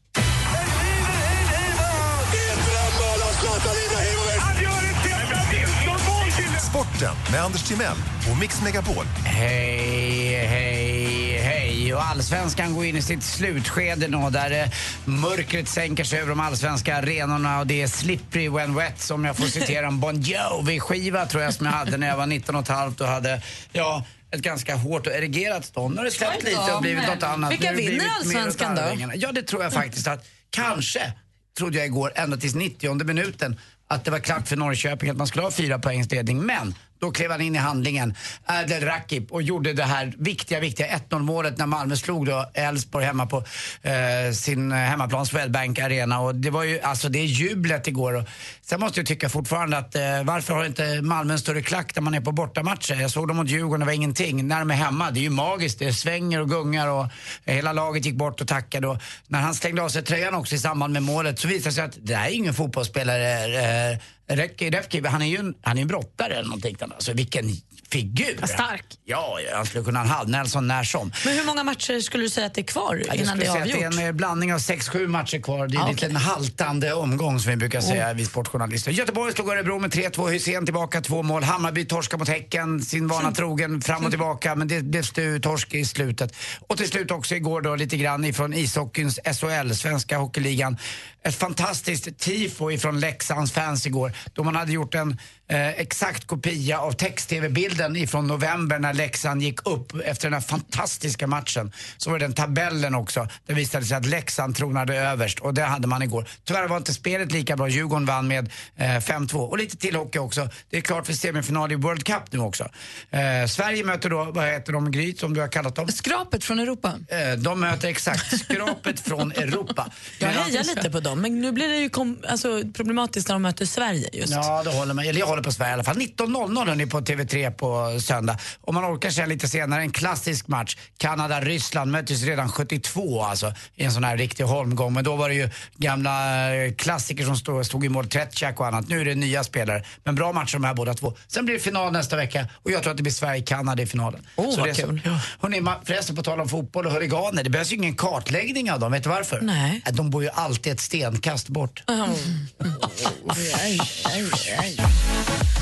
Speaker 10: Sporten med Anders Timell och Mix Megapol.
Speaker 4: Hej, hej, hej. Och allsvenskan går in i sitt slutskede nu där eh, mörkret sänker sig över de allsvenska arenorna och det är slippery when wet som jag får citera en Bon Jovi-skiva tror jag som jag hade när jag var 19 och ett halvt och hade, ja, ett ganska hårt och erigerat stånd. Nu har det släppt
Speaker 5: Oj då,
Speaker 4: lite och blivit
Speaker 5: men
Speaker 4: något annat.
Speaker 5: vilka
Speaker 4: Nu har det
Speaker 5: vinner
Speaker 4: blivit mer åt
Speaker 5: Allsvenskan då?
Speaker 4: Arvingarna. Ja, det tror jag faktiskt att, kanske, trodde jag igår, ända tills 90 minuten, att det var klart för Norrköping att man skulle ha fyra poängs ledning. Men då klev han in i handlingen, Adel Rakip, och gjorde det här viktiga, viktiga 1-0 målet när Malmö slog då Elfsborg hemma på eh, sin eh, hemmaplan Swedbank Arena. Och det var ju, alltså det är jublet igår. Och sen måste jag tycka fortfarande att eh, varför har inte Malmö en större klack när man är på bortamatcher? Jag såg dem mot Djurgården, det var ingenting. När de är hemma, det är ju magiskt. Det svänger och gungar och hela laget gick bort och tackade. Och när han slängde av sig tröjan också i samband med målet så visade det sig att det här är ingen fotbollsspelare. Eh, Rek- Refki, han är ju en, han är en brottare eller någonting. Alltså vilken figur! Stark! Ja, ja, han skulle kunna ha en halv Nelson när som.
Speaker 5: Men hur många matcher skulle du säga att det är kvar
Speaker 4: Ja, Jag
Speaker 5: innan det
Speaker 4: skulle
Speaker 5: är
Speaker 4: säga
Speaker 5: avgjort?
Speaker 4: att det är en eh, blandning av 6-7 matcher kvar. Det är
Speaker 5: Ah,
Speaker 4: en liten haltande omgång som vi brukar
Speaker 5: Mm.
Speaker 4: säga, vi sportjournalister. Göteborg slog Örebro med 3-2, Hysén tillbaka två mål. Hammarby torskar mot Häcken, sin vana trogen, fram och tillbaka. Men det blev stu, torsk i slutet. Och till slut också igår då lite grann ifrån ishockeyns SHL, Svenska Hockeyligan. Ett fantastiskt tifo ifrån Leksands fans igår. då man hade gjort en eh, exakt kopia av text-tv-bilden ifrån november när Leksand gick upp efter den här fantastiska matchen. Så var det den tabellen också. Det visade sig att Leksand tronade överst och det hade man igår. Tyvärr var inte spelet lika bra. Djurgården vann med eh, 5-2. Och lite till hockey också. Det är klart för semifinal i World Cup nu också. Eh, Sverige möter då, vad heter de, Gryt som du har kallat dem?
Speaker 3: Skrapet från Europa.
Speaker 4: Eh, de möter exakt skrapet från Europa.
Speaker 5: Jag
Speaker 4: Medan-
Speaker 5: hejar lite på dem, men nu blir det ju kom, alltså, problematiskt när de möter Sverige just.
Speaker 4: Ja, det håller man. Eller jag håller på Sverige i alla fall. 19.00 hörni på TV3 på söndag. Om man orkar sen lite senare, en klassisk match. Kanada-Ryssland möttes redan 72 alltså, i en sån här riktig holmgång. Men då var det ju gamla eh, klassiker som stod, stod i mål, Tretjak och annat. Nu är det nya spelare. Men bra matcher de här båda två. Sen blir det final nästa vecka och jag tror att det blir Sverige-Kanada i finalen.
Speaker 5: Åh, vad
Speaker 4: det är så-
Speaker 5: kul.
Speaker 4: Ja. Hörni, man- förresten på tal om fotboll och huliganer, det behövs ju ingen kartläggning av dem. Vet du varför? Nej. De bor ju alltid ett stenkast bort.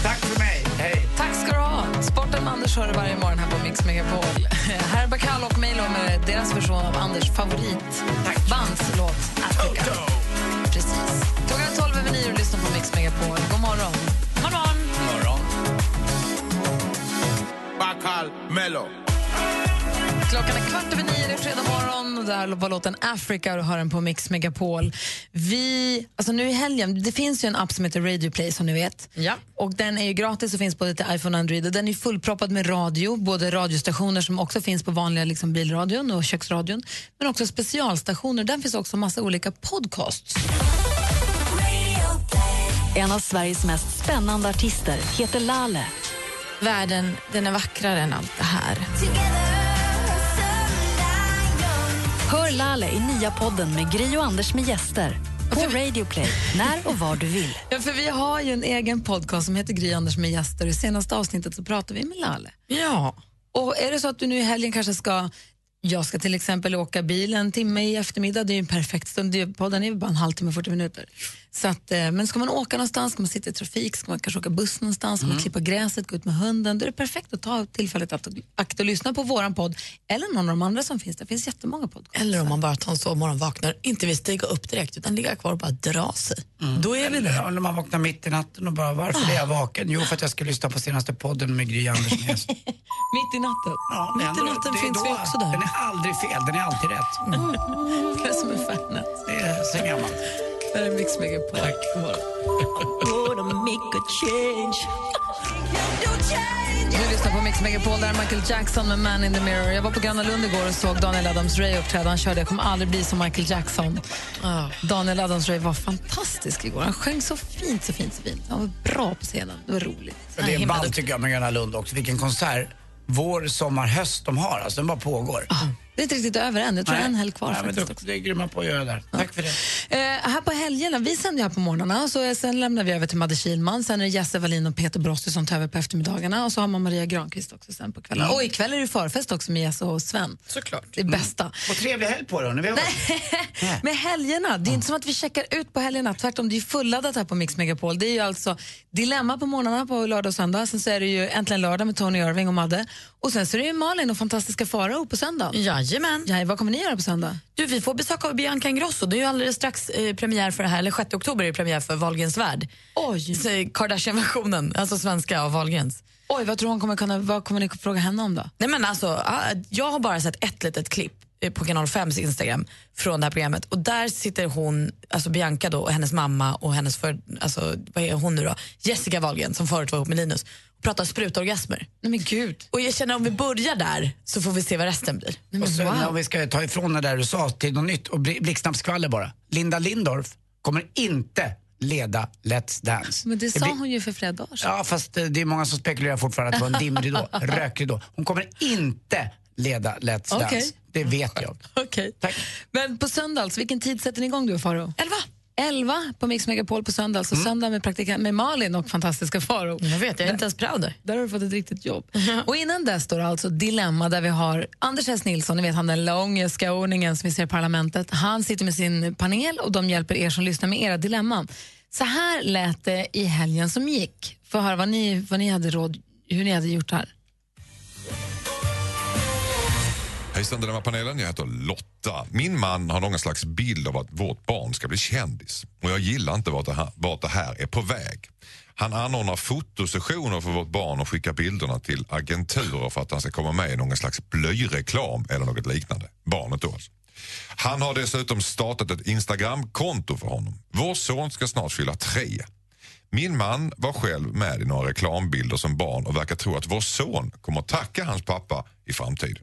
Speaker 4: Tack för mig. Hej.
Speaker 3: Tack ska du ha. Sporten med Anders hör du varje morgon här på Mix Megapol. Här är Bacall och Milo med deras version av Anders favoritbandslåt Africa. Precis. Klockan är 12 över 9 och lyssnar på Mix Megapol. God morgon. God morgon.
Speaker 16: morgon. Bacal Mello.
Speaker 3: Klockan är kvart över nio, det är fredag morgon och där var låten Africa och du hör den på Mix Megapol. Vi, alltså nu i helgen, det finns ju en app som heter Radio Play som ni vet. Ja. Och den är ju gratis och finns både till iPhone och Android och den är fullproppad med radio, både radiostationer som också finns på vanliga liksom bilradion och köksradion, men också specialstationer. Där finns också massa olika podcasts.
Speaker 1: En av Sveriges mest spännande artister heter Lale.
Speaker 13: Världen, den är vackrare än allt det här.
Speaker 1: Hör Lale i nya podden med Gry och Anders med gäster. På Radio Play, när och var du vill.
Speaker 3: Ja, för vi har ju en egen podcast som heter Gry Anders med gäster och i senaste avsnittet så pratade vi med Lalle.
Speaker 5: Ja.
Speaker 3: Och är det så att du nu i helgen kanske ska jag ska till exempel åka bil en timme i eftermiddag, det är ju en perfekt stund, Det är- podden är ju bara en halvtimme, 40 minuter. Så att, eh, men ska man åka någonstans, ska man sitta i trafik, ska man kanske åka buss någonstans, ska man
Speaker 13: Mm.
Speaker 3: klippa gräset, gå ut med hunden, då är det perfekt att ta tillfället att akt och lyssna på våran podd eller någon av de andra som finns, det finns jättemånga poddar.
Speaker 5: Eller om man bara tar en sovmorgon, vaknar, inte vill stiga upp direkt utan ligga kvar och bara dra sig.
Speaker 4: Mm.
Speaker 5: Då är vi där.
Speaker 4: Ja, när man vaknar mitt i natten och bara, varför är jag vaken? Jo, för att jag ska lyssna på senaste podden med Gry Andersson Gäst.
Speaker 3: Mitt i natten.
Speaker 4: Ja,
Speaker 3: Mitt i natten
Speaker 4: det är
Speaker 3: finns
Speaker 4: då-
Speaker 3: vi också där.
Speaker 4: Den är aldrig fel, den är alltid rätt. Mm.
Speaker 3: Det är som en Fernet.
Speaker 4: Det är sen gammalt.
Speaker 3: Det är Mix Megapol. Tack. Du lyssnar på Mix Megapol, där är Michael Jackson med Man in the Mirror. Jag var på Gröna Lund igår och såg Daniel Adams-Ray uppträda. Han körde Jag kommer aldrig bli som Michael Jackson.
Speaker 4: Ah.
Speaker 3: Daniel Adams-Ray var fantastisk igår. Han sjöng så fint, så fint, så fint. Han var bra på scenen. Det var roligt.
Speaker 4: Men Det är ballt tycker jag med Gröna Lund också. Vilken konsert. Vår, sommar, höst de har. Alltså den bara pågår.
Speaker 3: Det är inte riktigt över än. Ah, Jag tror jag har en helg kvar
Speaker 4: Nej, men
Speaker 3: faktiskt.
Speaker 4: det, det är grymma på att göra där. Tack för det.
Speaker 3: Eh, här på helgerna, vi sänder ju här på morgnarna, så eh, sen lämnar vi över till Madde Kihlman, sen är det Jesse Wallin och Peter Brosti som tar över på eftermiddagarna och så har man Maria Granqvist också sen på kvällen.
Speaker 4: Ja.
Speaker 3: Och ikväll är det förfest också med Jesse och Sven. Såklart. Det är bästa.
Speaker 4: Och Mm. trevlig helg på dig. hörni. Vi hörs.
Speaker 3: Med helgerna, det är inte som att vi checkar ut på helgerna, tvärtom det är fulladdat här på Mix Megapol. Det är ju alltså Dilemma på morgnarna på lördag och söndag, sen så är det ju Äntligen lördag med Tony Irving och Madde och sen så är det ju Malin och fantastiska Farao på söndag.
Speaker 5: Jajamän.
Speaker 3: Ja, vad kommer ni göra på söndag?
Speaker 5: Du, vi får besök av Bianca Ingrosso. Det är ju alldeles strax eh, premiär för det här. Eller 6 oktober är det premiär för Wahlgrens värld. eh,
Speaker 3: Oj.
Speaker 5: Kardashian-versionen, alltså svenska av Wahlgrens.
Speaker 3: Oj, vad tror hon kommer kunna, vad kommer ni fråga henne om då?
Speaker 5: Nej, men alltså, ah, jag har bara sett ett litet klipp eh, på Kanal 5s Instagram från det här programmet och där sitter hon, alltså Bianca då och hennes mamma och hennes för, alltså, vad är hon nu då? Jessica Wahlgren som förut var ihop med Linus och pratar sprutorgasmer.
Speaker 3: Nej men gud.
Speaker 5: Och jag känner om vi börjar där så får vi se vad resten blir.
Speaker 4: Och sen om vi ska ta ifrån det där du sa till något nytt och bli- blixtsnabbt skvaller bara. Linda Lindorff kommer inte leda Let's Dance.
Speaker 3: Men det sa
Speaker 4: blir-
Speaker 3: hon ju för flera dagar sedan.
Speaker 4: Ja, fast eh, det är många som spekulerar fortfarande att det var en dimridå, rökridå. Hon kommer inte leda Let's Dance.
Speaker 3: Okej.
Speaker 4: Det vet jag.
Speaker 3: Okej. Men på söndag, alltså, vilken tid sätter ni igång då, Faro?
Speaker 5: Elva.
Speaker 3: Elva på Mix Megapol på söndag, alltså söndag med, praktikant, med Malin och fantastiska Faro.
Speaker 5: Mm, Jag vet, jag är inte ens proud.
Speaker 3: Där har du fått ett riktigt jobb. Och innan dess står det alltså Dilemma där vi har Anders S. Nilsson, ni vet han den långa skåningen som vi ser i Parlamentet. Han sitter med sin panel och de hjälper er som lyssnar med era dilemman. Så här lät det i helgen som gick. Få höra vad ni, vad ni hade råd, hur ni hade gjort här.
Speaker 8: Hejsan dilemma panelen, jag heter Lotta. Min man har någon slags bild av att vårt barn ska bli kändis och jag gillar inte vart det här, vart det här är på väg. Han anordnar fotosessioner för vårt barn och skickar bilderna till agenturer för att han ska komma med i någon slags blöjreklam eller något liknande. Barnet då alltså. Han har dessutom startat ett Instagramkonto för honom. Vår son ska snart fylla tre. Min man var själv med i några reklambilder som barn och verkar tro att vår son kommer att tacka hans pappa i framtiden.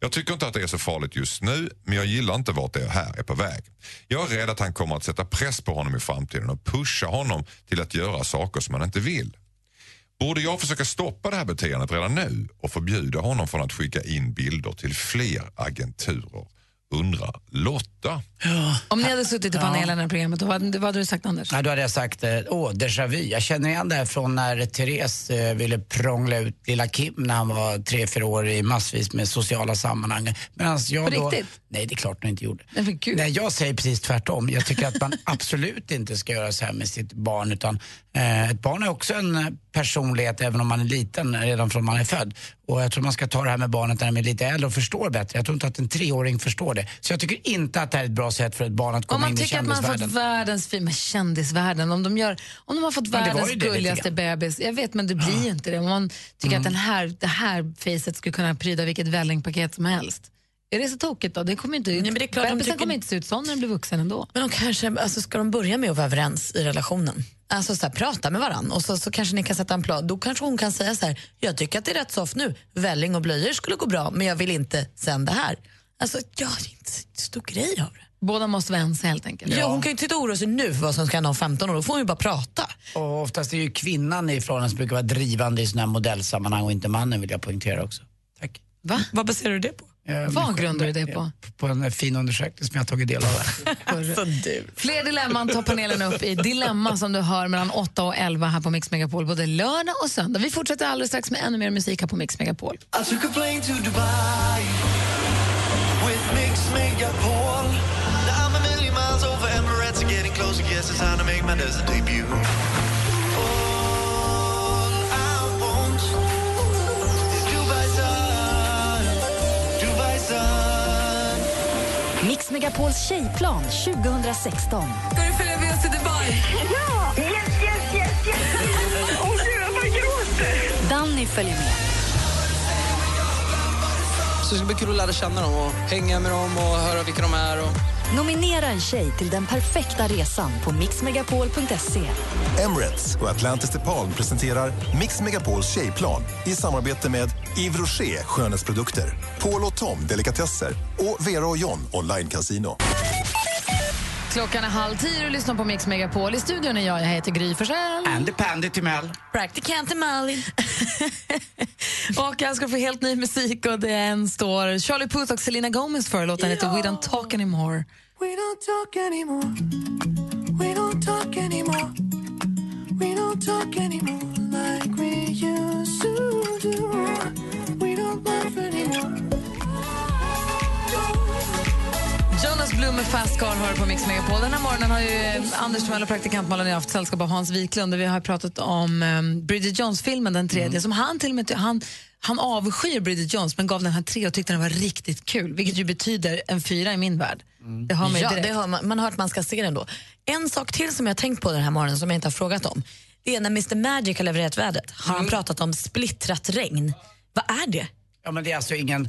Speaker 8: Jag tycker inte att det är så farligt just nu, men jag gillar inte vart det här är på väg. Jag är rädd att han kommer att sätta press på honom i framtiden och pusha honom till att göra saker som han inte vill. Borde jag försöka stoppa det här beteendet redan nu och förbjuda honom från att skicka in bilder till fler agenturer? Undrar Lotta.
Speaker 3: Om ni hade suttit i panelen i det här programmet, vad hade, vad hade du sagt Anders?
Speaker 4: Nej, då hade jag sagt, eh, åh, déjà vu. Jag känner igen det här från när Therese eh, ville prångla ut lilla Kim när han var tre, fyra år i massvis med sociala sammanhang. Medan jag
Speaker 3: På
Speaker 4: då...
Speaker 3: riktigt?
Speaker 4: Nej, det är klart hon inte gjorde.
Speaker 3: Nej, men gud.
Speaker 4: Nej, jag säger precis tvärtom. Jag tycker att man absolut inte ska göra så här med sitt barn. Utan, eh, ett barn är också en eh, personlighet även om man är liten, redan från man är född. Och jag tror man ska ta det här med barnet när de är lite äldre och förstår bättre. Jag tror inte att en treåring förstår det. Så jag tycker inte att det här är ett bra sätt för ett barn att
Speaker 3: Om
Speaker 4: komma
Speaker 3: man
Speaker 4: in i
Speaker 3: tycker att man har
Speaker 4: kändisvärlden.
Speaker 3: fått världens fin, men kändisvärlden, om de, gör, om de har fått
Speaker 4: Men det var
Speaker 3: världens
Speaker 4: ju det lite
Speaker 3: gulligaste
Speaker 4: grann.
Speaker 3: bebis, jag vet men det blir ju inte det. Om man tycker att den här, det här facet skulle kunna pryda vilket vällingpaket som helst. Är det så tokigt då? Det kommer ju inte, Nej, men det är
Speaker 5: klart de
Speaker 3: bebisen
Speaker 5: tycker-
Speaker 3: kommer inte se ut sån när den blir vuxen ändå.
Speaker 5: Men de kanske, alltså ska de börja med att vara överens i relationen? Alltså så här, prata med varandra och så, så kanske ni kan sätta en plan. Då kanske hon kan säga så här, jag tycker att det är rätt soft nu. Välling och blöjor skulle gå bra, men jag vill inte sen det här. Alltså, gör inte så stor grej av det.
Speaker 3: Båda måste vara ense helt enkelt.
Speaker 5: Ja. hon kan ju inte sitta och oroa sig nu för vad som ska hända om 15 år. Då får hon ju bara prata.
Speaker 4: Och oftast är ju kvinnan i förhållanden som brukar vara drivande i sådana här modellsammanhang och inte mannen vill jag poängtera också. Tack.
Speaker 3: Va?
Speaker 5: Vad baserar du det på?
Speaker 4: Ehm.
Speaker 3: Vad grundar du det på?
Speaker 4: På en fin undersökning som jag har tagit del av.
Speaker 3: Fler dilemman tar panelen upp i Dilemma som du hör mellan 8 och 11 här på Mix Megapol både lördag och söndag. Vi fortsätter alldeles strax med ännu mer musik här på Mix Megapol.
Speaker 26: I took a plane to Dubai with Mix Megapol. Now I'm a million miles over Emirates, getting closer. Guess it's time to make my desert debut. All I want is Dubai sun, Dubai sun.
Speaker 1: Mix Megapols tjejplan 2016.
Speaker 26: Ska du följa med oss till Dubai? Ja! Yes, yes, yes, yes! Åh gud, jag bara gråter!
Speaker 1: Danny följer med.
Speaker 9: Så det ska bli kul att lära känna dem och hänga med dem och höra vilka de är. Och...
Speaker 1: Nominera en tjej till den perfekta resan på mixmegapol.se.
Speaker 10: Emirates och Atlantis DePaul presenterar Mix Megapols tjejplan i samarbete med Yves Rocher skönhetsprodukter, Paul och Tom delikatesser och Vera och John online casino.
Speaker 3: Klockan är halv tio och du lyssnar på Mix Megapol. I studion är jag, jag heter Gry Forssell.
Speaker 4: Andy Pandy Timell.
Speaker 3: Praktikant Malin. och jag ska få helt ny musik och det är en står Charlie Puth och Selena Gomez för. Låten heter We Don't Talk Anymore.
Speaker 26: We don't talk anymore. We don't talk anymore. We don't talk anymore like we used to do. We don't laugh anymore.
Speaker 3: Jonas Blum med Fast Car hör på Mix Megapol. Den här morgonen har ju eh, Anders Timell och praktikant Malin och jag haft sällskap av Hans Wiklund och vi har pratat om eh, Bridget Jones-filmen, den tredje,
Speaker 5: Mm.
Speaker 3: som han till och med ty- han, han avskyr Bridget Jones men gav den här tre och tyckte den var riktigt kul, vilket ju betyder en fyra i min värld. Det hör man ju
Speaker 5: Mm. ja,
Speaker 3: direkt.
Speaker 5: det hör man, man hör att man ska se den då. En sak till som jag har tänkt på den här morgonen som jag inte har frågat om. Det är när Mr Magic har levererat vädret. Har han pratat om splittrat regn? Vad är det?
Speaker 4: Ja, men det är alltså ingen...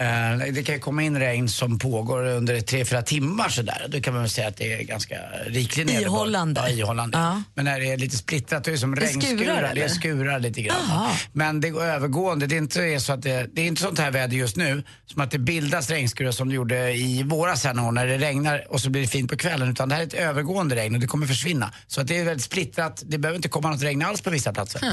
Speaker 4: eh, det kan ju komma in regn som pågår under tre fyra timmar sådär. Då kan man väl säga att det är ganska riklig nederbörd.
Speaker 5: Ihållande.
Speaker 4: Ja, ihållande. Men när det är lite splittrat, då är det som
Speaker 5: Det är skurar,
Speaker 4: regnskurar. Det är
Speaker 5: eller?
Speaker 4: skurar lite grann.
Speaker 5: Jaha.
Speaker 4: Men det går övergående. Det är inte, så att det, det är inte sånt här väder just nu som att det bildas regnskurar som det gjorde i våras här någon år, när det regnar och så blir det fint på kvällen. Utan det här är ett övergående regn och det kommer försvinna. Så att det är väldigt splittrat. Det behöver inte komma något regn alls på vissa platser.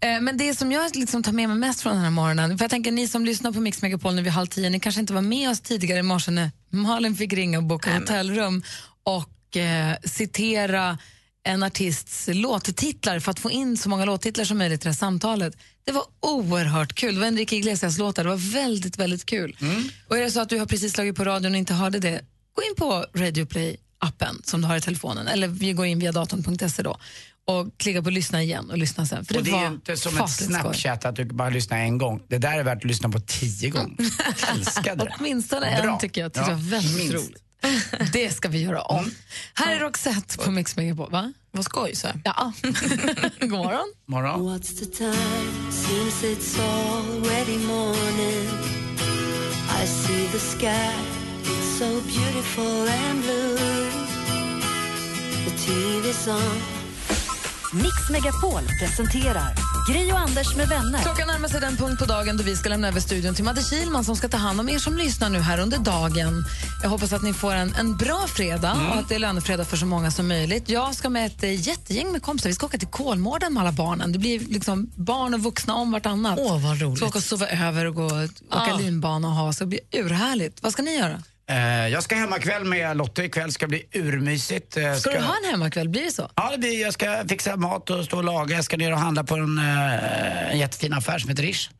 Speaker 3: Eh, Men det som jag liksom tar med mig mest från den här morgonen, för jag tänker ni som lyssnar på Mix Megapol nu vid halv tio, ni kanske inte var med oss tidigare i morse när Malin fick ringa och boka hotellrum och eh, citera en artists låttitlar för att få in så många låttitlar som möjligt i det här samtalet. Det var oerhört kul. Det var Enrique Iglesias-låtar, det var
Speaker 26: Mm.
Speaker 3: väldigt, väldigt kul. Och är det så att du har precis slagit på radion och inte hörde det, gå in på Radio Play appen som du har i telefonen. Eller vi går in via datorn.se då och klickar på lyssna igen och lyssna sen. För det,
Speaker 4: och det
Speaker 3: var
Speaker 4: är ju inte som ett
Speaker 3: fasligt skoj.
Speaker 4: Snapchat att du bara lyssnar en gång. Det där är värt att lyssna på tio gånger.
Speaker 3: Mm.
Speaker 4: Älskade det.
Speaker 3: Åtminstone
Speaker 4: Bra.
Speaker 3: en tycker jag. Tyckte jag
Speaker 4: Ja,
Speaker 3: var väldigt
Speaker 4: minst. Mm.
Speaker 3: roligt. Det ska vi göra om. Här är Roxette på Mix Megapol. Va? Vad skoj, så. Ja. God morgon.
Speaker 4: Morgon.
Speaker 1: What's the time? Seems it's already morning. I see the sky, it's so beautiful and blue. The TV's on.
Speaker 34: Mix Megapol presenterar Gri och Anders med vänner.
Speaker 3: Klockan närmar sig den punkt på dagen då vi ska lämna över studion till Madde Kilman som ska ta hand om er som lyssnar nu här under dagen. Jag hoppas att ni får en, en bra fredag och att det är lönefredag för så många som möjligt. Jag ska med ett eh, jättegäng med kompisar. Vi ska åka till Kolmården med alla barnen. Det blir liksom barn och vuxna om vartannat. Åh, vad roligt. Ska åka och sova över och gå, åka
Speaker 4: Ah.
Speaker 3: linbana och ha så. Det blir urhärligt. Vad ska ni göra?
Speaker 4: Eh, Jag ska hemmakväll med Lotta ikväll, ska bli urmysigt. Eh,
Speaker 3: Ska, du ha en hemmakväll? Blir det så?
Speaker 4: Ja, det blir, jag ska fixa mat och stå och laga. Jag ska ner och handla på en, eh, en jättefin affär som heter Rish.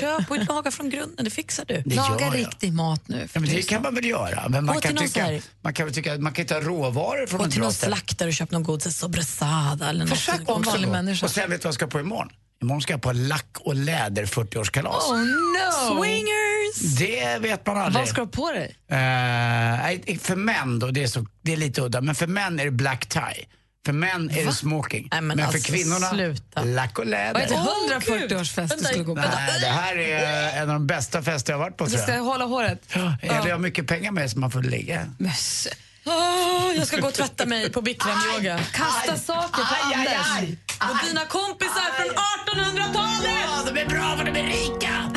Speaker 5: Köp och laga från grunden, det fixar du.
Speaker 4: Det gör jag.
Speaker 3: mat nu.
Speaker 4: Ja, men det kan man väl göra? Men man,
Speaker 5: Gå
Speaker 4: kan
Speaker 5: till någon så
Speaker 4: tycka,
Speaker 5: här-
Speaker 4: man kan väl tycka att man kan ta råvaror från
Speaker 5: Gå
Speaker 4: ett
Speaker 5: till
Speaker 4: bra
Speaker 5: någon
Speaker 4: ställe.
Speaker 5: slaktare och köp någon god så här sobresada eller något.
Speaker 4: Försök
Speaker 5: En
Speaker 4: också.
Speaker 5: vanlig människa.
Speaker 4: Och sen vet du vad jag ska på imorgon? Imorgon ska jag på lack och läder 40-årskalas.
Speaker 5: Oh, no. Swingers!
Speaker 4: Det vet man aldrig.
Speaker 3: Vad ska du ha på dig?
Speaker 4: Eh, nej, för män då, det är, så, det är lite udda, men för män är det black tie. För män är det smoking. men
Speaker 3: alltså,
Speaker 4: för kvinnorna,
Speaker 3: sluta.
Speaker 4: lack och
Speaker 3: Vad
Speaker 4: läder.
Speaker 3: är det 140-årsfest du skulle gå på?
Speaker 4: Nej, det här är en av de bästa fester jag har varit på
Speaker 3: Du
Speaker 4: tror
Speaker 3: ska
Speaker 4: jag.
Speaker 3: hålla håret?
Speaker 4: Eller jag har mycket pengar med som man får ligga.
Speaker 5: Åh, jag ska gå och tvätta mig på bikramyoga.
Speaker 3: Kasta saker på
Speaker 5: Aj, aj,
Speaker 3: Anders.
Speaker 5: aj. Och dina kompisar från 1800-talet!
Speaker 4: Ja, de är bra för de är rika!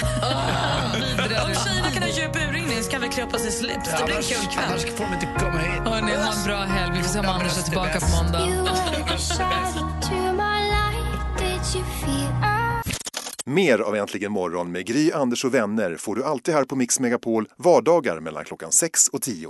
Speaker 5: Om tjejerna kan ha djup urringning så kan vi klä på sig slips. Det blir en kul kväll.
Speaker 4: Annars får de inte komma hit.
Speaker 3: Hörni, ha en bra helg. Vi får se om Anders är tillbaka på måndag.
Speaker 10: Mer av Äntligen morgon med Gry, Anders och vänner får du alltid här på Mix Megapol vardagar mellan klockan 6 och 10.